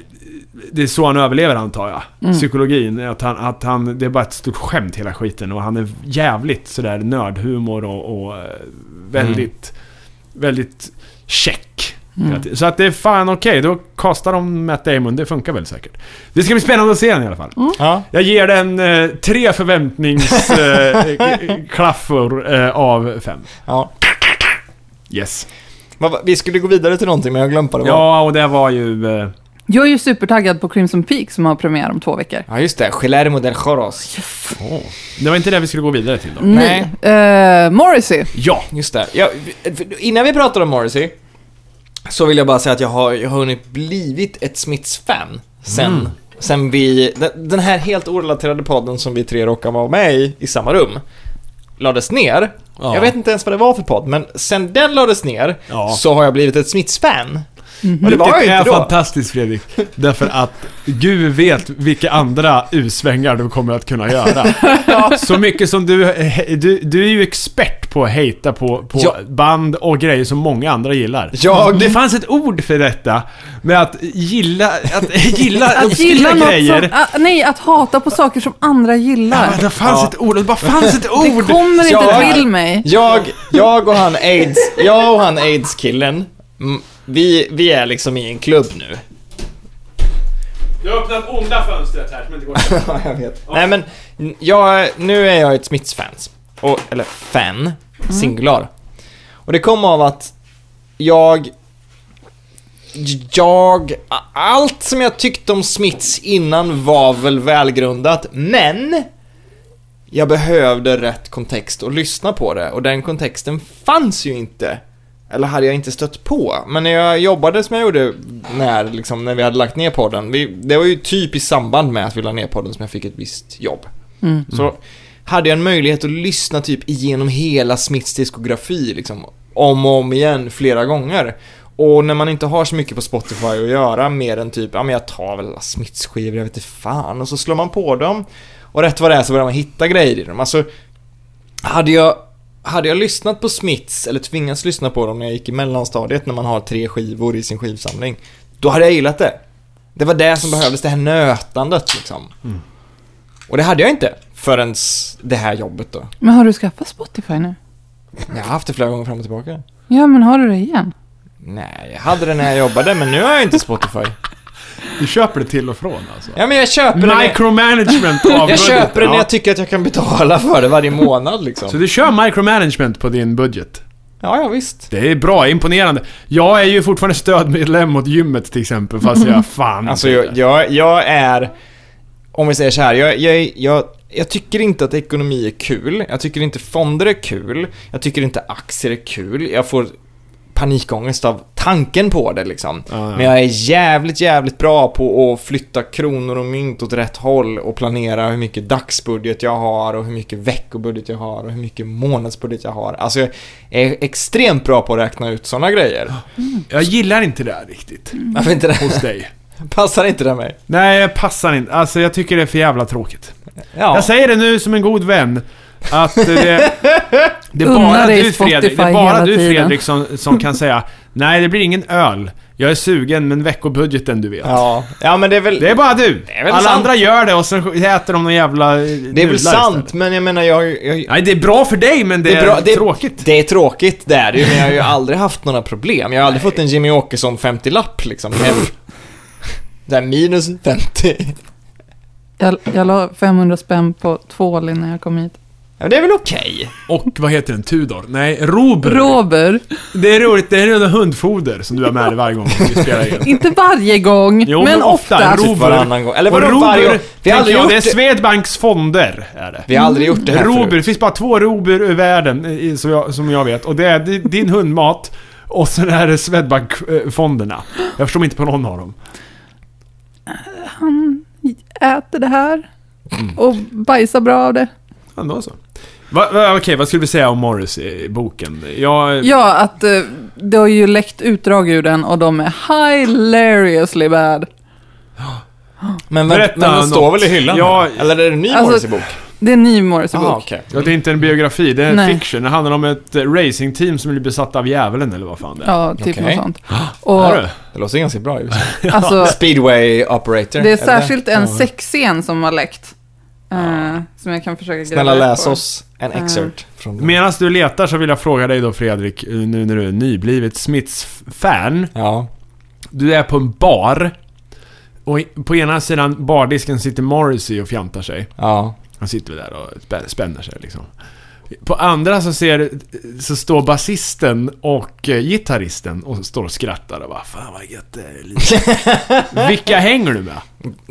B: det är så han överlever antar jag. Psykologin, att han, att han, det är bara ett stort skämt hela skiten och han är jävligt sådär nördhumor och, och eh, väldigt, väldigt check. Så att det är fan okej, då kastar de Matt Damon, det funkar väl säkert. Det ska bli spännande att se den i alla fall.
A: Ja.
B: Jag ger den eh, tre förväntningsklaffor eh, av fem.
A: ja.
B: Yes.
A: Vad var- Vi skulle gå vidare till någonting men jag glömde vad det var.
B: Ja, och det var ju... Eh,
C: Jag är ju supertaggad på Crimson Peak som har premiär om två veckor.
A: Ja just det, Guillermo del Joros.
B: det var inte det vi skulle gå vidare till då.
C: Mm.
A: Nej.
C: Eh, Morrissey.
B: Ja.
A: Just det. Ja, för- innan vi pratar om Morrissey så vill jag bara säga att jag har, jag har hunnit blivit ett Smiths-fan sen,
B: Mm.
A: sen vi, den- den här helt orelaterade podden som vi tre råkar vara med i, i samma rum, lades ner.
B: Ja.
A: Jag vet inte ens vad det var för podd, men sen den lades ner
B: Ja. Mm-hmm.
A: så har jag blivit ett Smiths-fan. Och det var jag
B: är
A: inte då.
B: fantastiskt Fredrik. Därför att Gud vet vilka andra U-svängar du kommer att kunna göra. Så mycket som du, du... Du är ju expert på att hejta på, på
A: Ja.
B: band och grejer som många andra gillar.
A: Jag-
B: Det fanns ett ord för detta. Med att gilla... Att gilla
C: Att gilla
B: obskyra
C: något
B: grejer.
C: som, ah, nej, att hata på saker som andra gillar.
B: Ja, det fanns ett ord. Det bara fanns ett ord.
C: det kommer inte
A: Ja.
C: till mig.
A: Jag, jag och han aids, jag och han aids-killen, mm, vi, vi är liksom i en klubb nu.
B: Jag har öppnat onda fönstret här som inte går
A: Ja, jag vet. Nej men, n- jag, nu är jag ett Smiths-fans. Och, eller fan,
C: Mm.
A: singular. Och det kom av att jag... Jag... a- Allt som jag tyckte om Smiths innan var väl välgrundat, men... Jag behövde rätt kontext att lyssna på det och den kontexten fanns ju inte. Eller hade jag inte stött på. Men när jag jobbade som jag gjorde när, liksom, när vi hade lagt ner podden. Vi, det var ju typ i samband med att vi la ner podden som jag fick ett visst jobb. Så hade jag en möjlighet att lyssna typ igenom hela Smiths diskografi liksom, om och om igen flera gånger. Och när man inte har så mycket på Spotify att göra mer än typ, ja men jag tar väl alla Smiths skivor, jag vet inte fan. Och så slår man på dem. Och rätt vad det är så börjar man hitta grejer i dem. Alltså, hade jag, hade jag lyssnat på Smiths, eller tvingats lyssna på dem när jag gick i mellanstadiet när man har tre skivor i sin skivsamling, då hade jag gillat det. Det var det som behövdes, det här nötandet liksom.
B: Mm.
A: Och det hade jag inte förrän det här jobbet då.
C: Men har du skaffat Spotify nu?
A: Jag har haft det flera gånger fram och tillbaka.
C: Ja, men har du det igen?
A: Nej, jag hade det när jag jobbade, men nu har jag inte Spotify.
B: Du köper det till och från alltså.
A: Ja, men jag köper det när,
B: Micromanagement av
A: jag, köper det när
B: ja.
A: jag tycker att jag kan betala för det varje månad
B: Så
A: liksom.
B: du kör micromanagement på din budget?
A: Ja, ja visst.
B: Det är bra, imponerande. Jag är ju fortfarande stödmedlem åt gymmet till exempel, fast jag fan
A: Alltså
B: inte-
A: jag, jag, jag är, om vi säger så här, jag, jag, jag, jag tycker inte att ekonomi är kul. Jag tycker inte fonder är kul. Jag tycker inte aktier är kul. Jag får panikångest av tanken på det liksom.
B: Ja, ja.
A: Men jag är jävligt, jävligt bra på att flytta kronor och mynt åt rätt håll och planera hur mycket dagsbudget jag har och hur mycket veckobudget jag har och hur mycket månadsbudget jag har. Alltså jag är extremt bra på att räkna ut sådana grejer.
B: Jag gillar inte det här riktigt.
A: Varför inte det?
B: Hos dig.
A: Passar inte det mig?
B: Nej, jag passar inte. Alltså jag tycker det är för jävla tråkigt.
A: Ja.
B: Jag säger det nu som en god vän. Att eh, det, det är
C: Unna
B: bara
C: dig
B: du Fredrik,
C: Spotify
B: det är bara
C: hela
B: du
C: tiden.
B: Fredrik som, som kan säga Nej det blir ingen öl. Jag är sugen men veckobudgeten du vet.
A: Ja, ja men det är väl...
B: Det är bara du.
A: är väl
B: Alla
A: sant.
B: andra gör det och sen äter de någon jävla eh,
A: Det är
B: nudlar
A: väl sant,
B: istället.
A: men jag menar jag... jag
B: Nej det är bra för dig men det, är,
A: bra-
B: tråkigt.
A: Det är tråkigt, det är det ju, men jag har ju aldrig haft några problem. Jag har aldrig fått en Jimmy Åkesson 50-lapp liksom. Hem. Där minus 50.
C: Jag, jag la 500 spänn på tvål innan jag kom hit.
A: Ja, men det är väl okej?
B: Och vad heter den? Tudor? Nej, Robur.
C: Robert,
B: det är roligt, det är runda hundfoder som du har med dig varje gång vi spelar in.
C: inte varje gång,
B: Jo,
C: men
B: men ofta.
C: ofta.
B: Ro-
A: Typ varannan gång. Eller
B: Och
A: vadå varje gång?
B: Robur,
A: Vi har aldrig
B: jag,
A: gjort
B: det är
A: det.
B: Swedbanks fonder. Är det.
A: Vi har aldrig gjort det här
B: Robur, det
A: förut.
B: finns bara två Robur i världen eh, i- som jag, som jag vet. Och det är di- din hundmat och sen är det Swedbank-fonderna. Jag förstår mig inte på någon av dem.
C: Äter det här och bajsar bra av det.
B: Ändå så. Va, va, Okej, vad skulle vi säga om Morris i boken? Jag,
C: Ja, att eh, det har ju läckt utdrag ur den och de är hilariously bad.
A: Men, men,
B: Berätta
A: men den
B: något.
A: står väl i hyllan?
B: Ja.
A: Eller är det en ny
C: Alltså-
A: Morrissey-bok?
C: Det är en ny Morrissey-bok.
A: Ah, okej.
B: Ja, det är inte en biografi, det är
C: Nej.
B: fiction. Det handlar om ett eh, racingteam som blir besatta av djävulen eller vad fan det är.
C: Ja, typ
A: Okej.
C: något sånt.
B: Hör
C: Och
B: du?
A: Det låter ganska bra ju.
C: alltså,
A: Speedway operator.
C: det är
A: eller?
C: särskilt en sexscen som har läckt. eh, som jag kan försöka
A: Snälla
C: gräva
A: läs
C: på.
A: oss en excerpt från den.
B: Medan du letar så vill jag fråga dig då Fredrik, eh, nu när du är nyblivet Smiths-fan.
A: Ja.
B: Du är på en bar. Och i- på ena sidan bardisken sitter Morrissey och fjantar sig.
A: Ja.
B: Han sitter väl där och spä- spänner sig liksom. På andra så ser, eh, så står basisten och eh, gitarristen och står och skrattar och bara Fan vad gött det är. Lisa." Vilka hänger du med?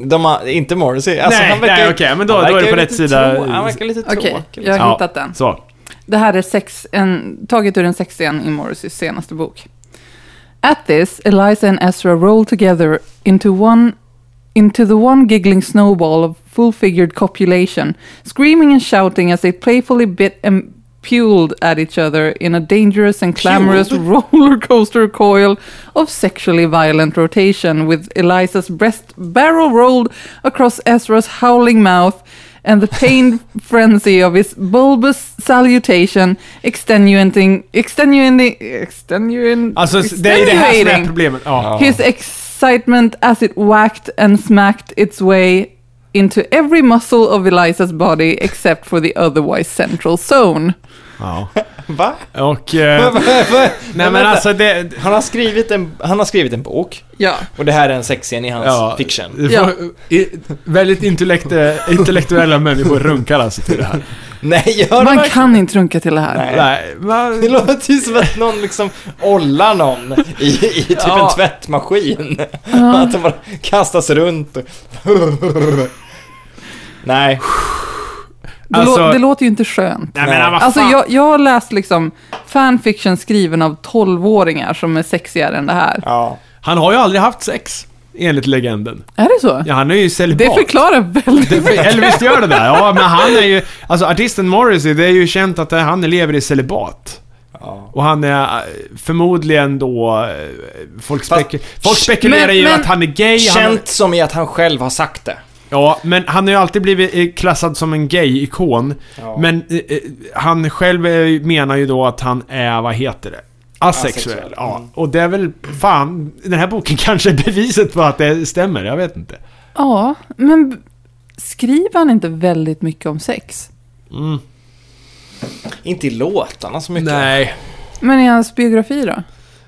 A: De har, inte Morrissey. Alltså,
B: Nej,
A: han verkar,
B: nej, okej, men då-
A: han
B: då är det
A: verkar
B: på
A: ju
B: rätt
A: lite
B: sida.
A: Trå, han verkar lite
C: Okej,
A: tråkig.
C: jag har
B: Ja,
C: hittat den.
B: Så.
C: Det här är sex, en, taget ur en sexscen i Morrisseys senaste bok. At this, Eliza and Ezra roll together into one into the one giggling snowball of full-figured copulation, screaming and shouting as they playfully bit and puled at each other in a dangerous and clamorous roller coaster coil of sexually violent rotation, with Eliza's breast barrel rolled across Ezra's howling mouth and the pained frenzy of his bulbous salutation extenuating extenuating extenuating
B: Alltså det är det här som är problemet. Ja.
C: his excitement as it whacked and smacked its way into every muscle of Eliza's body except for the otherwise central zone.
B: ja.
A: liksom. Va?
B: Och... Eh, nej men
A: vänta.
B: alltså det...
A: Han har, skrivit en, han har skrivit en bok
C: Ja,
A: och det här är en sexscen i hans fiction.
B: det får- i- Väldigt intellekt, eh, intellektuella människor runkar alltså till det här.
A: Nej, gör det
C: man
A: verkligen?
C: kan inte runka till det här.
A: Nej.
B: Nej, va-
A: Det låter ju som att någon liksom ollar någon i, i typ
B: Ja.
A: en tvättmaskin. Att de bara kastas runt och... Nej.
C: Det,
B: Alltså-
C: lå- det låter ju inte skönt.
B: Nej men vad
C: Alltså
B: fan.
C: jag, jag har läst liksom fanfiction skriven av tolvåringar som är sexigare än det här.
A: Ja.
B: Han har ju aldrig haft sex, enligt legenden.
C: Är det så?
B: Ja, han är ju celibat.
C: Det förklarar väldigt
B: Det-
C: mycket.
B: Eller visst gör det där? Ja, men han är ju... Alltså artisten Morrissey, det är ju känt att eh, han lever i celibat.
A: Ja.
B: Och han är eh, förmodligen då... eh, Folk, spek- folk spekulerar
C: Men-
B: ju
C: men-
B: att han är gay. Han,
A: Känt som i att han själv har sagt det.
B: ja, men han har ju alltid blivit eh, klassad som en gay-ikon.
A: Ja.
B: Men eh, eh, han själv eh, menar ju då att han är, vad heter det? Asexuell.
A: Asexuell,
B: Ja. Och det är väl, fan, den här boken kanske är beviset på att det stämmer. Jag vet inte.
C: Ja, men b- skriver han inte väldigt mycket om sex?
A: Inte i låtarna så mycket.
B: Nej.
C: Men i hans biografi då?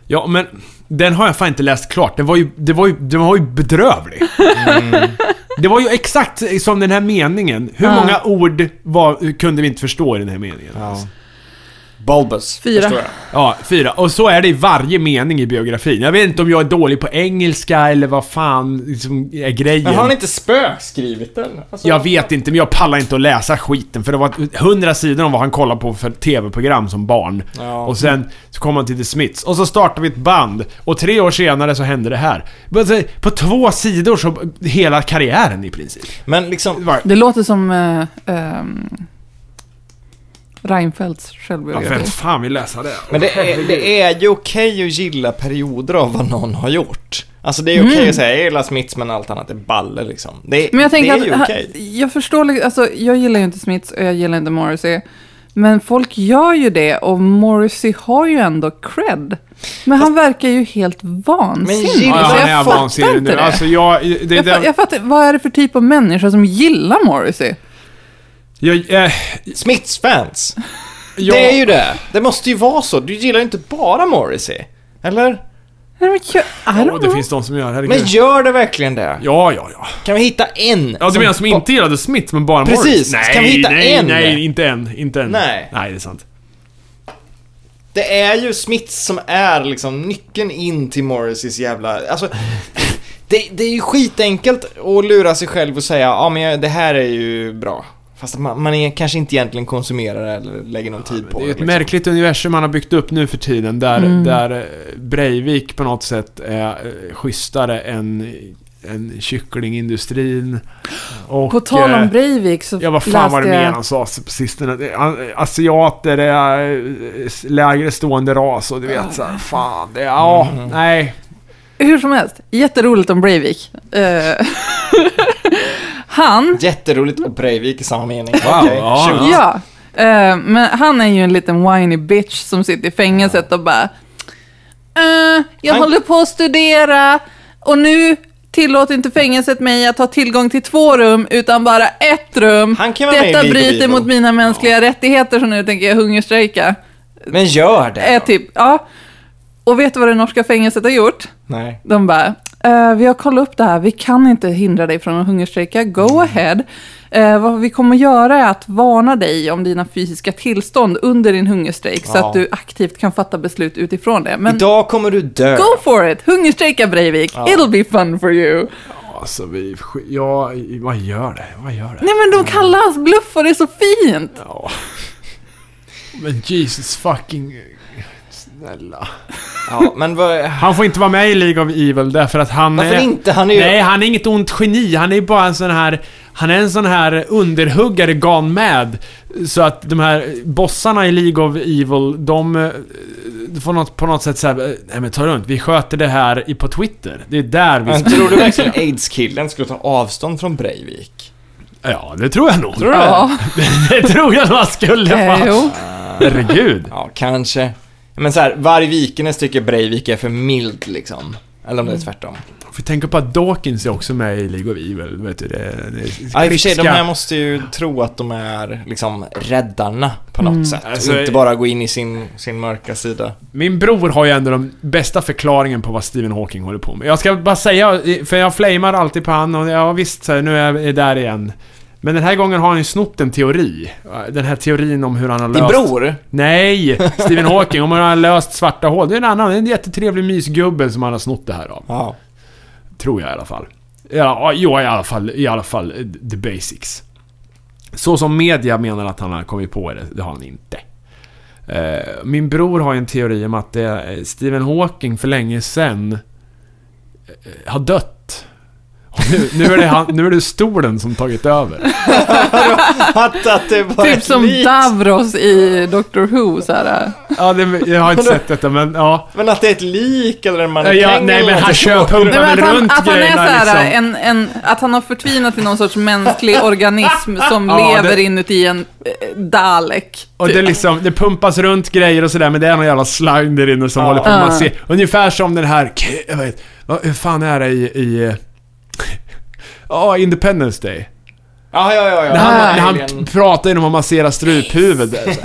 B: Ja, men den har jag fan inte läst klart. Den var ju, det var ju, den var ju bedrövlig.
A: Mm.
B: Det var ju exakt som den här meningen. Hur
C: Ja.
B: många ord var, kunde vi inte förstå i den här meningen?
A: Ja. Bulbus,
C: Fyra.
A: förstår jag.
B: Ja, fyra. Och så är det i varje mening i biografin. Jag vet inte om jag är dålig på engelska eller vad fan liksom, är grejen.
A: Men har han inte spökskrivit den? Alltså,
B: Jag vet inte, men jag pallar inte att läsa skiten för det var hundra sidor om vad han kollade på för TV-program som barn.
A: Ja.
B: Och sen så kom han till The Smiths och så startade vi ett band och tre år senare så hände det här. Men alltså, På två sidor så hela karriären i princip.
A: Men
B: Det
A: liksom...
B: var-
C: Det låter som eh, ehm, Reinfeldts
B: Ja, vem
C: självbiografi.
B: fan vill läsa det?
A: Men det är, det är ju okej att gilla perioder av vad någon har gjort. Alltså det är okej att säga jag gillar Smiths men allt annat är balle liksom. Det,
C: Men jag
A: det
C: tänker
A: är ju
C: att,
A: okej.
C: ha- jag förstår, li- alltså jag gillar ju inte Smiths och jag gillar inte Morrissey. Men folk gör ju det och Morrissey har ju ändå cred. Men han verkar ju helt vansinnig.
A: gillar
C: Så
A: han
C: jag
A: är
C: fattar
B: vansinnig
C: inte det.
B: Alltså jag... Det, det,
C: jag, fa- jag fattar, vad är det för typ av människa som gillar Morrissey?
B: jag, eh,
A: Smiths fans.
B: jag,
A: Det är ju det. Det måste ju vara så. Du gillar ju inte bara Morrissey. Eller?
C: Nej, men jag- I don't
B: Ja, det
C: know.
B: finns de som gör det.
A: Men gör det verkligen det?
B: Ja, ja, ja.
A: Kan vi hitta en?
B: Ja, du menar som inte gillade Smith, men bara
A: Precis.
B: Morris?
A: Kan vi hitta
B: nej,
A: en?
B: Nej, inte en. Inte en.
A: Nej.
B: Nej, det är sant.
A: Det är ju Smiths som är liksom nyckeln in till Morrisseys jävla... Alltså, det, det är ju skitenkelt att lura sig själv och säga ja ah, men jag- det här är ju bra. Fast att man, man är, kanske inte egentligen konsumerar det eller lägger någon tid på
B: Det
A: det.
B: är ju ett
A: liksom.
B: märkligt universum man har byggt upp nu för tiden där,
C: Mm.
B: där eh, Breivik på något sätt är eh, schysstare än, än kycklingindustrin. Och,
C: På tal om
B: eh,
C: Breivik så
B: Ja, vad fan
C: läste
B: var det mer
C: jag...
B: han sa på sistone? Det- han- Asiater är eh, lägre stående ras och du vet såhär, fan. Det, ja,
A: Mm.
B: nej.
C: Hur som helst, jätteroligt om Breivik. Eh, Han,
A: Jätteroligt och Breivik i samma mening.
B: Wow,
A: Okej,
B: ja.
A: shoot.
C: ja. Eh, men han är ju en liten whiny bitch som sitter i fängelset och bara eh, Jag
A: Han-
C: håller på att studera och nu tillåter inte fängelset mig att ha tillgång till två rum utan bara ett rum.
A: Han kan vara med i
C: Detta
A: Video
C: bryter
A: Video.
C: mot mina mänskliga rättigheter så nu tänker jag hungerstrejka.
A: Men gör det.
C: Är
A: då.
C: typ, ja. Och vet du vad det norska fängelset har gjort?
A: Nej.
C: De bara, eh, vi har kollat upp det här, vi kan inte hindra dig från att hungerstrejka,
A: Mm.
C: go ahead. Eh, vad vi kommer göra är att varna dig om dina fysiska tillstånd under din hungerstrejk så
A: Ja.
C: att du aktivt kan fatta beslut utifrån det. Men
A: Idag kommer du dö.
C: go for it! Hungerstrejka Breivik, it'll be fun for you.
B: Alltså vi... Ja, vad gör det? Vad gör det?
C: Nej
A: Mm.
C: men de kallar hans bluff och det är så fint!
B: Ja. Men Jesus fucking... Snälla.
A: Ja, men vad...
B: Han får inte vara med i League of Evil därför att han
A: Varför
B: är...
A: inte? Han är ju...
B: Nej, han är inget ont geni. Han är bara en sån här... Han är en sån här underhuggare gone mad. Så att de här bossarna i League of Evil, de... eh, Får något, på något sätt såhär, nej men ta det lugnt, vi sköter det här i, på Twitter. Det är där vi...
A: Men tror du verkligen aids-killen skulle ta avstånd från Breivik?
B: Ja, det tror jag nog.
A: Tror du det?
C: Ja,
B: Det tror jag man skulle
C: eh,
B: fan.
C: jo.
B: Herregud.
A: Ja, kanske. Men så här, Vargvikenäs tycker Breivik är för mild liksom. Eller om
C: Mm.
A: det är tvärtom.
B: För tänka på att Dawkins är också med i League of Evil, vet du. Det, det är
A: Ja, i och för sig, de
B: klipska-
A: här måste ju tro att de är liksom räddarna på
C: Mm.
A: något sätt.
B: Alltså,
A: och inte bara gå in i sin, sin mörka sida.
B: Min bror har ju ändå den bästa förklaringen på vad Stephen Hawking håller på med. Jag ska bara säga, för jag flamar alltid på han och ja visst, så här, nu är jag där igen. Men den här gången har han ju snott en teori. Den här teorin om hur han har
A: Din
B: löst...
A: bror?
B: Nej! Stephen Hawking, om hur han har löst svarta hål. Det är en annan, det är en jättetrevlig mysgubbe som han har snott det här av.
A: Ja.
B: Tror jag i alla fall. Ja, jo, i alla fall, i alla fall eh, the basics. Så som media menar att han har kommit på det, det har han inte. Eh, Min bror har ju en teori om att det eh, Stephen Hawking för länge sedan eh, har dött. Och Nu, nu, är det han, nu är det stolen som tagit över.
A: Att, att det var
C: Typ
A: ett
C: som
A: lik.
C: Davros i Doctor Who så här.
B: Ja, det, jag har inte sett detta men ja.
A: Men att det är ett lik eller en
B: Ja,
A: mannekäng
B: ja, nej,
A: eller
B: men han
A: något
B: kör
A: sånt.
B: pumpen.
C: Nej, men
B: väl
C: att, han,
B: runt
C: att han är
B: grejerna,
C: såhär,
B: liksom.
C: en, en, att han har förtvinat i någon sorts mänsklig organism som
B: Ja,
C: lever
B: det-
C: inuti en eh, Dalek.
B: Och det, är liksom, det pumpas runt grejer och sådär men det är någon jävla slang där inne som håller på med
C: Ja.
B: att se. Ungefär som den här, k- jag vet, vad hur fan är det i... i Ja, Independence Day.
A: Ja, ja, ja. ja.
B: När han,
C: Ah.
A: Ja,
B: när han
A: alien.
B: pratar genom att massera struphuvud. där, så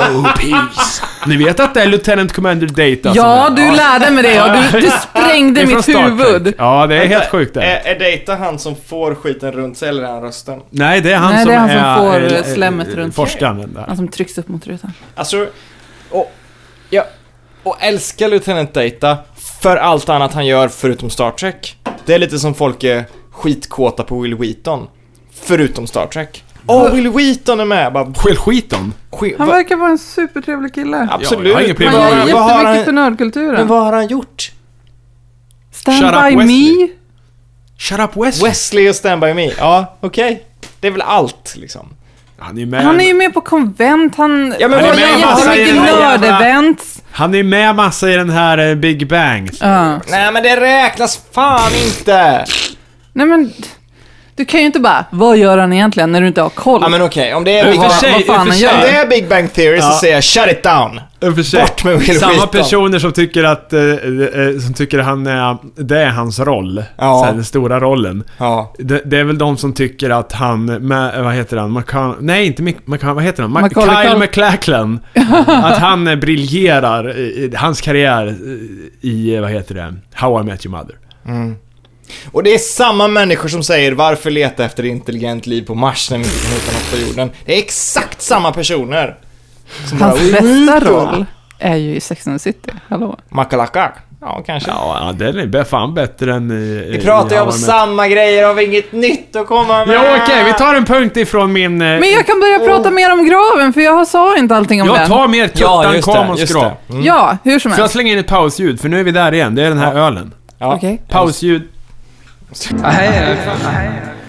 B: här.
D: No peace.
B: Ni vet att det är Lieutenant Commander Data som
C: Ja,
B: är- alltså-
C: du lärde mig det och du, du sprängde
B: Det är från
C: mitt
B: Star Trek.
C: huvud.
B: Ja, det är helt sjukt det.
A: Är, är Data han som får skiten runt sig eller är han rösten?
B: Nej, det är han
C: Nej,
B: som
C: det är han som
B: är,
C: får
B: eh, eh,
C: slemmet runt sig. Alltså.
B: Forskaren där.
C: Han som trycks upp mot rutan.
A: Alltså, och, ja, och älskar Lieutenant Data för allt annat han gör förutom Star Trek. Det är lite som folk är skitkåta på Will Wheaton. Förutom Star Trek. Åh, Will Wheaton är med! Bara,
B: Skäll skit om.
A: sk-
C: Han
A: va-
C: verkar vara en supertrevlig kille.
A: absolut.
B: jag har ingen problem
C: Han
A: Vad-
B: med
C: gör
B: det.
A: vad har
C: jättemycket för
A: han, men
C: nördkulturen.
A: vad har han gjort?
C: Stand
B: Shut up,
C: by me.
B: Wesley. Shut up Wesley.
A: Wesley och Stand By Me. Ja, okej. Det är väl allt liksom.
B: Han är med.
C: Han är ju med på konvent, han,
A: Ja, men
C: han
A: vad
C: gör
A: gör han?
C: jättemycket
B: Han är ju jävla-
C: nördevents.
B: Han är med massa i den här eh, Big Bang.
C: Ja.
A: Nej men det räknas fan inte!
C: Nej men, du kan ju inte bara, vad gör han egentligen när du inte har koll?
A: Ja men okej, om det är
C: Vad-
A: Big Bang...
B: för sig-
C: vad fan
B: i och
C: han
B: för
A: Om
C: gör.
A: det är Big Bang Theory så
B: Ja.
A: säger jag shut it down!
B: I och för sig.
A: Bort med Will
B: Samma
A: Wheaton.
B: personer som tycker att eh, eh, som tycker han är, det är hans roll.
A: Ja.
B: Så här, den stora rollen.
A: Ja.
B: Det, det är väl de som tycker att han, med, vad heter han, McCann, nej inte Mick, McCann, vad heter han? Ma-
C: Macaulay
B: Kyle
C: Culkin.
B: McLachlan. att han eh, briljerar, i, i, hans karriär eh, i, eh, vad heter det, How I Met Your Mother.
A: Och det är samma människor som säger varför leta efter intelligent liv på Mars när vi inte kan hitta något på jorden. Det är exakt samma personer. Som bara,
C: Hans
A: "Will
C: bästa
A: Wheaton."
C: roll är ju i Sex and the City. Hallå?
A: Makalaka. Ja, kanske.
B: Ja, den är be- fan bättre än eh, i,
A: Vi pratar ju om
B: samma.
A: samma grejer, har vi inget nytt att komma med?
B: Ja, okej, vi tar en punkt ifrån min... eh,
C: Men jag kan börja prata mer om graven, för jag sa inte allting om
B: jag
C: den.
B: tar mer
A: Ja,
B: tuttan,
A: just
B: kam
A: det,
B: och
A: just
B: skrap.
A: det.
C: Ja, hur som
B: Får jag
C: helst.
B: slänga in ett pausljud? För nu är vi där igen. Det är den här ölen.
A: Ja.
C: Okej.
B: Pausljud.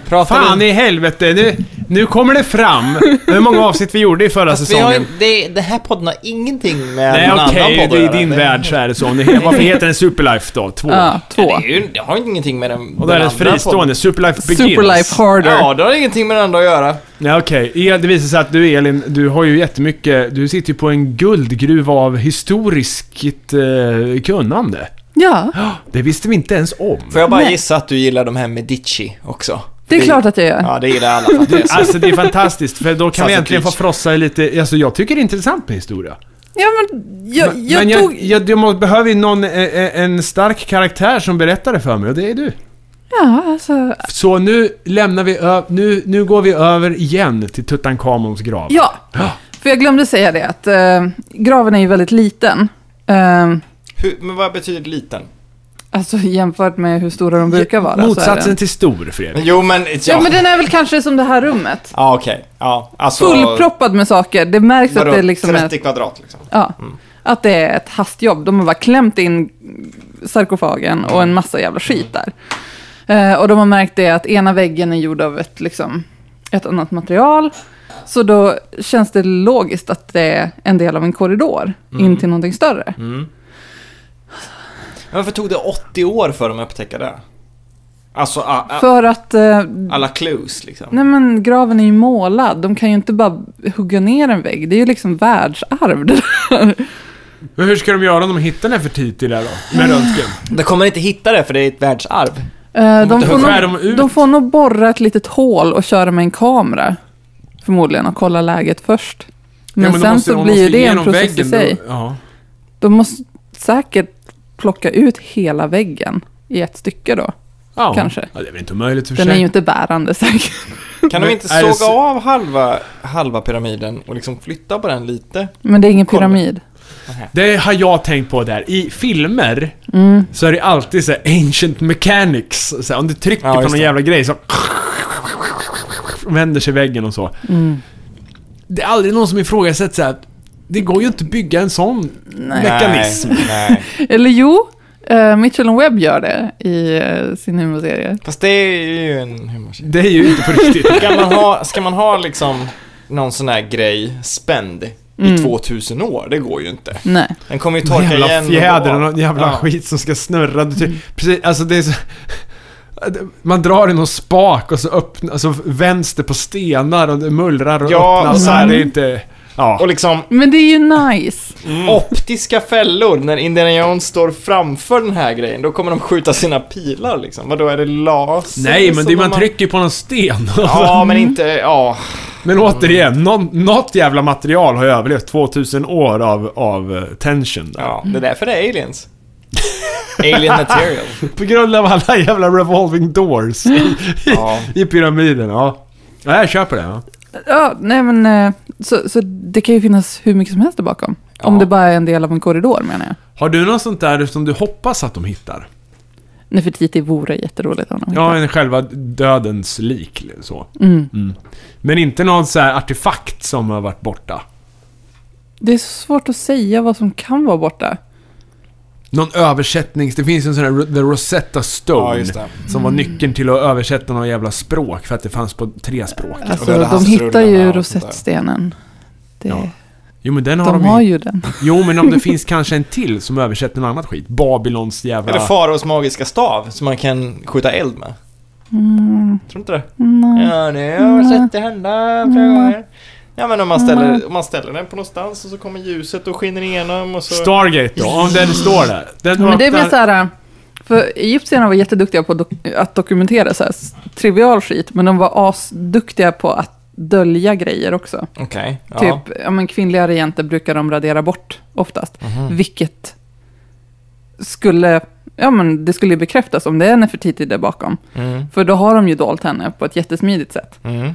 A: Pratar
B: Fan
A: vi...
B: i helvete, nu, nu kommer det fram hur många avsnitt vi gjorde i förra
A: Fast vi har
B: säsongen.
A: ju, det, det här podden har ingenting med
B: Nej
A: någon
B: okej,
A: annan podd att
B: i
A: göra.
B: din
A: det,
B: värld så är det så. Ni- Varför heter den Superlife då? Två.
C: Ja,
A: Ja,
C: två.
A: det, är ju, det har ju ingenting med den
B: Och då är det ett fristående, Superlife Begins.
C: Superlife Harder.
A: Ja, det har ingenting med den andra att göra.
B: Nej okej, El, det visar sig att du Elin, du har ju jättemycket, du sitter ju på en guldgruva av historiskt eh, kunnande.
C: Ja,
B: Det visste vi inte ens om.
A: Får jag bara
C: Nej.
A: gissa att du gillar de här Medici också?
C: det är klart att jag gör.
A: Ja, det gillar alla faktiskt.
B: Alltså det är fantastiskt, för då kan vi
A: Sassy
B: äntligen få
A: Peach.
B: frossa i lite, alltså jag tycker det är intressant med historia.
C: Ja, men jag,
B: Men-
C: jag
B: men
C: tog...
B: jag, jag, jag må, behöver ju någon, eh, eh, en stark karaktär som berättar det för mig och det är du.
C: Ja, alltså...
B: Så nu lämnar vi ö- nu, nu går vi över igen till Tutankhamons grav.
C: Ja, för jag glömde säga det att eh, graven är ju väldigt liten. Eh,
A: Hur, men vad betyder liten?
C: alltså jämfört med hur stora de brukar vara. så är
B: Motsatsen
C: den-
B: till stor, Fredrik.
A: Jo, men... Ja,
C: Ja, men den är väl kanske som det här rummet.
A: ja okej. Ja, alltså...
C: Fullproppad med saker. Det märks
A: vadå,
C: att det liksom är...
A: 30 kvadrat liksom.
C: Ja,
B: Mm.
C: att det är ett hastjobb. De har bara klämt in sarkofagen och en massa jävla skit
B: Mm.
C: där. Eh, och de har märkt det att ena väggen är gjord av ett, liksom, ett annat material. Så då känns det logiskt att det är en del av en korridor
B: Mm.
C: in till någonting större.
A: Men varför tog det 80 år för dem att upptäcka det? Alltså, a, a,
C: För att eh,
A: alla clues liksom.
C: nej men, graven är ju målad. De kan ju inte bara hugga ner en vägg. Det är ju liksom världsarv det där.
B: Men hur ska de göra om de hittar Nefertiti där då? Med
C: Mm.
B: röntgen?
A: De kommer inte hitta det för det är ett världsarv.
C: Eh, de,
B: inte
C: får
B: skär
C: nog,
B: dem ut.
C: de får nog borra ett litet hål och köra med en kamera. Förmodligen och kolla läget först. Men,
B: Ja, då
C: sen
B: måste-
C: så
B: de
C: blir
B: måste
C: ju det en
B: igenom
C: process i
B: väggen
C: sig.
B: Då, ja.
C: De måste säkert plocka ut hela väggen i ett stycke då.
B: Ja.
C: Kanske.
B: Ja, det är väl inte omöjligt i och för
C: Den är
B: sig.
C: ju inte bärande säkert.
A: Kan
B: Men
A: de inte
B: är
A: såga
B: det så-
A: av halva, halva pyramiden och liksom flytta på den lite?
C: Men det är ingen
A: Kolla.
C: pyramid.
B: Det har jag tänkt på där. I filmer så är det alltid så här ancient mechanics. Så här, om du trycker
A: Ja,
B: på
A: just
B: någon
A: det.
B: jävla grej så vänder sig väggen och så. Det är aldrig någon som ifrågasätter så här, att det går ju inte att bygga en sån mekanism.
A: Nej, nej.
C: Eller jo, eh, Mitchell och Webb gör det i eh, sin humorserie.
A: Fast det är ju en humorserie.
B: Det är ju inte på riktigt.
A: Ska man ha, ska man ha liksom någon sån här grej spänd
C: Mm.
A: i 2000 år? Det går ju inte.
C: Nej.
A: Den kommer ju torka
B: jävla
A: igen. och
B: fjäder och
A: då-
B: någon jävla
A: Ja.
B: skit som ska snurra. Du, ty- Precis, alltså det är så, Man drar i någon spak och så öppnar, så vänds det på stenar och det mullrar och
A: Ja,
B: öppnas.
A: och så här-
B: det är inte...
A: Och
B: Ja.
A: liksom
C: Men det är ju nice.
A: Mm. optiska fällor när Indiana Jones står framför den här grejen. Då kommer de skjuta sina pilar liksom. Vadå, är det laser?
B: Nej, men
A: som
B: det,
A: de
B: är- man
A: har-
B: trycker ju på någon sten.
A: Ja, men inte... Ja.
B: Men återigen, någon, något jävla material har ju överlevt 2000 år av, av eh, tension. Där.
A: ja. Det är därför det är aliens. Alien material.
B: På grund av alla jävla revolving doors i,
A: Ja.
B: i pyramiden. Ja. ja, jag köper det. Ja.
C: Ja, nej men, eh, så, så det kan ju finnas hur mycket som helst där bakom. Om det bara är en del av en korridor menar jag.
B: Har du något sånt där som du hoppas att de hittar?
C: Nefertiti vore jätteroligt om de
B: Ja,
C: hittar.
B: en själva dödens lik eller så.
C: mm.
B: Men inte någon så här artefakt som har varit borta.
C: Det är så svårt att säga vad som kan vara borta.
B: Någon översättnings... Det finns ju en sån här The Rosetta Stone.
A: Ja, just det.
B: Som
C: Mm.
B: var nyckeln till att översätta några jävla språk för att det fanns på tre språk.
A: Och
C: Alltså,
A: Döda
C: de hittar ju
A: havsrullarna och sånt där.
C: rosettstenen. Det,
B: Ja, Jo men den har
C: de
B: de,
C: har
B: ju.
C: ju den.
B: Jo men om det finns kanske en till som översätter något annat skit. Babylons jävla...
A: Eller faraos magiska stav som man kan skjuta eld med. Tror du inte det? Ja, nu har jag sett det hända flera gånger. Ja, men om man, ställer, om man ställer den på någonstans och så kommer ljuset och skiner igenom och så...
B: Stargate då, om den står där. Den
C: Men det är
B: öppnar-
C: mer så här, för egyptierna var jätteduktiga på dok- att dokumentera så här, s- trivial skit, men de var asduktiga på att dölja grejer också.
A: Okej, ja.
C: Typ, ja, men kvinnliga regenter brukar de radera bort oftast,
A: Mm. Mhm.
C: vilket skulle, ja men det skulle ju bekräftas om det är Nefertiti där bakom.
A: Mm,
C: För då har de ju dolt henne på ett jättesmidigt sätt.
A: mm.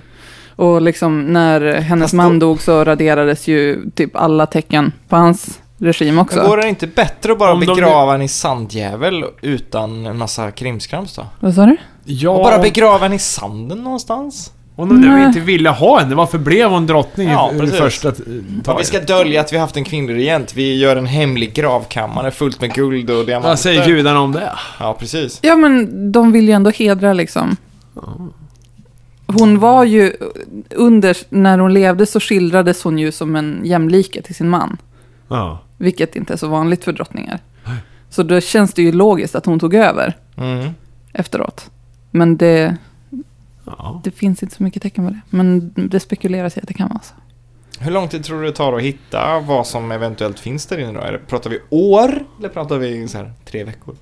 C: Och liksom när hennes
A: Fast då-
C: man dog så raderades ju typ alla tecken på hans regim också.
A: Men går det inte bättre att bara
B: Om de-
A: begrava den i sandjävel utan en massa krimskrams då?
C: Vad sa du?
B: Ja,
A: Och bara begrava den i sanden någonstans?
B: om de nu
C: Nej.
B: inte ville ha henne, varför blev hon drottning
A: Ja,
B: i, i
A: precis.
B: första eh,
A: Om vi
B: taget?
A: ska dölja att vi haft en kvinnlig regent, vi gör en hemlig gravkammare fullt med guld och diamanter.
B: Vad säger gudarna om det?
A: Ja, precis.
C: Ja men de vill ju ändå hedra liksom hon var ju under, när hon levde så skildrades hon ju som en jämlike till sin man.
B: Ja.
C: Vilket inte är så vanligt för drottningar. Så då känns det ju logiskt att hon tog över
A: Mm.
C: efteråt. Men det,
B: ja.
C: det finns inte så mycket tecken på det. Men det spekuleras i att det kan vara så.
A: Hur lång tid tror du det tar att hitta vad som eventuellt finns där inne då? Är det- Pratar vi år eller pratar vi så här, tre veckor?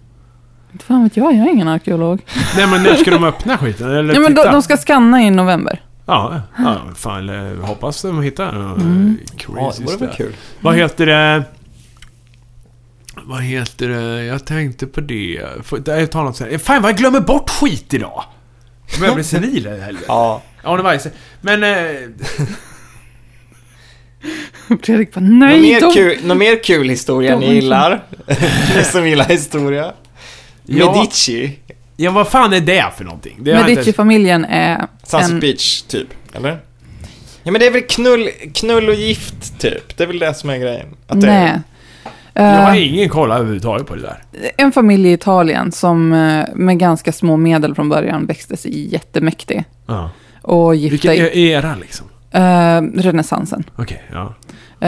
C: Inte fan vet jag, jag är ingen arkeolog.
B: Nej men när ska de öppna skiten? Eller
C: Ja, men de,
B: titta?
C: de ska scanna i november.
B: Ja, ja, fan, eller hoppas de hittar något
C: Mm.
A: Ja,
B: crazy
A: det vore väl
B: stuff.
A: kul.
B: Vad heter det? Vad heter det? Jag tänkte på det. Får- det- Jag tar något så här. Fan vad jag glömmer bort skit idag! Jag börjar bli senil här i helgen.
A: Ja.
B: Ja, det var jag. Men... Eh,
C: Fredrik bara,
A: Någon
C: nej,
A: mer,
C: de,
A: kul, någon mer kul historia
C: de-
A: ni gillar? ni som gillar historia?
B: Ja.
A: Medici?
B: ja, vad fan är det för någonting? Det har jag inte ens-
C: Medici-familjen är
A: Sunset
C: en...
A: Beach, typ. Eller? Ja men det är väl knull, knull och gift, typ. Det är väl det som är grejen. Att det
C: Nej.
B: Jag
C: Eh,
B: har ingen koll överhuvudtaget på det där.
C: en familj i Italien som eh, med ganska små medel från början växte sig jättemäktig.
B: Ja.
C: Och gifta
B: Vilken
C: i
B: e- era liksom?
C: eh, renässansen.
B: Okej, ja.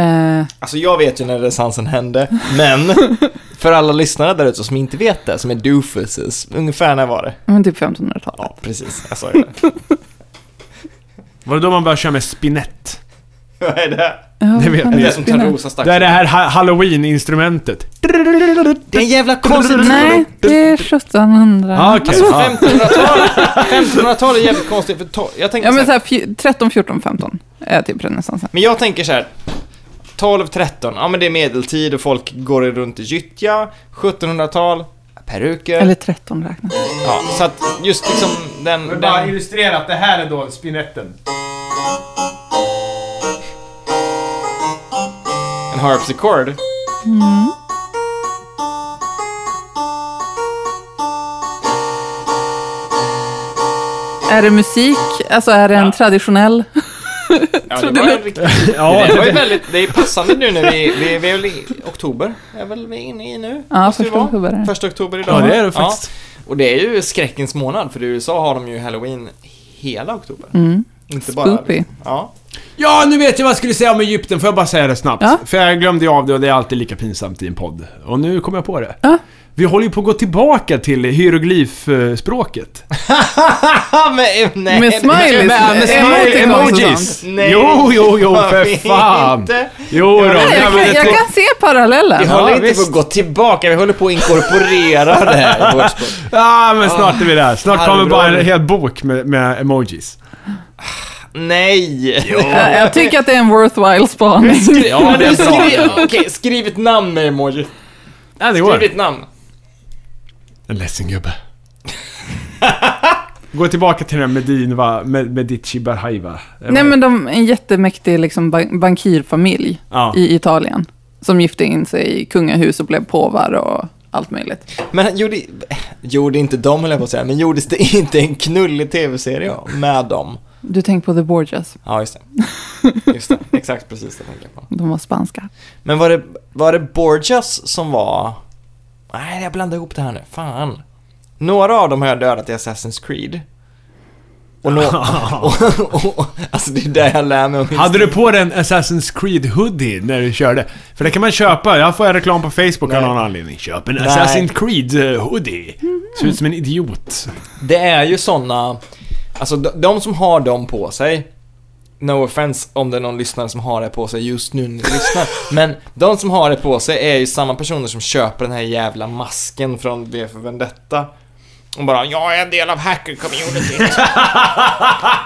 C: Eh,
A: Alltså jag vet ju när renässansen hände, men för alla lyssnare där ute som inte vet det, som är doofuses, ungefär när var det?
C: men typ 1500-talet.
A: Ja, precis. Jag sa ju det.
B: Var det då man började köra med spinett?
A: Vad är det?
C: Ja,
B: Det
A: Det
B: vet
C: fan,
A: är
B: jag.
A: det som tar
C: spinner.
A: rosa stack.
B: Det är det här ha- halloween-instrumentet.
A: Det är en jävla konstig...
C: Nej, det är 1700.
B: Ah, okej.
A: Alltså
B: Ja.
A: 1500-talet 1500-talet är jävligt konstigt, för to- jag tänker
C: Ja, men
A: så
C: så
A: här,
C: här, fj- 13, 14, 15 är typ renässansen.
A: men jag tänker så här. 12-13, ja men det är medeltid och folk går runt i gyttja. 1700-tal, peruker.
C: Eller 13 räknas.
A: Ja, så att just liksom den...
B: Men bara
A: den
B: illustrera att det här är då spinetten.
A: en harpsichord.
C: Är det musik? Alltså är det en traditionell?
A: Ja,
C: Trodde
A: det var
C: du-
A: en riktig...
B: Ja,
A: Det var ju väldigt, det är passande nu när vi, vi, vi är väl i oktober, är väl vi inne i nu?
C: Ja,
A: Måste det
C: första
A: vara?
C: oktober är det.
A: Första oktober idag.
B: ja, det är
A: va?
B: det faktiskt.
A: Ja. Och det är ju skräckens månad, för i USA har de ju halloween hela oktober. Inte bara...
C: Mm. Spoopy.
A: Ja.
B: Ja, nu vet jag vad jag skulle säga om Egypten. Får jag bara säga det snabbt?
C: Ja.
B: För jag glömde ju av det och det är alltid lika pinsamt i en podd. Och nu kom jag på det.
C: Ja.
B: Vi håller ju på att gå tillbaka till hieroglyfspråket.
A: Ah, men, nej,
C: Med smileys.
A: men-
C: Med
A: nej,
C: emoticons och
B: emojis.
A: sånt. Nej.
B: Jo, jo, jo, för
A: Inte.
B: fan. Jo, då.
C: Nej, jag, kan, jag kan se parallellen.
A: Vi håller
B: Ja,
A: inte på
B: visst.
A: att gå tillbaka, vi håller på att inkorporera det här i vårt språk.
B: Ja, men snart är vi där. Snart kommer bara en
A: Farbror.
B: hel bok med, med emojis.
A: Nej!
C: Ja, jag tycker att det är en worthwhile spaning.
A: Ja, men skriv, okej, skriv ett namn med emoji.
B: Ja, det
A: Skriv
B: går.
A: ditt namn.
B: En ledsen gubbe. Gå tillbaka till den här Medinva, Med- Medici Berhaiva.
C: Nej, men de en jättemäktig liksom, ban- bankirfamilj
B: Ja.
C: i Italien. Som gifte in sig i kungahus och blev påvar och allt möjligt.
A: Men gjorde, gjorde inte de, höll jag på att säga, men gjordes det inte en knullig tv-serie med dem?
C: Du tänker på The Borgias.
A: Ja, just det. Just det, exakt precis det tänkte jag på.
C: De var spanska.
A: Men var det, var det Borgias som var... Nej, jag blandade ihop det här nu. Fan. Några av dem har jag dödat i Assassin's Creed. Och, nå och, och, och Alltså det är där jag lär mig om historia.
B: Hade du på dig en Assassin's Creed hoodie när du körde? För det kan man köpa. Jag får reklam på Facebook av
A: Nej.
B: någon anledning. Köp en Assassin's Creed eh, hoodie.
C: Mhm.
B: Ser ut som en idiot.
A: Det är ju såna, alltså de, de som har dem på sig, no offense om det är någon lyssnare som har det på sig just nu när ni lyssnar, men de som har det på sig är ju samma personer som köper den här jävla masken från V för Vendetta. Och bara, jag är en del av hacker-communityt.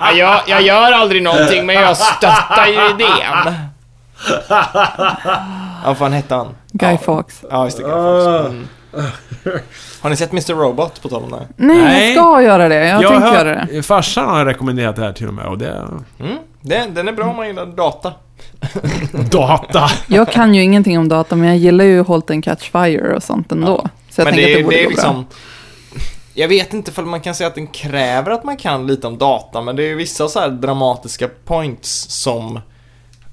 A: Ja, jag, jag gör aldrig någonting, men jag stöttar ju idén. Ja, vad fan hette han?
C: Guy
A: ja.
C: Fawkes.
A: Ja, just det. Guy Fawkes. Mm. Har ni sett Mr. Robot, på tal om det?
C: Nej,
B: Nej.
C: jag ska göra det. Jag, tänker
B: hör-
C: göra det.
B: Farsan har rekommenderat det här till och med och det...
A: Mm, den, den är bra om man gillar data.
B: Data!
C: Jag kan ju ingenting om data, men jag gillar ju Halt and Catch Fire och sånt ändå. Så jag
A: men
C: tänker
A: det,
C: att det borde
A: det är
C: gå
A: liksom...
C: bra.
A: Jag vet inte för man kan säga att den kräver att man kan lite om data, men det är ju vissa så här dramatiska points som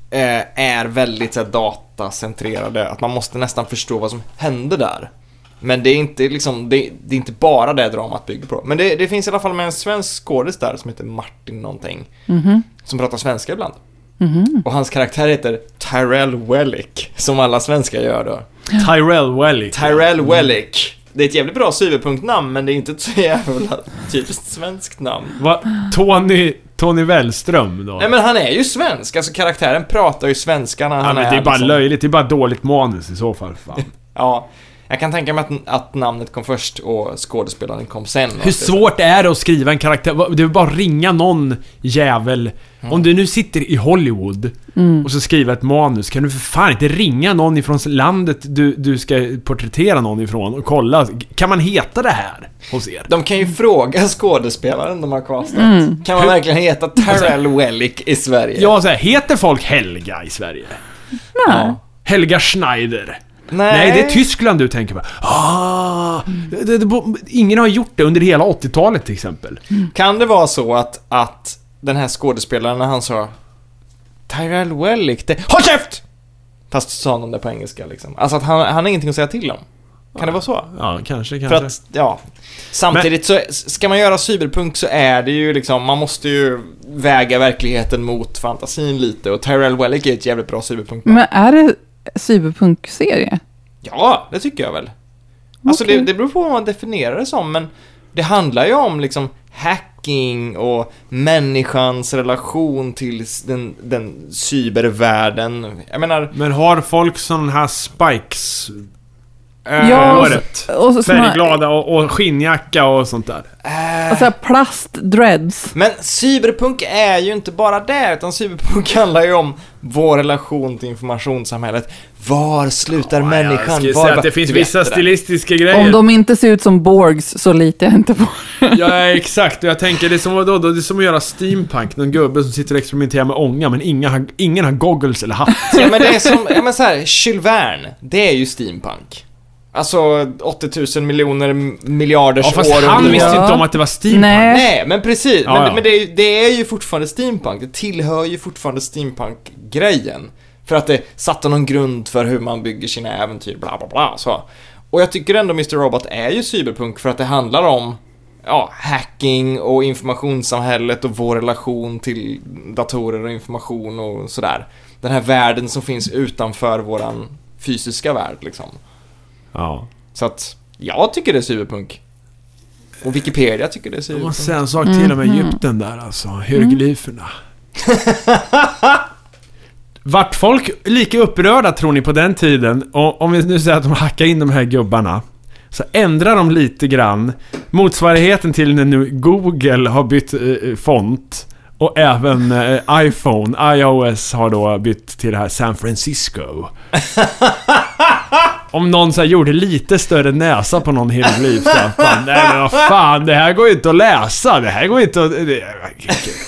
A: eh, är väldigt så här, datacentrerade. Att man måste nästan förstå vad som händer där. Men det är inte liksom, det, det är inte bara det dramat bygger på. Men det, det finns i alla fall med en svensk skådis där som heter Martin någonting.
C: Mhm.
A: Som pratar svenska ibland. Och hans karaktär heter Tyrell Wellick, som alla svenskar gör då.
B: Tyrell Wellick.
A: Tyrell Wellick. Det är ett jävligt bra syverpunktnamn, men det är inte ett så jävla typiskt svenskt namn.
B: Va? Tony, Tony Wellström då?
A: Nej men han är ju svensk, alltså karaktären pratar ju svenska när
B: Ja,
A: han
B: men
A: är
B: det är bara
A: liksom-
B: löjligt, det är bara dåligt manus i så fall. Fan.
A: Ja, jag kan tänka mig att, att namnet kom först och skådespelaren kom sen.
B: Hur svårt är det att skriva en karaktär? Va- Det är bara att ringa någon jävel. Om du nu sitter i Hollywood och så skriver ett manus, kan du för fan inte ringa någon ifrån landet du, du ska porträttera någon ifrån och kolla, kan man heta det här hos er?
A: De kan ju fråga skådespelaren de har castat. Kan man verkligen heta Terrell Wellick i Sverige?
B: Ja, så här, heter folk Helga i Sverige?
A: Ja.
B: Helga Schneider?
A: Nej.
B: Nej, det är Tyskland du tänker på. Ah, det, det, bo- ingen har gjort det under hela 80-talet till exempel.
A: Kan det vara så att, att den här skådespelaren när han sa Tyrell Wellick, det... HÅLL KÄFT! Fast så sa han det på engelska liksom. Alltså att han, han har ingenting att säga till om. Kan det vara så?
B: Ja, kanske, kanske.
A: För att, ja. Samtidigt så, ska man göra cyberpunk så är det ju liksom, man måste ju väga verkligheten mot fantasin lite och Tyrell Wellick är ett jävligt bra cyberpunk.
C: Men är det cyberpunk-serie?
A: Ja, det tycker jag väl. Alltså
C: Okej.
A: det, det beror på vad man definierar det som, men det handlar ju om liksom hacking och människans relation till s- den, den cybervärlden. Jag menar,
B: Men har folk sån här spikes
A: eh,
C: Ja,
A: vad
B: och
A: är det?
B: håret?
C: Och så, såna,
B: Färgglada och, och skinnjacka och sånt där.
C: och så alltså, här plast-dreads.
A: eh. Men cyberpunk är ju inte bara det, utan cyberpunk handlar ju om vår relation till informationssamhället. Var slutar människan?
B: Jag skulle
A: Var
B: säga
A: bör-
B: att det finns
A: Du vet
B: vissa
A: det där.
B: stilistiska grejer.
C: Om de inte ser ut som Borgs så litar jag inte på det.
B: Ja, exakt. Och jag tänker, det är som, vadå, då? det är som att göra steampunk. Någon gubbe som sitter och experimenterar med ånga, men ingen har, ingen har goggles eller hatt.
A: Ja men det är som, ja men så här, Jules Verne, det är ju steampunk. Alltså 80 000 miljoner m- miljarders
B: Ja, fast
A: år
B: han
A: under-
B: visste
C: Ja.
B: inte om att det var steampunk.
C: Nej.
A: Nej, men precis.
B: Ja,
A: men
B: ja.
A: men det, är, ju- det är ju fortfarande steampunk. Det tillhör ju fortfarande steampunk-grejen. För att det satte någon grund för hur man bygger sina äventyr, bla bla bla. Så. Och jag tycker ändå Mr. Robot är ju cyberpunk för att det handlar om ja, hacking och informationssamhället och vår relation till datorer och information och sådär. Den här världen som finns utanför våran fysiska värld liksom.
B: Ja.
A: Så att jag tycker det är cyberpunk. Och Wikipedia tycker det är
B: Jag måste
A: cyberpunk.
B: säga en sak till om Egypten där alltså. Hieroglyferna. Vart folk lika upprörda tror ni på den tiden? Och om vi nu säger att de hackar in de här gubbarna. Så ändrar de lite grann motsvarigheten till när nu Google har bytt eh, font. Och även eh, iPhone, iOS har då bytt till det här San Francisco. Om någon så här gjorde lite större näsa på någon hieroglyf så här, fan, Nej men vad fan, det här går ju inte att läsa. Det här går ju inte att... Det,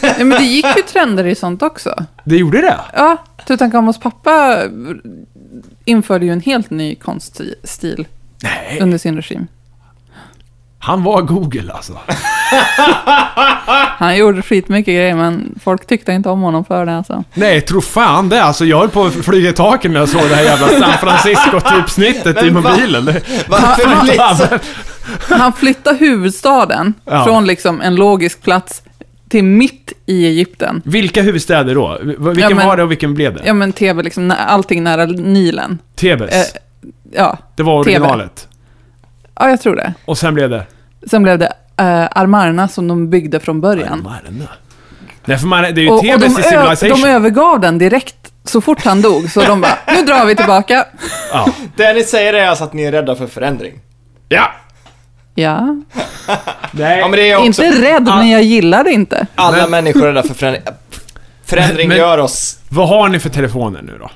C: Ja, men det gick ju trender i sånt också.
B: det gjorde det?
C: Ja, Tutankhamons pappa införde ju en helt ny konststil
B: Nej.
C: under sin regim.
B: Han var Google alltså.
C: Han gjorde skitmycket grejer, men folk tyckte inte om honom för det alltså.
B: Nej, tro fan det. Alltså jag höll på att flyga i taket när jag såg det här jävla San Francisco-typsnittet i
A: Men va?
B: mobilen. Det-
A: Varför blir det så?
C: Han flyttade huvudstaden
B: Ja.
C: från liksom en logisk plats till mitt i Egypten.
B: Vilka huvudstäder då? V- Vilken
C: Ja, men-
B: var det och vilken blev det?
C: Ja, men Tebe, liksom, nä- allting nära Nilen.
B: Tebes.
C: Eh, ja.
B: det var
C: Tebe.
B: originalet.
C: ja, jag tror det.
B: Och sen blev det?
C: Sen blev det eh, Armarna som de byggde från början.
B: Marna. Nej, för man, det är ju
C: Och, och de,
B: Tebes i
C: ö-
B: Civilization.
C: de övergav den direkt så fort han dog, så de bara, nu drar vi tillbaka.
B: ja.
A: Det ni säger är alltså att ni är rädda för förändring.
B: ja.
C: Ja,
B: Nej.
A: Ja men det är jag också.
C: inte rädd, men jag gillar det inte.
A: Alla
B: Men-
A: människor är rädda för förändring. Förändring
B: Men-
A: gör oss
B: Vad har ni för telefoner nu då?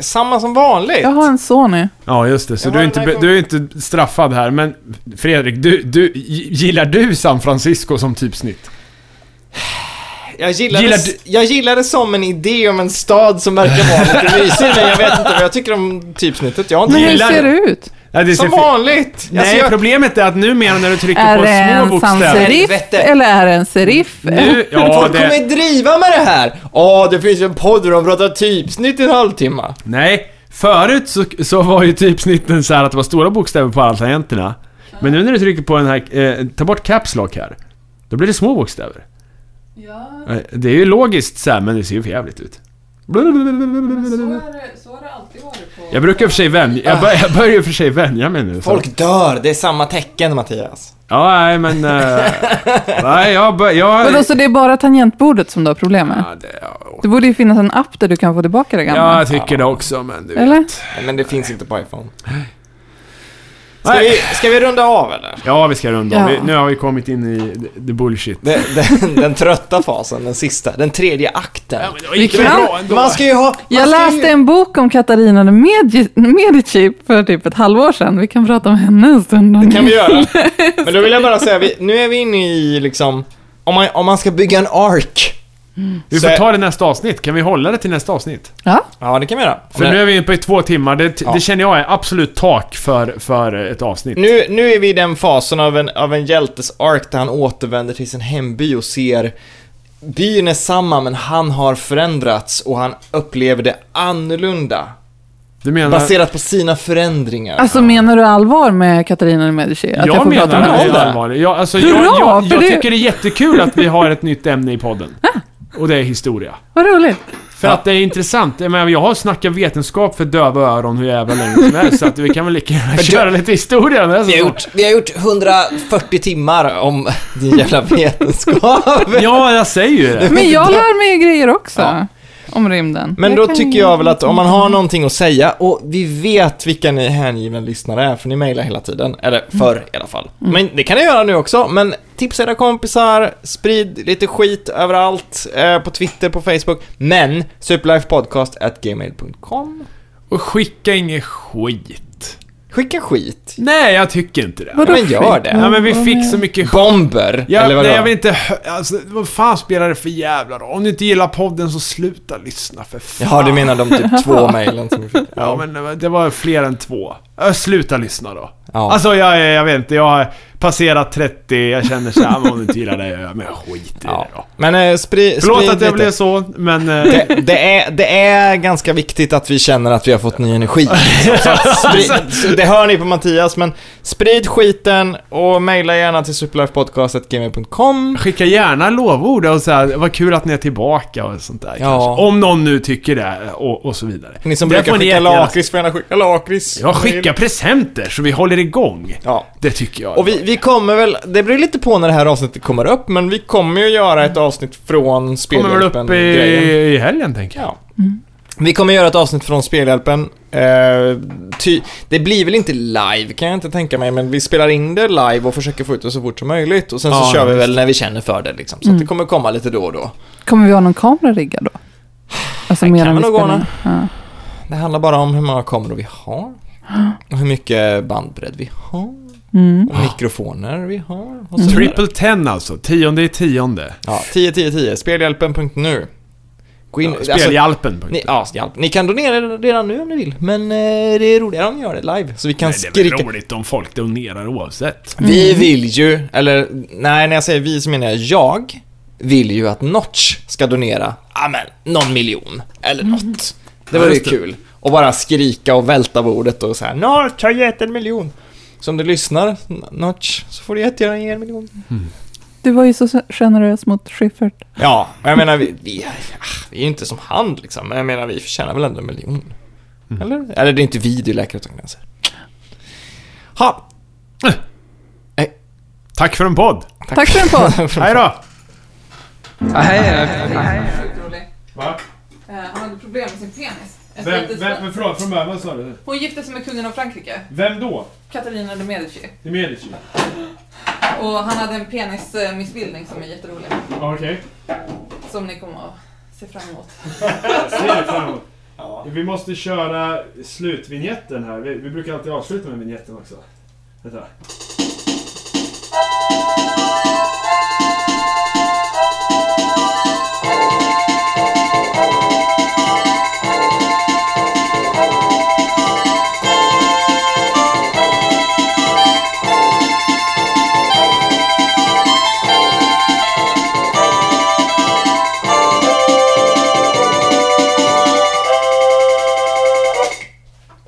A: samma som vanligt.
C: Jag har en Sony.
B: Ja, just det. Så
A: Jag
B: du
A: har
B: är,
A: en
B: inte, be-
A: iPhone.
B: du är inte straffad här. Men Fredrik, du, du, gillar du San Francisco som typsnitt?
A: Jag, gillar
B: Gillar
A: det,
B: du-
A: jag gillar det som en idé om en stad som verkar vara lite mysig, men jag vet inte vad jag tycker om typsnittet. Jag har inte
C: Men hur
A: gillat
B: Gillar
C: ser
B: det.
C: det ut?
B: Ja, det
A: Som
B: ser fi-
A: vanligt!
B: Nej,
A: Alltså, jag-
B: problemet är att numera när du trycker
C: Är det
B: på små
C: en
B: bokstäver...
C: sans-serif
A: Helvete.
C: eller är det en serif?
B: Nu, ja,
A: Folk kommer
B: det,
A: ju driva med det här! Åh, det finns ju en podd där de pratar typsnitt i en halvtimme.
B: nej, Förut så, så var ju typsnitten så här att det var stora bokstäver på alla tangenterna. Men nu när du trycker på den här, eh, ta bort Caps Lock här. Då blir det små bokstäver.
C: Ja,
B: Eh, Det är ju logiskt så här, men det ser ju för jävligt ut.
C: så har det alltid varit på...
B: Jag brukar i och för sig vänja, jag, bör, jag börjar i och för sig vänja mig nu. så.
A: Folk dör, det är samma tecken Mattias.
B: Ja, nej men... eh, nej, jag bör, jag...
C: Vadå, så det är bara tangentbordet som du har problem med?
B: Ja, det,
C: Det borde ju finnas en app där du kan få tillbaka det gamla.
B: ja, jag tycker det också, men du
C: Eller?
B: vet.
A: Nej, Men det finns inte på iPhone. Ska
B: Nej.
A: vi, ska vi runda av eller?
B: Ja, vi ska runda
C: Ja.
B: av. Vi- Nu har vi kommit in i the- the bullshit.
A: Den, den, den trötta fasen, den sista, den tredje akten.
C: Vi kan...
A: Man ska ju ha... man
C: Jag
A: ska ju-
C: läste en bok om Katarina de Medici- Medici för typ ett halvår sedan. Vi kan prata om henne en stund. om
A: Det kan
C: ni-
A: vi göra. Men då vill jag bara säga, vi, nu är vi inne i liksom, om man, om man ska bygga en ark.
B: Vi
A: Så-
B: får ta det nästa avsnitt. Kan vi hålla det till nästa avsnitt?
C: Ja,
A: Ja, det kan vi göra.
B: För nu är vi inne på i två timmar. Det,
A: Ja.
B: det känner jag är absolut tak för, för ett avsnitt.
A: Nu, nu är vi i den fasen av en, av en hjältes ark där han återvänder till sin hemby och ser Byn är samma men han har förändrats och han upplever det annorlunda.
B: Du menar...
A: Baserat på sina förändringar.
C: alltså menar du allvar med Katarina de Medici? Att jag,
B: jag
C: får prata
A: det.
B: menar
C: med
B: det
C: henne?
B: är allvarligt. Jag, alltså, jag,
C: Hurra,
B: jag,
C: för
B: jag
C: det- Ah.
B: tycker det är jättekul att vi har ett nytt ämne i podden. Och det är historia.
C: Vad roligt.
B: För att det är intressant. Jag, menar, jag har snackat vetenskap för döva öron hur jävla länge som helst. Så att vi kan väl lika gärna köra lite historia. Det är så
A: Vi har,
B: bra.
A: gjort, vi har gjort 140 timmar om din jävla vetenskap.
B: Ja, jag säger ju det.
C: Men jag lär mig ju grejer också.
A: Ja.
C: Om rymden.
A: Men då
C: kan
A: tycker
C: ju-
A: jag väl att om man har någonting att säga och vi vet vilka ni hängivna lyssnare är för ni mejlar hela tiden.
B: Mm.
A: Eller förr i alla fall. Men det kan ni göra nu också. Men tipsa era kompisar, sprid lite skit överallt. Eh, på Twitter, på Facebook. Men superlifepodcast.gmail.com
B: Och skicka ingen skit.
A: Skicka skit.
B: Nej, jag tycker inte det.
C: Vadå
A: Men gör
C: skit?
A: det.
B: Ja, men vi fick så mycket skit.
A: Bomber,
B: Ja,
A: eller vadå?
B: nej, jag vill inte hö- alltså, Vad fan spelar det för jävla roll? Om du inte gillar podden så sluta lyssna för fan.
A: Jaha, du menar de typ två mejlen som vi fick?
B: Ja, men det var- det var fler än två. Ö, Sluta lyssna då.
A: Ja.
B: Alltså jag, jag vet inte, jag har passerat 30, jag känner såhär, men om du inte gillar det, ja, men skit i
A: Ja.
B: det då.
A: Men eh, spri,
B: Förlåt
A: sprid
B: att jag
A: lite.
B: blev så, men... eh,
A: Det, det, är, det är ganska viktigt att vi känner att vi har fått ny energi. Så att sprid, så det hör ni på Mattias, men sprid skiten och mejla gärna till superlifepodcast.gmail.com.
B: Skicka gärna lovord och såhär, vad kul att ni är tillbaka och sånt där
A: Ja.
B: kanske. Om någon nu tycker det och, och så vidare.
A: Ni som
B: Det
A: brukar
B: får ni
A: skicka
B: jättegärna-
A: lakrits får gärna skicka lakrits.
B: Ja, skicka presenter så vi håller igång.
A: Ja.
B: Det tycker jag.
A: Och vi, vi kommer väl, det beror lite på när det här avsnittet kommer upp, men vi kommer ju göra ett avsnitt från
B: kommer väl upp i,
A: Spelhjälpen-grejen.
B: i helgen tänker jag.
A: Ja. Mm. Vi kommer göra ett avsnitt från Spelhjälpen. Eh, ty, det blir väl inte live kan jag inte tänka mig, men vi spelar in det live och försöker få ut det så fort som möjligt. Och sen så
B: Ja,
A: kör vi
B: just
A: väl när vi känner för det liksom. Så att det kommer komma lite då och då.
C: Kommer vi ha någon kamera riggad då? Alltså mer
A: kan
C: än
A: vi
C: vi
A: nog
C: spelar
A: ordna.
C: in. ja.
A: Det handlar bara om hur många kameror vi har. Och hur mycket bandbredd vi har.
C: mm.
A: Och mikrofoner vi har. Och så vidare.
B: Triple ten alltså, tionde i tionde.
A: Ja, 10, 10, 10. Spelhjälpen.nu. Gå in. alltså,
B: Ja, Spelhjälpen.
A: Ni, ja, hjälp. ni kan donera redan nu om ni vill, men eh, det är roligare om ni gör det live. Så vi kan
B: Nej, det är
A: skrika...
B: väl roligt om folk donerar oavsett.
A: Vi vill ju, eller nej, när jag säger vi så menar jag jag, vill ju att Notch ska donera, ja men, någon miljon eller något. Det vore ju
B: Mm. just det.
A: kul. Och bara skrika och välta bordet och så här, Notch har gett en miljon. Så om du lyssnar, N- Notch, så får du jättegärna ge en miljon.
C: Du var ju så generös mot Schiffert.
A: Ja, men jag menar, vi, vi, ah, vi är ju inte som han liksom, men jag menar, vi förtjänar väl ändå en miljon.
B: Mm.
A: Eller? Eller det är inte vi, det är Läkare Utan Gränser. Ha!
B: Tack för en podd.
C: Tack för en podd.
B: Hej då! Va?
C: Eh, Han hade problem med sin penis.
B: förlåt, från början, vad sa du?
C: Hon gifte sig med kungen av Frankrike,
B: Vem då?
C: Katarina de Medici.
B: Det är Medici?
C: Och han hade en penismissbildning som är jätterolig.
B: Okej.
C: Som ni kommer att se fram emot.
B: Vi måste köra slutvinjetten här. Vi, vi brukar alltid avsluta med vinjetten också. Vänta.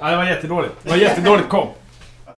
B: var jättedåligt, kom.